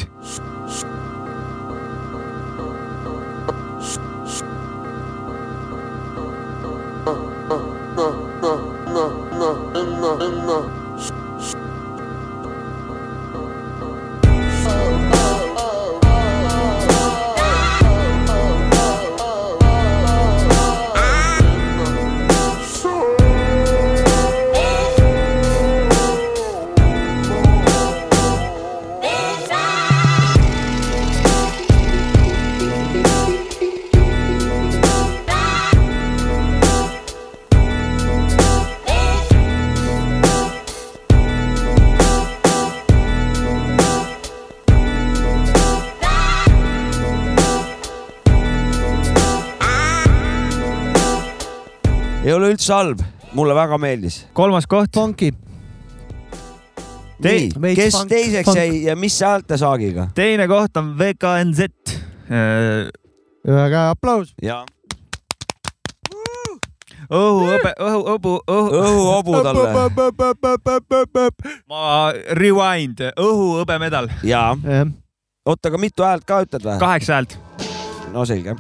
Speaker 1: ei ole üldse halb , mulle väga meeldis .
Speaker 2: kolmas koht .
Speaker 4: Funky .
Speaker 1: Tei- ,
Speaker 2: Veits
Speaker 1: kes
Speaker 2: funk-
Speaker 1: teiseks
Speaker 2: funk.
Speaker 1: jäi ja mis häältesaagiga ?
Speaker 2: teine koht on VKNZ . Äh,
Speaker 4: ühe käe aplaus .
Speaker 1: ja .
Speaker 2: õhuhõbe , õhu , õhu , õhu .
Speaker 1: õhuhobu talle .
Speaker 2: ma rewind , õhuhõbemedal .
Speaker 1: ja . oota , aga mitu häält ka ütled või ?
Speaker 2: kaheksa häält .
Speaker 1: no selge .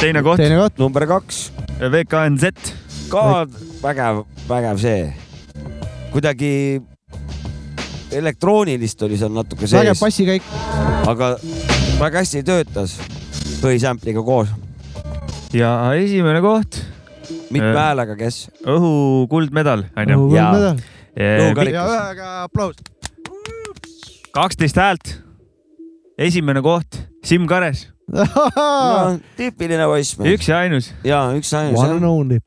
Speaker 2: teine koht .
Speaker 4: teine koht .
Speaker 1: number kaks .
Speaker 2: VKNZ .
Speaker 1: ka vägev , vägev see . kuidagi elektroonilist oli seal natuke sees .
Speaker 4: vägev bassikäik .
Speaker 1: aga väga hästi töötas põhisämpliga koos .
Speaker 2: ja esimene koht . Äh.
Speaker 1: mitme häälega , kes ?
Speaker 2: õhu kuldmedal , onju .
Speaker 1: Jaa.
Speaker 4: medal. ja
Speaker 1: Õhukarikas.
Speaker 4: ühe käe aplaus .
Speaker 2: kaksteist häält . esimene koht , Siim Kares ,
Speaker 1: No, tüüpiline poissmees .
Speaker 2: üks ja ainus .
Speaker 1: ja üks
Speaker 4: One and
Speaker 1: ainus .
Speaker 4: only .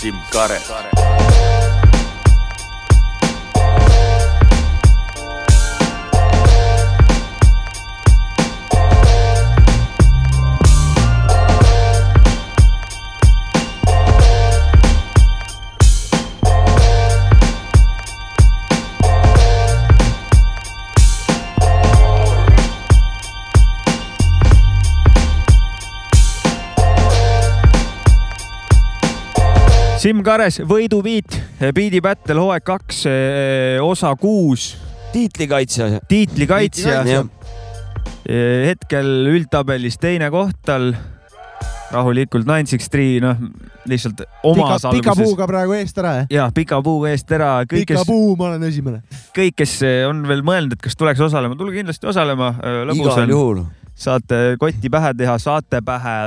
Speaker 9: Sim Kares .
Speaker 2: Siim Kares , võidubiit , Beat'i Battle hooaeg kaks , osa kuus ,
Speaker 1: tiitlikaitsja .
Speaker 2: tiitlikaitsja .
Speaker 1: jah ,
Speaker 2: hetkel üldtabelis teine koht tal , rahulikult nine six three , noh lihtsalt
Speaker 4: pika
Speaker 2: omas ,
Speaker 4: pika
Speaker 2: alguses .
Speaker 4: puuga praegu eest ära , jah ?
Speaker 2: ja pika puu eest ära , kõik ,
Speaker 4: pika
Speaker 2: kes ,
Speaker 4: puu , ma olen esimene .
Speaker 2: kõik , kes äh, on veel mõelnud , et kas tuleks osalema , tulge kindlasti osalema . lõbus
Speaker 1: igal
Speaker 2: on ,
Speaker 1: juhul .
Speaker 2: saate kotti pähe teha , saate pähe ,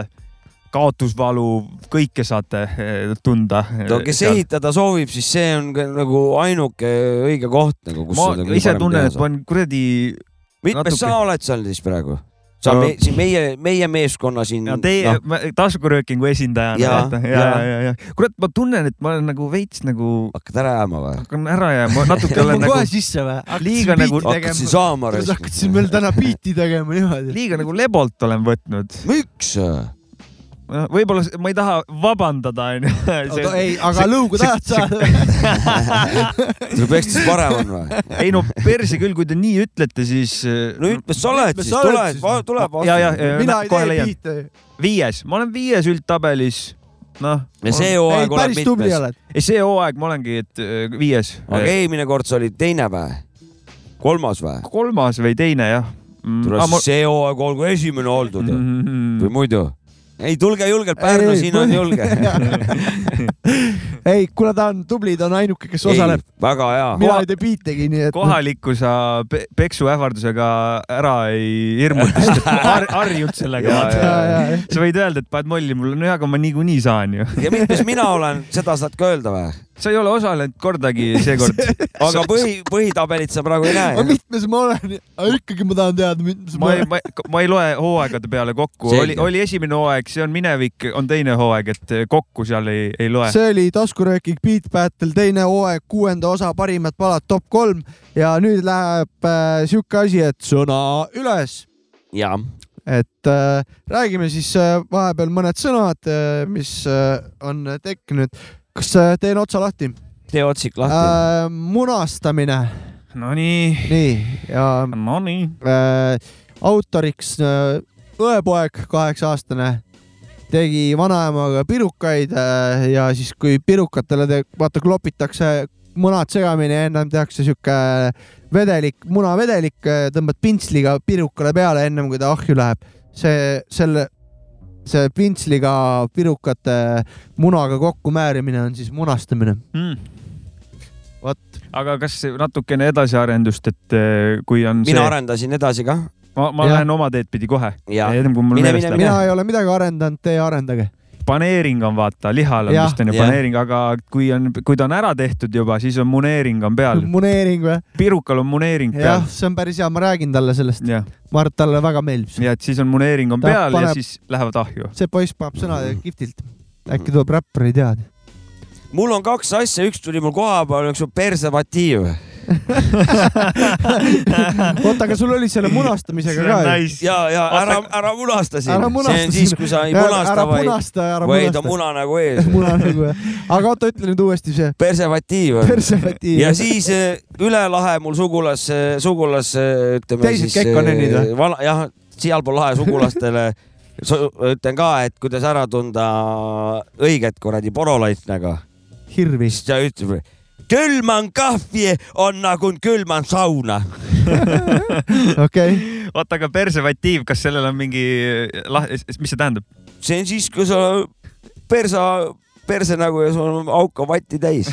Speaker 2: kaotusvalu , kõike saate eh, tunda .
Speaker 1: no kes ehitada soovib , siis see on ka nagu ainuke õige koht nagu , kus
Speaker 2: ma
Speaker 1: seda kõige
Speaker 2: ise
Speaker 1: parem
Speaker 2: tunnen ,
Speaker 1: teha
Speaker 2: et
Speaker 1: saab
Speaker 2: ma . olen kuradi
Speaker 1: mitmes
Speaker 2: natuke-
Speaker 1: sa oled seal siis praegu ? sa
Speaker 2: No-
Speaker 1: me, siin meie , meie meeskonna siin .
Speaker 2: ja teie no. taskuröökingu esindajana .
Speaker 1: Mm, noh. Jaa,
Speaker 2: ja , ja,
Speaker 1: jaa.
Speaker 2: ja , ja kurat , ma tunnen , et ma olen nagu veits nagu
Speaker 1: hakkad ära jääma või ?
Speaker 2: hakkan ära jääma , natuke
Speaker 4: ma
Speaker 2: olen
Speaker 4: kohe
Speaker 2: nagu
Speaker 4: sisse või ?
Speaker 2: liiga nagu ,
Speaker 1: hakkad siin saama
Speaker 4: hakkasin veel täna biiti tegema niimoodi .
Speaker 2: liiga nagu lebolt olen võtnud .
Speaker 1: miks ?
Speaker 2: noh , võib-olla s- ma ei taha vabandada , onju .
Speaker 4: ei , aga lõugu tahad saada ?
Speaker 1: sul peaks siis parem on või ?
Speaker 2: ei no perse küll , kui te nii ütlete , siis . äh,
Speaker 1: no mitmes sa oled
Speaker 4: Mitmes
Speaker 1: siis ,
Speaker 4: sa oled
Speaker 1: tule
Speaker 4: siis? ,
Speaker 1: tule
Speaker 2: ja , ja
Speaker 1: vastu .,
Speaker 4: mina ei
Speaker 2: kohe
Speaker 4: tee
Speaker 2: leian .
Speaker 4: biite ju .
Speaker 2: viies , ma olen viies üldtabelis . noh .
Speaker 1: ja see
Speaker 4: ei ,
Speaker 1: hooaeg oled
Speaker 4: päris tubli
Speaker 1: mitmes .
Speaker 4: oled .
Speaker 2: ei , see hooaeg ma olengi , et äh, viies
Speaker 1: aga . eelmine kord sa olid teine või ? kolmas või ?
Speaker 2: kolmas või teine jah mm, .
Speaker 1: tule siis see hooaeg olgu esimene oldud
Speaker 2: Mhm.
Speaker 1: ju. või muidu . ei , tulge julgelt Pärnu ,
Speaker 4: Ei,
Speaker 1: siin on
Speaker 4: põhi-
Speaker 1: julge .
Speaker 4: ei , kuule , ta on tubli , ta on ainuke , kes osaleb .
Speaker 1: väga hea .
Speaker 4: mina ei tee biitegi , nii et .
Speaker 2: kohalikku sa pe- peksu ähvardusega ära ei hirmuta , sest et har- harjunud sellega . sa võid öelda , et paned molli mulle , no jaa , aga ma niikuinii saan ju .
Speaker 1: ja mitmes mina olen , seda saad ka öelda või ?
Speaker 2: sa ei ole osalenud kordagi seekord .
Speaker 1: aga põhi , põhitabelit sa praegu ei
Speaker 4: aga
Speaker 1: näe .
Speaker 4: mitmes ma olen , aga ikkagi ma tahan teada , mitmes ma
Speaker 2: ma ei ,
Speaker 4: olen .
Speaker 2: ma ei , ma ei loe hooaegade peale kokku ,
Speaker 1: Selge.
Speaker 2: oli , oli esimene hooaeg , see on minevik , on teine hooaeg , et eh, kokku seal ei , ei loe .
Speaker 4: see oli taskurööking Beat Battle teine hooaeg , kuuenda osa , parimad palad top kolm ja nüüd läheb äh, sihuke asi , et sõna üles ,
Speaker 1: jaa .
Speaker 4: et äh, räägime siis äh, vahepeal mõned sõnad äh, , mis äh, on tekkinud . kas äh, teen otsa lahti,
Speaker 1: tee otsik lahti .
Speaker 4: lahti. ? Äh, munastamine ,
Speaker 2: Nonii ,
Speaker 4: nii ja
Speaker 2: nonii .
Speaker 4: äh, autoriks äh, õepoeg , kaheksa aastane , tegi vanaemaga pirukaid äh, ja siis , kui pirukatele te, vaata klopitakse munad segamini ja ennem tehakse sihuke vedelik , munavedelik , tõmbad pintsliga pirukale peale ennem kui ta ahju läheb . see , selle , see pintsliga pirukate munaga kokkumäärimine on siis munastamine . Vot.
Speaker 2: Hmm. aga kas natukene edasiarendust , et eh, kui on
Speaker 1: mina
Speaker 2: see ,
Speaker 1: arendasin edasi kah .
Speaker 2: ma , ma
Speaker 4: Jah.
Speaker 2: lähen oma teed pidi kohe .
Speaker 1: Jah.
Speaker 2: ennem kui mul
Speaker 1: Mine,
Speaker 2: meelest
Speaker 1: mine,
Speaker 2: läheb .
Speaker 4: mina ei ole midagi arendanud , teie arendage .
Speaker 2: paneering on vaata , lihal on
Speaker 4: Jah.
Speaker 2: vist onju
Speaker 1: Jah.
Speaker 2: paneering , aga kui on , kui ta on ära tehtud juba , siis on muneering on peal .
Speaker 4: muneering või ?
Speaker 2: pirukal on muneering
Speaker 4: jah
Speaker 2: peal .,
Speaker 4: see on päris hea , ma räägin talle sellest .
Speaker 2: jah ,
Speaker 4: ma arvan , et talle väga meeldib see .
Speaker 2: ja et siis on muneering on
Speaker 4: Ta
Speaker 2: peal ja
Speaker 4: paneb-
Speaker 2: siis lähevad ahju .
Speaker 4: see poiss paneb sõnadega
Speaker 1: Mm-hmm.
Speaker 4: kihvtilt . äkki tuleb räppar , ei tea .
Speaker 1: mul on kaks asja , üks tuli mul koha peal , üks on preservatiiv .
Speaker 4: oota , aga sul oli selle munastamisega ka ju ?
Speaker 1: ja , ja ära , ära munasta siin .
Speaker 4: Ära munasta
Speaker 1: see on siis ,
Speaker 4: siin.
Speaker 1: kui sa ei
Speaker 4: Ära-
Speaker 1: munasta ,
Speaker 4: ära
Speaker 1: vaid ,
Speaker 4: punasta ja ära
Speaker 1: vaid on
Speaker 4: punasta .
Speaker 1: muna nagu ees .
Speaker 4: muna nagu jah . aga oota , ütle nüüd uuesti see
Speaker 1: preservatiiv .
Speaker 4: preservatiiv .
Speaker 1: ja siis eh, üle lahe mul sugulas , sugulas eh, ütleme
Speaker 4: Teised
Speaker 1: siis .
Speaker 4: kekkonennid või?
Speaker 1: vana , jah , siialpool lahe sugulastele so, ütlen ka , et kuidas ära tunda õiget kuradi porolaitnaga .
Speaker 4: hirvi .
Speaker 1: siis ta ütleb , külman kahvi on nagu külman sauna .
Speaker 4: okei ,
Speaker 2: oota , aga preservatiiv , kas sellel on mingi lah- , mis see tähendab ?
Speaker 1: see on siis , kui sa persa , perse nägu ja sul on auk on vatti täis .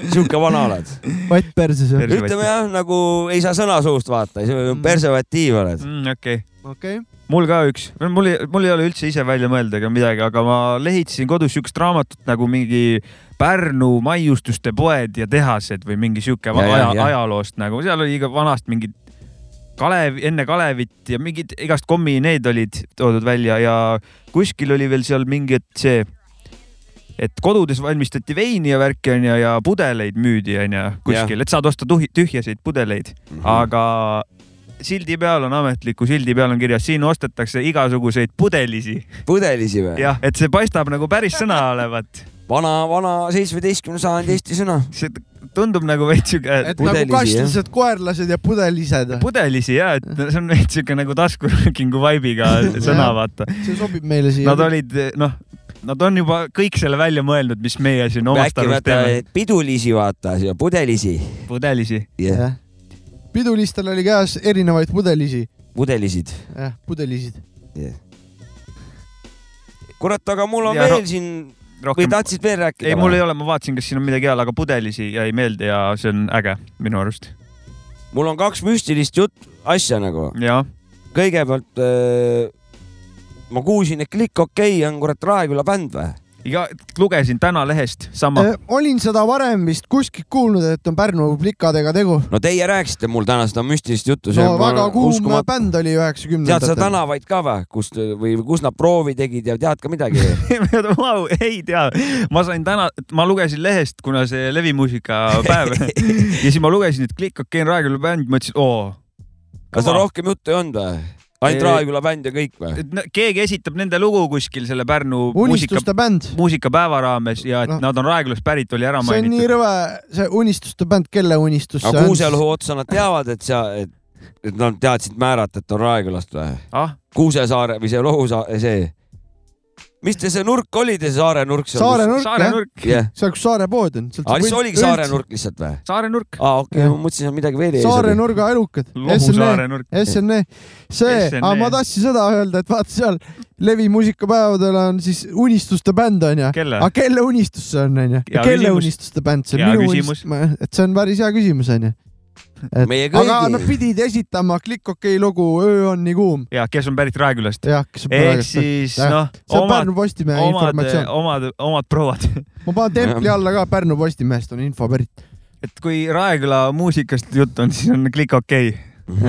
Speaker 1: sihuke vana oled .
Speaker 4: vatt perses või ?
Speaker 1: ütleme jah , nagu ei saa sõna suust vaata ,
Speaker 4: Mm.
Speaker 1: preservatiiv oled .
Speaker 2: mm, . okei
Speaker 4: okei .
Speaker 2: okay. , mul ka üks , mul , mul ei ole üldse ise välja mõelda ega midagi , aga ma lehitsesin kodus siukest raamatut nagu mingi Pärnu maiustuste poed ja tehased või mingi siuke
Speaker 1: Ja, ja,
Speaker 2: aja,
Speaker 1: ja.
Speaker 2: ajaloost nagu , seal oli iga vanast mingid Kalev , enne Kalevit ja mingid igast kommi , need olid toodud välja ja kuskil oli veel seal mingi , et see , et kodudes valmistati veini ja värki onju ja pudeleid müüdi onju kuskil , et saad osta tuhi- tühjaseid pudeleid mm , -hmm. aga sildi peal on ametliku sildi peal on kirjas , siin ostetakse igasuguseid pudelisi .
Speaker 1: pudelisi või ?
Speaker 2: jah , et see paistab nagu päris sõna olevat .
Speaker 1: vana , vana seitsmeteistkümnenda sajandi Eesti sõna .
Speaker 2: see tundub nagu veits siuke
Speaker 4: et nagu
Speaker 1: Pudelisi,
Speaker 4: kastlased , koerlased ja pudelised .
Speaker 2: pudelisi ja , et see on veits siuke nagu taskuröökingu vibe'iga sõna , vaata .
Speaker 4: see sobib meile siia
Speaker 2: Nad . olid noh , nad on juba kõik selle välja mõelnud , mis meie siin omast
Speaker 1: äkki
Speaker 2: arust
Speaker 1: vaata
Speaker 2: teeme .
Speaker 1: pidulisi vaata , pudelisi
Speaker 2: pudelisi .
Speaker 1: yeah. ,
Speaker 4: pidulistel oli käes erinevaid pudelisi .
Speaker 1: pudelisid
Speaker 4: jah , pudelisid .
Speaker 1: yeah. . kurat , aga mul on
Speaker 2: Ja
Speaker 1: ja,
Speaker 2: ro-
Speaker 1: veel siin või
Speaker 2: rohkem .
Speaker 1: tahtsid veel rääkida ?
Speaker 2: ei , mul ei ole , ma vaatasin , kas siin on midagi heal , aga pudelisi jäi meelde ja see on äge minu arust .
Speaker 1: mul on kaks müstilist jutt , asja nagu .
Speaker 2: ja ,
Speaker 1: kõigepealt äh, ma kuulsin , et Click OK on kurat Raeküla bänd või ?
Speaker 2: iga , lugesin täna lehest sama .
Speaker 1: Äh.
Speaker 4: Äh, olin seda varem vist kuskilt kuulnud , et on Pärnu plikadega tegu .
Speaker 1: no teie rääkisite mulle täna seda müstilist juttu .
Speaker 4: no väga kuum . bänd oli
Speaker 1: tead sa
Speaker 4: üheksakümnendatel .
Speaker 1: tänavaid ka või , kust või kus nad proovi tegid ja tead ka midagi või ?
Speaker 2: Vau , ei tea , ma sain täna , ma lugesin lehest , kuna see levimuusika päev ja siis ma lugesin , et Click OK on Raekoja bänd , mõtlesin , oo ,
Speaker 1: kas
Speaker 2: Come
Speaker 1: sul
Speaker 2: on.
Speaker 1: rohkem juttu ei olnud või ? ainult
Speaker 2: Ei.
Speaker 1: Raeküla bänd ja kõik või ?
Speaker 2: et no, keegi esitab nende lugu kuskil selle Pärnu muusika ,
Speaker 4: unistuste bänd
Speaker 2: muusikapäeva raames ja et no.
Speaker 4: No.
Speaker 2: nad on Raekojas pärit , oli ära
Speaker 4: see on nii
Speaker 2: mainitud .
Speaker 4: rõve , see unistuste bänd , kelle unistus see
Speaker 1: aga
Speaker 4: on ?
Speaker 1: Kuuseluhu otsa nad teavad , et sa , et , et nad teadsid määrata , et on Raekülast või ?
Speaker 2: ah ,
Speaker 1: Kuusesaare või see Lohusaare , see mis te see nurk oli , te saare nurk seal ?
Speaker 4: saare nurk ,
Speaker 1: jah
Speaker 4: jah ?, seal , kus saare pood on .
Speaker 1: aa , siis oligi saare nurk lihtsalt või ?
Speaker 2: saare nurk .
Speaker 1: aa , okei , ma mõtlesin , et midagi veel ees
Speaker 4: saare nurga elukad . E.
Speaker 1: Lohu saare nurk.
Speaker 4: SNE , see ,
Speaker 1: SNE.
Speaker 4: aga ma tahtsin seda öelda , et vaata seal Levi muusikapäevadel on siis unistuste bänd onju .
Speaker 2: Kelle?
Speaker 4: aga kelle unistus see on onju ?
Speaker 2: Hea
Speaker 4: kelle
Speaker 2: küsimus.
Speaker 4: unistuste bänd see
Speaker 2: Hea
Speaker 4: on ? minu
Speaker 2: küsimus.
Speaker 4: unistus , et see on päris hea küsimus onju .
Speaker 1: Meie
Speaker 4: aga
Speaker 1: kõigi.
Speaker 4: nad pidid esitama Click OK lugu Öö on nii kuum .
Speaker 2: ja kes on pärit Raekülast .
Speaker 4: jah , kes on
Speaker 2: ehk
Speaker 4: Raekülast.
Speaker 2: siis
Speaker 4: Jah.
Speaker 2: noh , eh,
Speaker 4: See on Pärnu Postimehe informatsioon.
Speaker 2: omad , omad prouad .
Speaker 4: ma panen templi alla ka Pärnu Postimehest on info pärit .
Speaker 2: et kui Raeküla muusikast jutt on , siis on Click OK . Mhm.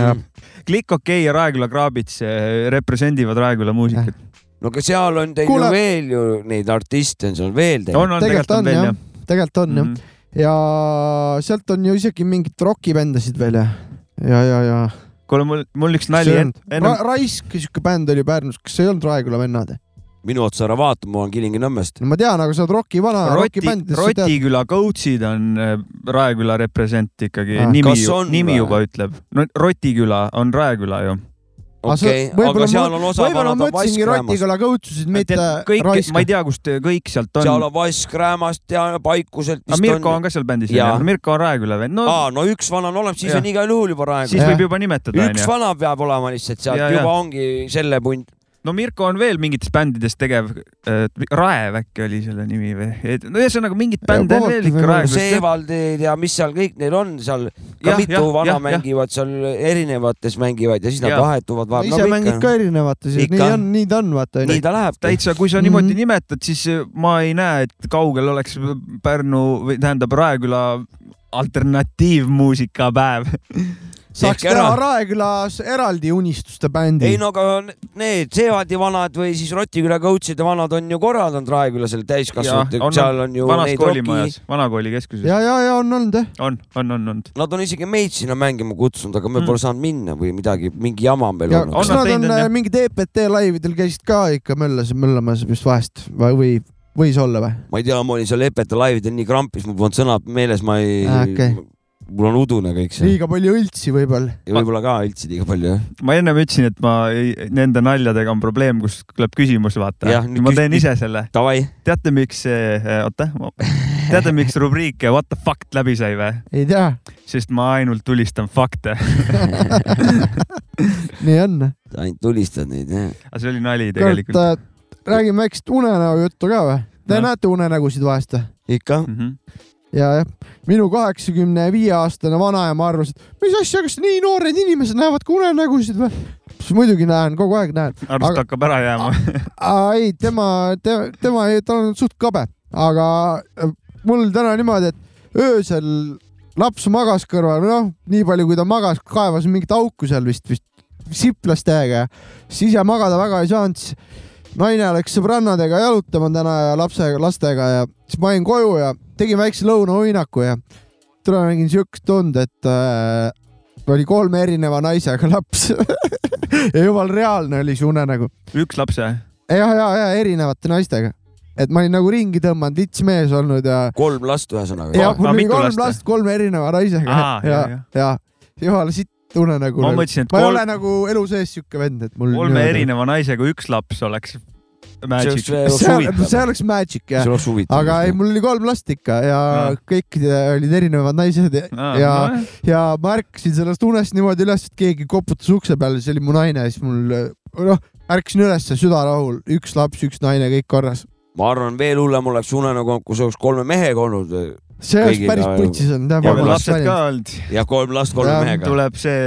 Speaker 2: Click OK ja Raeküla kraabits eh, represendivad Raeküla muusikat .
Speaker 1: no aga seal on teil
Speaker 4: Kuule-
Speaker 1: ju veel ju neid artiste on seal veel teil .
Speaker 2: On, Mm. Mhm. on,
Speaker 4: tegelikult on jah , tegelikult on jah . ja sealt on ju isegi mingit rokibändasid veel ja , ja , ja , ja .
Speaker 2: kuule , mul , mul üks nali en-
Speaker 4: Ra
Speaker 2: ennem .
Speaker 4: Raisk , siuke bänd oli Pärnus , kas see ei olnud Raeküla vennad ?
Speaker 1: minu otsa ära vaata , ma olen Kilingi-Nõmmest .
Speaker 4: no ma tean , aga sa oled roki vana ,
Speaker 2: Roti ,
Speaker 4: rokibänd .
Speaker 2: Rotiküla Coachid on eh, Raeküla represent ikkagi
Speaker 4: Ah. ,
Speaker 2: nimi
Speaker 1: Kas , on
Speaker 2: nimi
Speaker 1: või?
Speaker 2: juba ütleb . no Rotiküla on Raeküla ju .
Speaker 1: okei , aga seal on osa
Speaker 4: võib-olla ma
Speaker 1: vanad on
Speaker 4: mõtlesingi
Speaker 1: Vaskrämast .
Speaker 4: Rotiküla kõutsusid , mitte
Speaker 2: kõik , ma
Speaker 4: Raiska
Speaker 2: ei . tea , kust kõik sealt on .
Speaker 1: seal on Vaskrämast ja Paikuselt
Speaker 2: aga
Speaker 1: vist
Speaker 2: Mirko on ka seal bändis ,
Speaker 1: Jaa.
Speaker 2: Mirko on Raeküla vend , no
Speaker 1: aa , no üks vana on olemas , siis
Speaker 2: Jah.
Speaker 1: on igal juhul juba praegu .
Speaker 2: siis võib juba nimetada ,
Speaker 1: üks
Speaker 2: onju .
Speaker 1: vana peab olema lihtsalt sealt ,
Speaker 2: Jaa,
Speaker 1: juba
Speaker 2: jaa.
Speaker 1: ongi selle punt .
Speaker 2: no Mirko on veel mingites bändides tegev , Raev äkki oli selle nimi või ? no ühesõnaga mingit bände on veel ikka Raev .
Speaker 1: Seevaldid ja mis seal kõik neil on seal , ka
Speaker 2: Jah,
Speaker 1: mitu
Speaker 2: jah,
Speaker 1: vana
Speaker 2: jah, jah.
Speaker 1: mängivad seal erinevates mängivad ja siis nad
Speaker 2: Jah.
Speaker 1: vahetuvad vahel .
Speaker 4: ise mängid ka erinevates ja nii
Speaker 1: Ikka.
Speaker 4: on , nii ta on , vaata .
Speaker 1: nii ta läheb .
Speaker 2: täitsa , kui sa niimoodi
Speaker 4: Mhm.
Speaker 2: nimetad , siis äh, ma ei näe , et kaugel oleks Pärnu või tähendab Raeküla alternatiivmuusikapäev .
Speaker 4: saaks
Speaker 1: Tehke ära.
Speaker 4: teha Raekülas eraldi unistuste bändi
Speaker 1: ei . no aga need Seevaldi vanad või siis Rotiküla coach'ide vanad on ju korraldanud Raeküla seal täiskasvanute , seal on ju
Speaker 2: vanas
Speaker 1: neid roki ,
Speaker 2: koolimajas , vanakooli keskuses .
Speaker 4: ja , ja , ja on olnud jah .
Speaker 2: on , on , on olnud .
Speaker 1: nad on isegi meid sinna mängima kutsunud , aga me pole saanud minna või midagi , mingi jama on veel
Speaker 4: ja
Speaker 1: olnud .
Speaker 4: kas
Speaker 2: On
Speaker 4: nad
Speaker 2: nad
Speaker 4: on
Speaker 2: teinud, on, jah?
Speaker 4: äh, mingid EPT laividel käisid ka ikka möllas , möllamas vist vahest või , või võis olla või ?
Speaker 1: ma ei tea , ma olin seal Epeta laividel nii krampis , mul polnud sõnad meeles , ma ei
Speaker 4: Aa, okei. ,
Speaker 1: mul on udune kõik see .
Speaker 4: liiga palju õltsi võib-olla .
Speaker 1: ja võib-olla ka üldse liiga palju jah .
Speaker 2: ma ennem ütlesin , et ma ei, nende naljadega on probleem , kus tuleb küsimus , vaata
Speaker 1: Jah, . nüüd
Speaker 2: ma
Speaker 1: küs-
Speaker 2: teen ise selle .
Speaker 1: Davai ,
Speaker 2: teate , miks see , oota , teate , miks rubriik What the fuck läbi sai või ?
Speaker 4: ei tea ,
Speaker 2: sest ma ainult tulistan fakte .
Speaker 4: nii on .
Speaker 1: ainult tulistad neid jah .
Speaker 2: aga see oli nali tegelikult .
Speaker 4: äh, räägime väikest unenäo juttu ka või ? Te
Speaker 2: Jah.
Speaker 4: näete unenägusid vahest või ?
Speaker 1: ikka
Speaker 2: Mm -hmm.
Speaker 4: ja , jah . minu kaheksakümne viie aastane vanaema arvas , et mis asja , kas nii noored inimesed näevad ka unenägusid või ? muidugi näen , kogu aeg näen .
Speaker 2: armsust
Speaker 4: Aga-
Speaker 2: hakkab ära jääma .
Speaker 4: Aa, ei , tema te, , tema , tal on suht kabe , aga äh, mul täna niimoodi , et öösel laps magas kõrval , noh , nii palju kui ta magas , kaevas mingit auku seal vist , vist siplas täiega ja siis ise magada väga ei saanud , siis naine läks sõbrannadega jalutama täna ja lapsega , lastega ja siis ma jäin koju ja tegin väikse lõunauinaku ja täna nägin siukest tund , et äh, oli kolme erineva naisega laps . ja jumal reaalne oli see nagu. unenägu .
Speaker 2: üks lapse .
Speaker 4: ja , ja , ja erinevate naistega , et ma olin nagu ringi tõmmanud , lits mees olnud ja ,
Speaker 1: kolm last ühesõnaga .
Speaker 4: ja mul
Speaker 2: aa,
Speaker 4: oli
Speaker 2: mitu
Speaker 4: kolm
Speaker 2: last või?
Speaker 4: last kolme erineva naisega
Speaker 2: Aa,
Speaker 4: ja
Speaker 2: ja, ,
Speaker 4: ja jumala sitt tunne nagu .
Speaker 2: ma mõtlesin , et
Speaker 4: ma ei
Speaker 2: kolm,
Speaker 4: ole nagu elu sees siuke vend , et mul .
Speaker 2: kolme . erineva naisega üks laps oleks magic .
Speaker 1: see oleks
Speaker 4: see
Speaker 1: huvitav .
Speaker 4: see oleks magic jah
Speaker 1: see , oleks huvitav .
Speaker 4: aga ei , mul oli kolm last ikka ja
Speaker 2: Aa.
Speaker 4: kõik olid erinevad naised ja , ja , ja ma ärkasin sellest unest niimoodi üles , et keegi koputas ukse peale , see oli mu naine , siis mul noh , ärkasin üles , süda rahul , üks laps , üks naine , kõik korras .
Speaker 1: ma arvan , veel hullem oleks unenägu , kui see oleks kolme mehega olnud
Speaker 4: see oleks
Speaker 1: Kõigiga
Speaker 4: päris
Speaker 1: ju-
Speaker 4: putsis olnud
Speaker 1: Ja
Speaker 4: jah .
Speaker 2: kolm lapset ka olnud .
Speaker 1: ja kolm last kolme
Speaker 4: Jah,
Speaker 1: mehega .
Speaker 2: tuleb see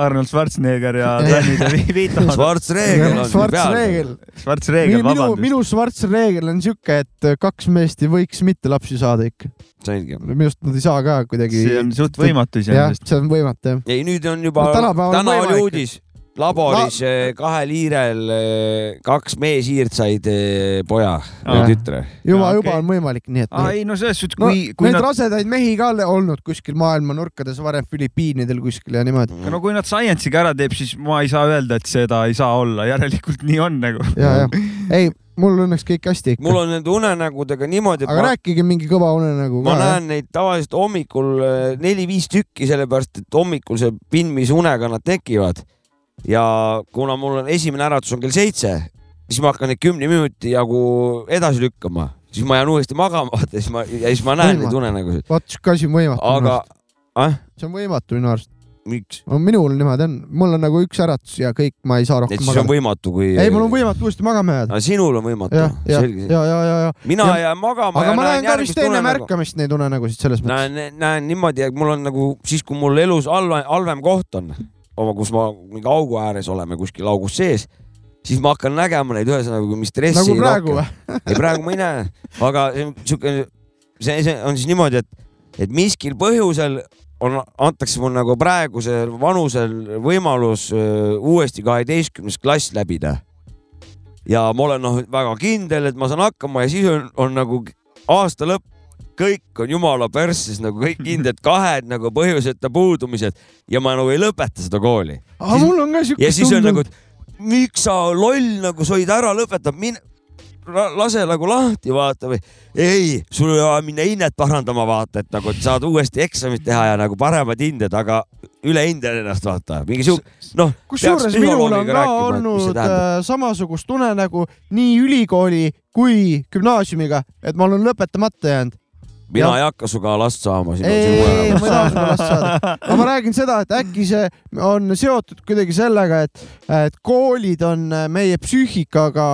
Speaker 2: Arnold Schwarzenegger ja Danny DeVito .
Speaker 1: Schwarzenegger on seal
Speaker 4: Schwarz
Speaker 1: peal .
Speaker 4: reegel ,
Speaker 2: Schwarzenegger ,
Speaker 4: minu ,
Speaker 2: vabandust .
Speaker 4: minu Schwarz reegel on siuke , et äh, kaks meest ei võiks mitte lapsi saada ikka .
Speaker 1: selge .
Speaker 4: minu arust nad ei saa ka kuidagi .
Speaker 2: see on suht võimatu
Speaker 4: jah ,
Speaker 2: iseenesest .
Speaker 4: see on võimatu jah .
Speaker 1: ei , nüüd on juba
Speaker 4: No , Noh, tänapäeval on
Speaker 1: täna oli
Speaker 4: võimalik.
Speaker 1: uudis , laboris eh, kahel hiirel eh, kaks meeshiirt said eh, poja
Speaker 2: Aa.
Speaker 1: või tütre .
Speaker 4: juba ,
Speaker 2: Jaa,
Speaker 4: juba
Speaker 2: okei.
Speaker 4: on võimalik , nii et .
Speaker 2: aa ei no selles suhtes ,
Speaker 4: no,
Speaker 2: kui , kui
Speaker 4: neid
Speaker 2: nad ,
Speaker 4: rasedaid mehi ka ole- olnud kuskil maailma nurkades varem Filipiinidel kuskil ja niimoodi .
Speaker 2: no kui nad science'iga ära teeb , siis ma ei saa öelda , et seda ei saa olla , järelikult nii on nagu .
Speaker 4: ja , ja ei , mul õnneks kõik hästi ikka .
Speaker 1: mul on nende unenägudega niimoodi , et
Speaker 4: aga
Speaker 1: ma
Speaker 4: rääkige mingi kõva unenägu
Speaker 1: ma
Speaker 4: ka .
Speaker 1: näen neid tavaliselt hommikul äh, neli-viis tükki , sellepärast et hommikul see pind , mis unega nad tekivad ja kuna mul on esimene äratus on kell seitse , siis ma hakkan neid kümne minuti jagu edasi lükkama , siis ma jään uuesti magama , vaata siis ma ja siis ma näen neid
Speaker 4: Võimatu.
Speaker 1: unenägusid .
Speaker 4: vaat sihuke asi on võimatu
Speaker 1: aga , ah ,
Speaker 4: see on võimatu minu arust .
Speaker 1: miks ?
Speaker 4: no minul niimoodi on , mul on nagu üks äratus ja kõik , ma ei saa
Speaker 1: et
Speaker 4: rohkem
Speaker 1: siis on
Speaker 4: magada .
Speaker 1: võimatu , kui .
Speaker 4: ei , mul on võimatu uuesti magama jääda .
Speaker 1: aga sinul on võimatu
Speaker 4: jah , ja ,
Speaker 1: selge see .
Speaker 4: ja , ja , ja , ja .
Speaker 1: mina jään magama
Speaker 4: aga
Speaker 1: ja
Speaker 4: ma
Speaker 1: näen
Speaker 4: näen ka
Speaker 1: järgmist
Speaker 4: vist enne
Speaker 1: unenägu.
Speaker 4: märkamist neid unenägusid selles mõttes .
Speaker 1: näen , näen niimoodi , et mul on nagu siis , kui mul elus halva , halvem koht on , oma , kus ma mingi augu ääres oleme kuskil augus sees , siis ma hakkan nägema neid ühesõnaga , mis stressi
Speaker 4: nagu praegu või ?
Speaker 1: ei , praegu ma ei näe , aga see on siuke , see , see on siis niimoodi , et , et miskil põhjusel on , antakse mul nagu praegusel vanusel võimalus öö, uuesti kaheteistkümnes klass läbida . ja ma olen noh , väga kindel , et ma saan hakkama ja siis on, on nagu aasta lõpp , kõik on jumala persses nagu kõik kindlad kahed nagu põhjuseta puudumised ja ma nagu ei lõpeta seda kooli .
Speaker 4: aga mul on ka
Speaker 1: ja
Speaker 4: siukest
Speaker 1: siis on nagu , et miks sa loll nagu sõid ära , lõpetab , mine , lase nagu lahti vaata või ei , sul ei ole vaja minna hinnet parandama , vaata , et nagu et saad uuesti eksamit teha ja nagu paremad hinded , aga üle hindan ennast vaata , mingi siuke , noh .
Speaker 4: kusjuures minul on ka olnud äh, samasugust unenägu nii ülikooli kui gümnaasiumiga , et ma olen lõpetamata jäänud .
Speaker 1: mina
Speaker 4: äh, jah.
Speaker 1: ei hakka sinuga last saama ,
Speaker 4: ei ,
Speaker 1: sinu ,
Speaker 4: ei ,
Speaker 1: sinu
Speaker 4: ei , ma ei taha
Speaker 1: unenägu .
Speaker 4: seda last saada . aga ma räägin seda , et äkki see on seotud kuidagi sellega , et , et koolid on meie psüühikaga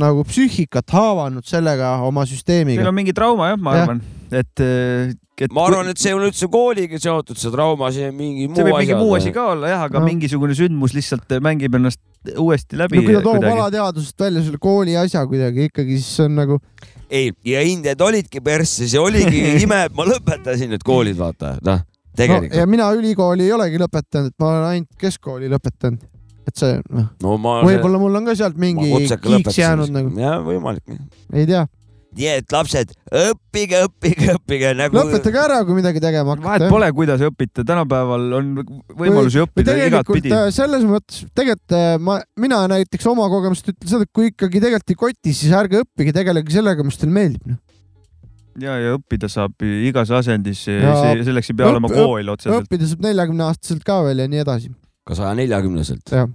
Speaker 4: nagu psüühikat haavanud sellega oma
Speaker 2: Teil
Speaker 4: süsteemiga
Speaker 2: on . mingi trauma jah , ma
Speaker 4: Jah.
Speaker 2: arvan , et, äh, et .
Speaker 1: ma arvan , et see ei ole üldse kooliga seotud , see trauma , see on mingi muu äh.
Speaker 2: see võib
Speaker 1: asjaga .
Speaker 2: mingi muu asi ka olla jah , aga
Speaker 4: No.
Speaker 2: no. mingisugune sündmus lihtsalt äh, mängib ennast uuesti läbi
Speaker 4: no kui ta toob . alateadvusest välja selle kooli asja kuidagi ikkagi , siis see on nagu ,
Speaker 1: ei , ja hinded olidki persse , see oligi ime , et ma lõpetasin need koolid , vaata , noh ,
Speaker 4: no,
Speaker 1: tegelikult
Speaker 4: ja mina ülikooli ei olegi lõpetanud , et ma olen ainult keskkooli lõpetanud . et see ,
Speaker 1: no, .
Speaker 4: noh ,
Speaker 1: no ma .
Speaker 4: võib-olla mul on ka sealt mingi kiiks jäänud nagu ,.
Speaker 1: jah , võimalik .
Speaker 4: ei tea .
Speaker 1: nii et lapsed , õppige , õppige , õppige nagu .
Speaker 4: lõpetage ära , kui midagi tegema
Speaker 2: vahet
Speaker 4: hakkate .
Speaker 2: pole , kuidas õpite , tänapäeval on võimalusi õppida igatpidi .
Speaker 4: selles mõttes tegelikult äh, ma , mina näiteks oma kogemust ütlen seda , et kui ikkagi tegelikult ei koti , siis ärge õppige , tegelege sellega , mis teile meeldib noh. no. .
Speaker 2: ja , ja õppida saab igas asendis ,
Speaker 4: Ja
Speaker 2: selleks ei pea
Speaker 4: õpp-
Speaker 2: olema
Speaker 4: õpp-
Speaker 2: kool otseselt .
Speaker 4: õppida saab neljakümne aastaselt ka veel ja nii edasi .
Speaker 1: ka saja neljakümneselt .
Speaker 4: jah ,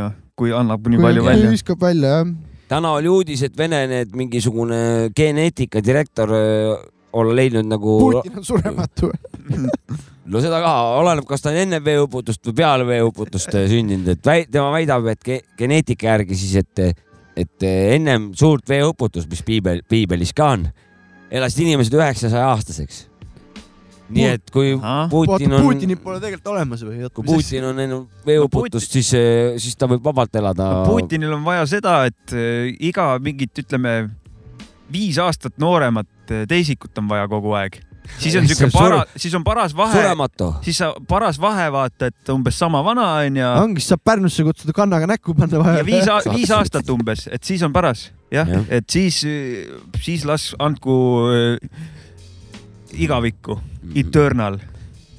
Speaker 2: ja kui annab nii palju välja .
Speaker 4: viskab välja jah .
Speaker 1: täna oli uudis , et Vene need mingisugune geneetika direktor öö, olla leidnud nagu ,
Speaker 4: Putin on surematu .
Speaker 1: no seda ka , oleneb , kas ta on enne veeuputust või peale veeuputust öö, sündinud , et väi, tema väidab , et ge, geneetika järgi siis , et , et öö, ennem suurt veeuputust , mis piibel , piibelis ka on , elasid inimesed üheksasaja aastaseks . nii et kui Putin
Speaker 4: vaata ,
Speaker 1: on .
Speaker 4: Putinit pole tegelikult olemas või ?
Speaker 1: kui Putin on enne veeuputust , siis , siis ta võib vabalt elada .
Speaker 2: Putinil on vaja seda , et eh, iga mingit , ütleme viis aastat nooremat eh, teisikut on vaja kogu aeg . siis on
Speaker 1: See
Speaker 2: siuke
Speaker 1: on
Speaker 2: para- , siis on paras vahe ,
Speaker 1: surematu .
Speaker 2: siis sa paras vahe vaata , et umbes sama vana on ja
Speaker 4: ongi , siis saab Pärnusse kutsuda kannaga näkku panna
Speaker 2: ja viis
Speaker 4: vahele . ,
Speaker 2: viis aastat umbes , et siis on paras , jah
Speaker 1: Jah. ,
Speaker 2: et siis , siis las andku äh, igavikku ,
Speaker 1: Mm.
Speaker 2: eternal .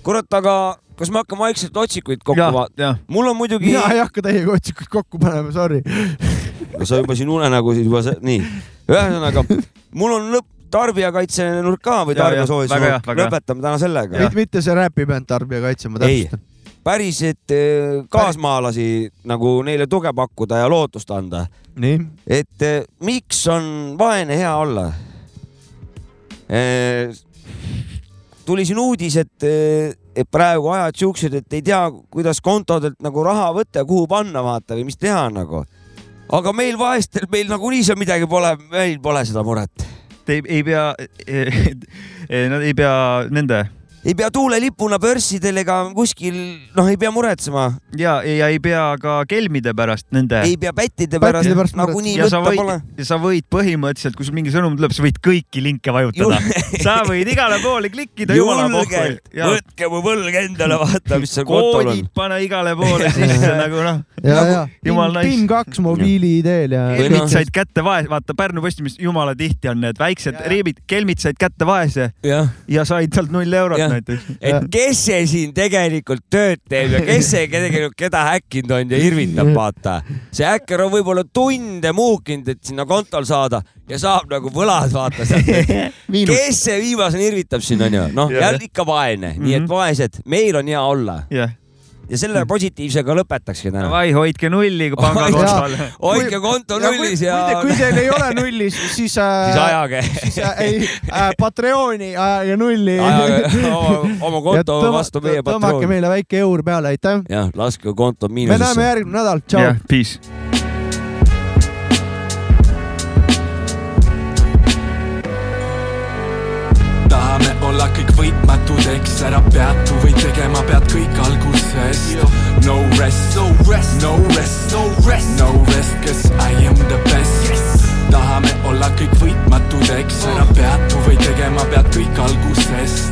Speaker 1: kurat , aga kas me hakkame vaikselt otsikuid kokku
Speaker 2: jah ,
Speaker 1: vaatama ?
Speaker 2: jah ,
Speaker 1: mul on muidugi
Speaker 4: mina , ei hakka teiega otsikuid kokku panema , sorry .
Speaker 1: sa juba siin unenägusid juba , nii , ühesõnaga mul on lõpp , tarbijakaitse nurk ka või
Speaker 2: Jaa, jah,
Speaker 1: tarbijasoojuse
Speaker 2: väga hea,
Speaker 1: nurk ,
Speaker 2: väga hea.
Speaker 1: lõpetame täna sellega .
Speaker 4: mitte see räpibänd Tarbijakaitse , ma
Speaker 1: Ei.
Speaker 4: täpsustan .
Speaker 1: päris , et eh, kaasmaalasi nagu neile tuge pakkuda ja lootust anda ,
Speaker 4: nii ,
Speaker 1: et eh, miks on vaene hea olla ? tuli siin uudis , et , et praegu ajad siuksed , et ei tea , kuidas kontodelt nagu raha võtta ja kuhu panna , vaata või mis teha nagu . aga meil vaestel , meil nagunii seal midagi pole , meil pole seda muret .
Speaker 2: ei , ei pea , nad ei pea nende
Speaker 1: ei pea tuulelipuna börssidel ega kuskil , noh , ei pea muretsema ,
Speaker 2: ja , ja ei pea ka kelmide pärast nende .
Speaker 1: ei pea pättide
Speaker 4: Pättide pärast
Speaker 1: pärast
Speaker 4: muret-
Speaker 1: nagunii
Speaker 2: ja sa
Speaker 1: võtta pole
Speaker 2: võid , sa võid põhimõtteliselt , kui sul mingi sõnum tuleb , sa võid kõiki linke vajutada . sa võid igale poole klikkida , jumala pohvel
Speaker 1: julgelt ,. võtke mu võlg endale , vaata , mis seal kontol on
Speaker 2: koodid . pane igale poole sisse nagu noh ,
Speaker 4: ja , ja .
Speaker 2: Jumal nice.
Speaker 4: PIN kaks mobiili ideel ja .
Speaker 1: Või
Speaker 2: kelmid
Speaker 1: noh.
Speaker 2: said kätte vaese , vaata Pärnu Postimees , jumala tihti on need väiksed riibid , kelmid said kätte vaese
Speaker 1: jah ,
Speaker 2: ja said sealt null eurot
Speaker 1: Jah.
Speaker 2: näiteks .
Speaker 1: et kes see siin tegelikult tööd teeb ja kes see tegelikult keda häkkinud on ja irvitab , vaata . see häkker on võib-olla tunde muukinud , et sinna kontol saada ja saab nagu võlad , vaata sealt . kes see viimasena irvitab siin onju , noh
Speaker 2: Jah.
Speaker 4: Mhm.
Speaker 1: jälle ikka vaene , nii et vaesed , meil on hea olla
Speaker 2: jah ,
Speaker 1: ja selle positiivsega lõpetakski täna .
Speaker 2: Davai , hoidke nulli pangakontol .
Speaker 1: hoidke konto nullis ja .
Speaker 4: kui teil ei ole nullis , siis äh,
Speaker 1: Siis ajage.
Speaker 4: siis äh, ei äh, , Patreoni ajage nulli .
Speaker 1: Ajage oma- oma konto vastu meie
Speaker 4: tõmmake
Speaker 1: Patreoni.
Speaker 4: meile väike eur peale , aitäh .
Speaker 1: jah , laske konto
Speaker 4: me
Speaker 1: miinusesse .
Speaker 4: näeme järgmine nädal , tšau .
Speaker 2: peace .
Speaker 9: tahame olla kõik võitmatud , eks ära peatu või tegema pead kõik algusest . No rest , no rest , no rest , no rest , no rest , cause I am the best yes. . tahame olla kõik võitmatud , eks ära peatu või tegema pead kõik algusest .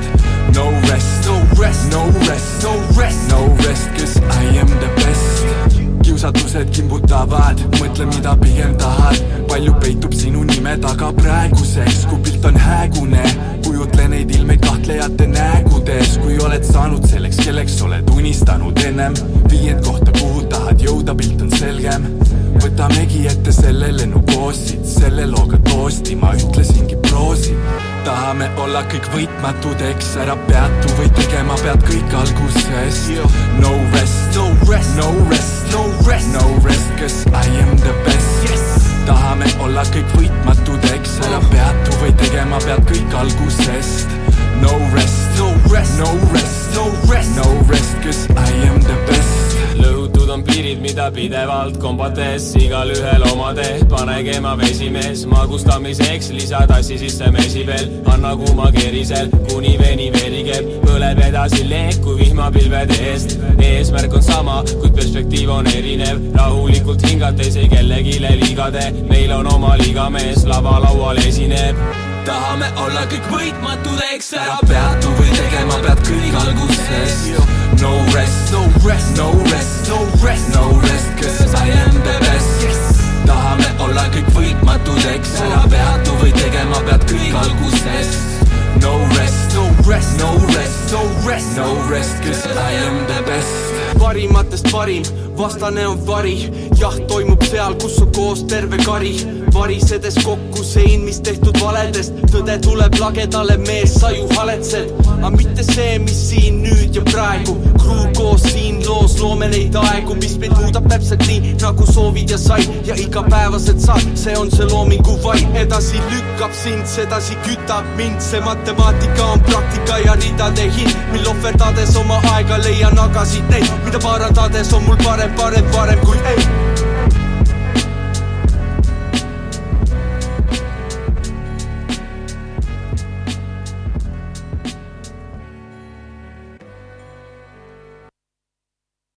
Speaker 9: No rest , no rest , no rest , no rest , no rest , cause I am the best kiusatused kimbutavad , mõtle , mida pigem tahad , palju peitub sinu nime taga praeguseks , kui pilt on häägune , kujutle neid ilmeid kahtlejate nägudes , kui oled saanud selleks , kelleks oled unistanud ennem , viiend kohta , kuhu tahad jõuda , pilt on selgem , võtamegi ette selle lennu koos siit , selle looga toosti , ma ütlesingi proosi , tahame olla kõik võitmatud , eks ära peatu või tegema pead kõik algusest , no rest , no rest , no rest , no rest , no rest , cause I am the best yes. . tahame olla kõik võitmatud , eks ära peatu või tegema pead kõik algusest . No rest , no rest , no rest , no rest , no rest , cause I am the best .
Speaker 12: lõhutud on piirid , mida pidevalt kombates , igalühel oma tee , pane keema vesimees , magustamiseks lisa tassi sisse mesi veel , anna kuuma kerisel , kuni veni verigeb , põleb edasi leek kui vihmapilved eest . eesmärk on sama , kuid perspektiiv on erinev , rahulikult hingates ei kellelegi liiga tee , meil on oma liiga mees , lavalaual esineb
Speaker 9: tahame olla kõik võitmatud , eks ära peatu või tegema pead kõik algusest . No rest , no rest , no rest , no rest , no rest , cause I am the best yes. . tahame olla kõik võitmatud , eks ära peatu või tegema pead kõik algusest . No rest , no rest , no rest , no rest , no rest , cause I am the best .
Speaker 13: parimatest parim , vastane on vari , jaht toimub seal , kus on koos terve kari , varisedes kokku sein , mis tehtud valedest , tõde tuleb lagedale , mees , sa ju haletsed , aga mitte see , mis siin nüüd ja praegu , kruu koos siin loos loome neid aegu , mis meid muudab täpselt nii , nagu soovid ja sai ja igapäevaselt saad , see on see loomingu vai , edasi lükkab sind , sedasi kütab mind , see matemaatika on praktika ja ridade hind , mil ohverdades oma aega leian agasid neid , mida parandades on mul parem , parem , parem kui ei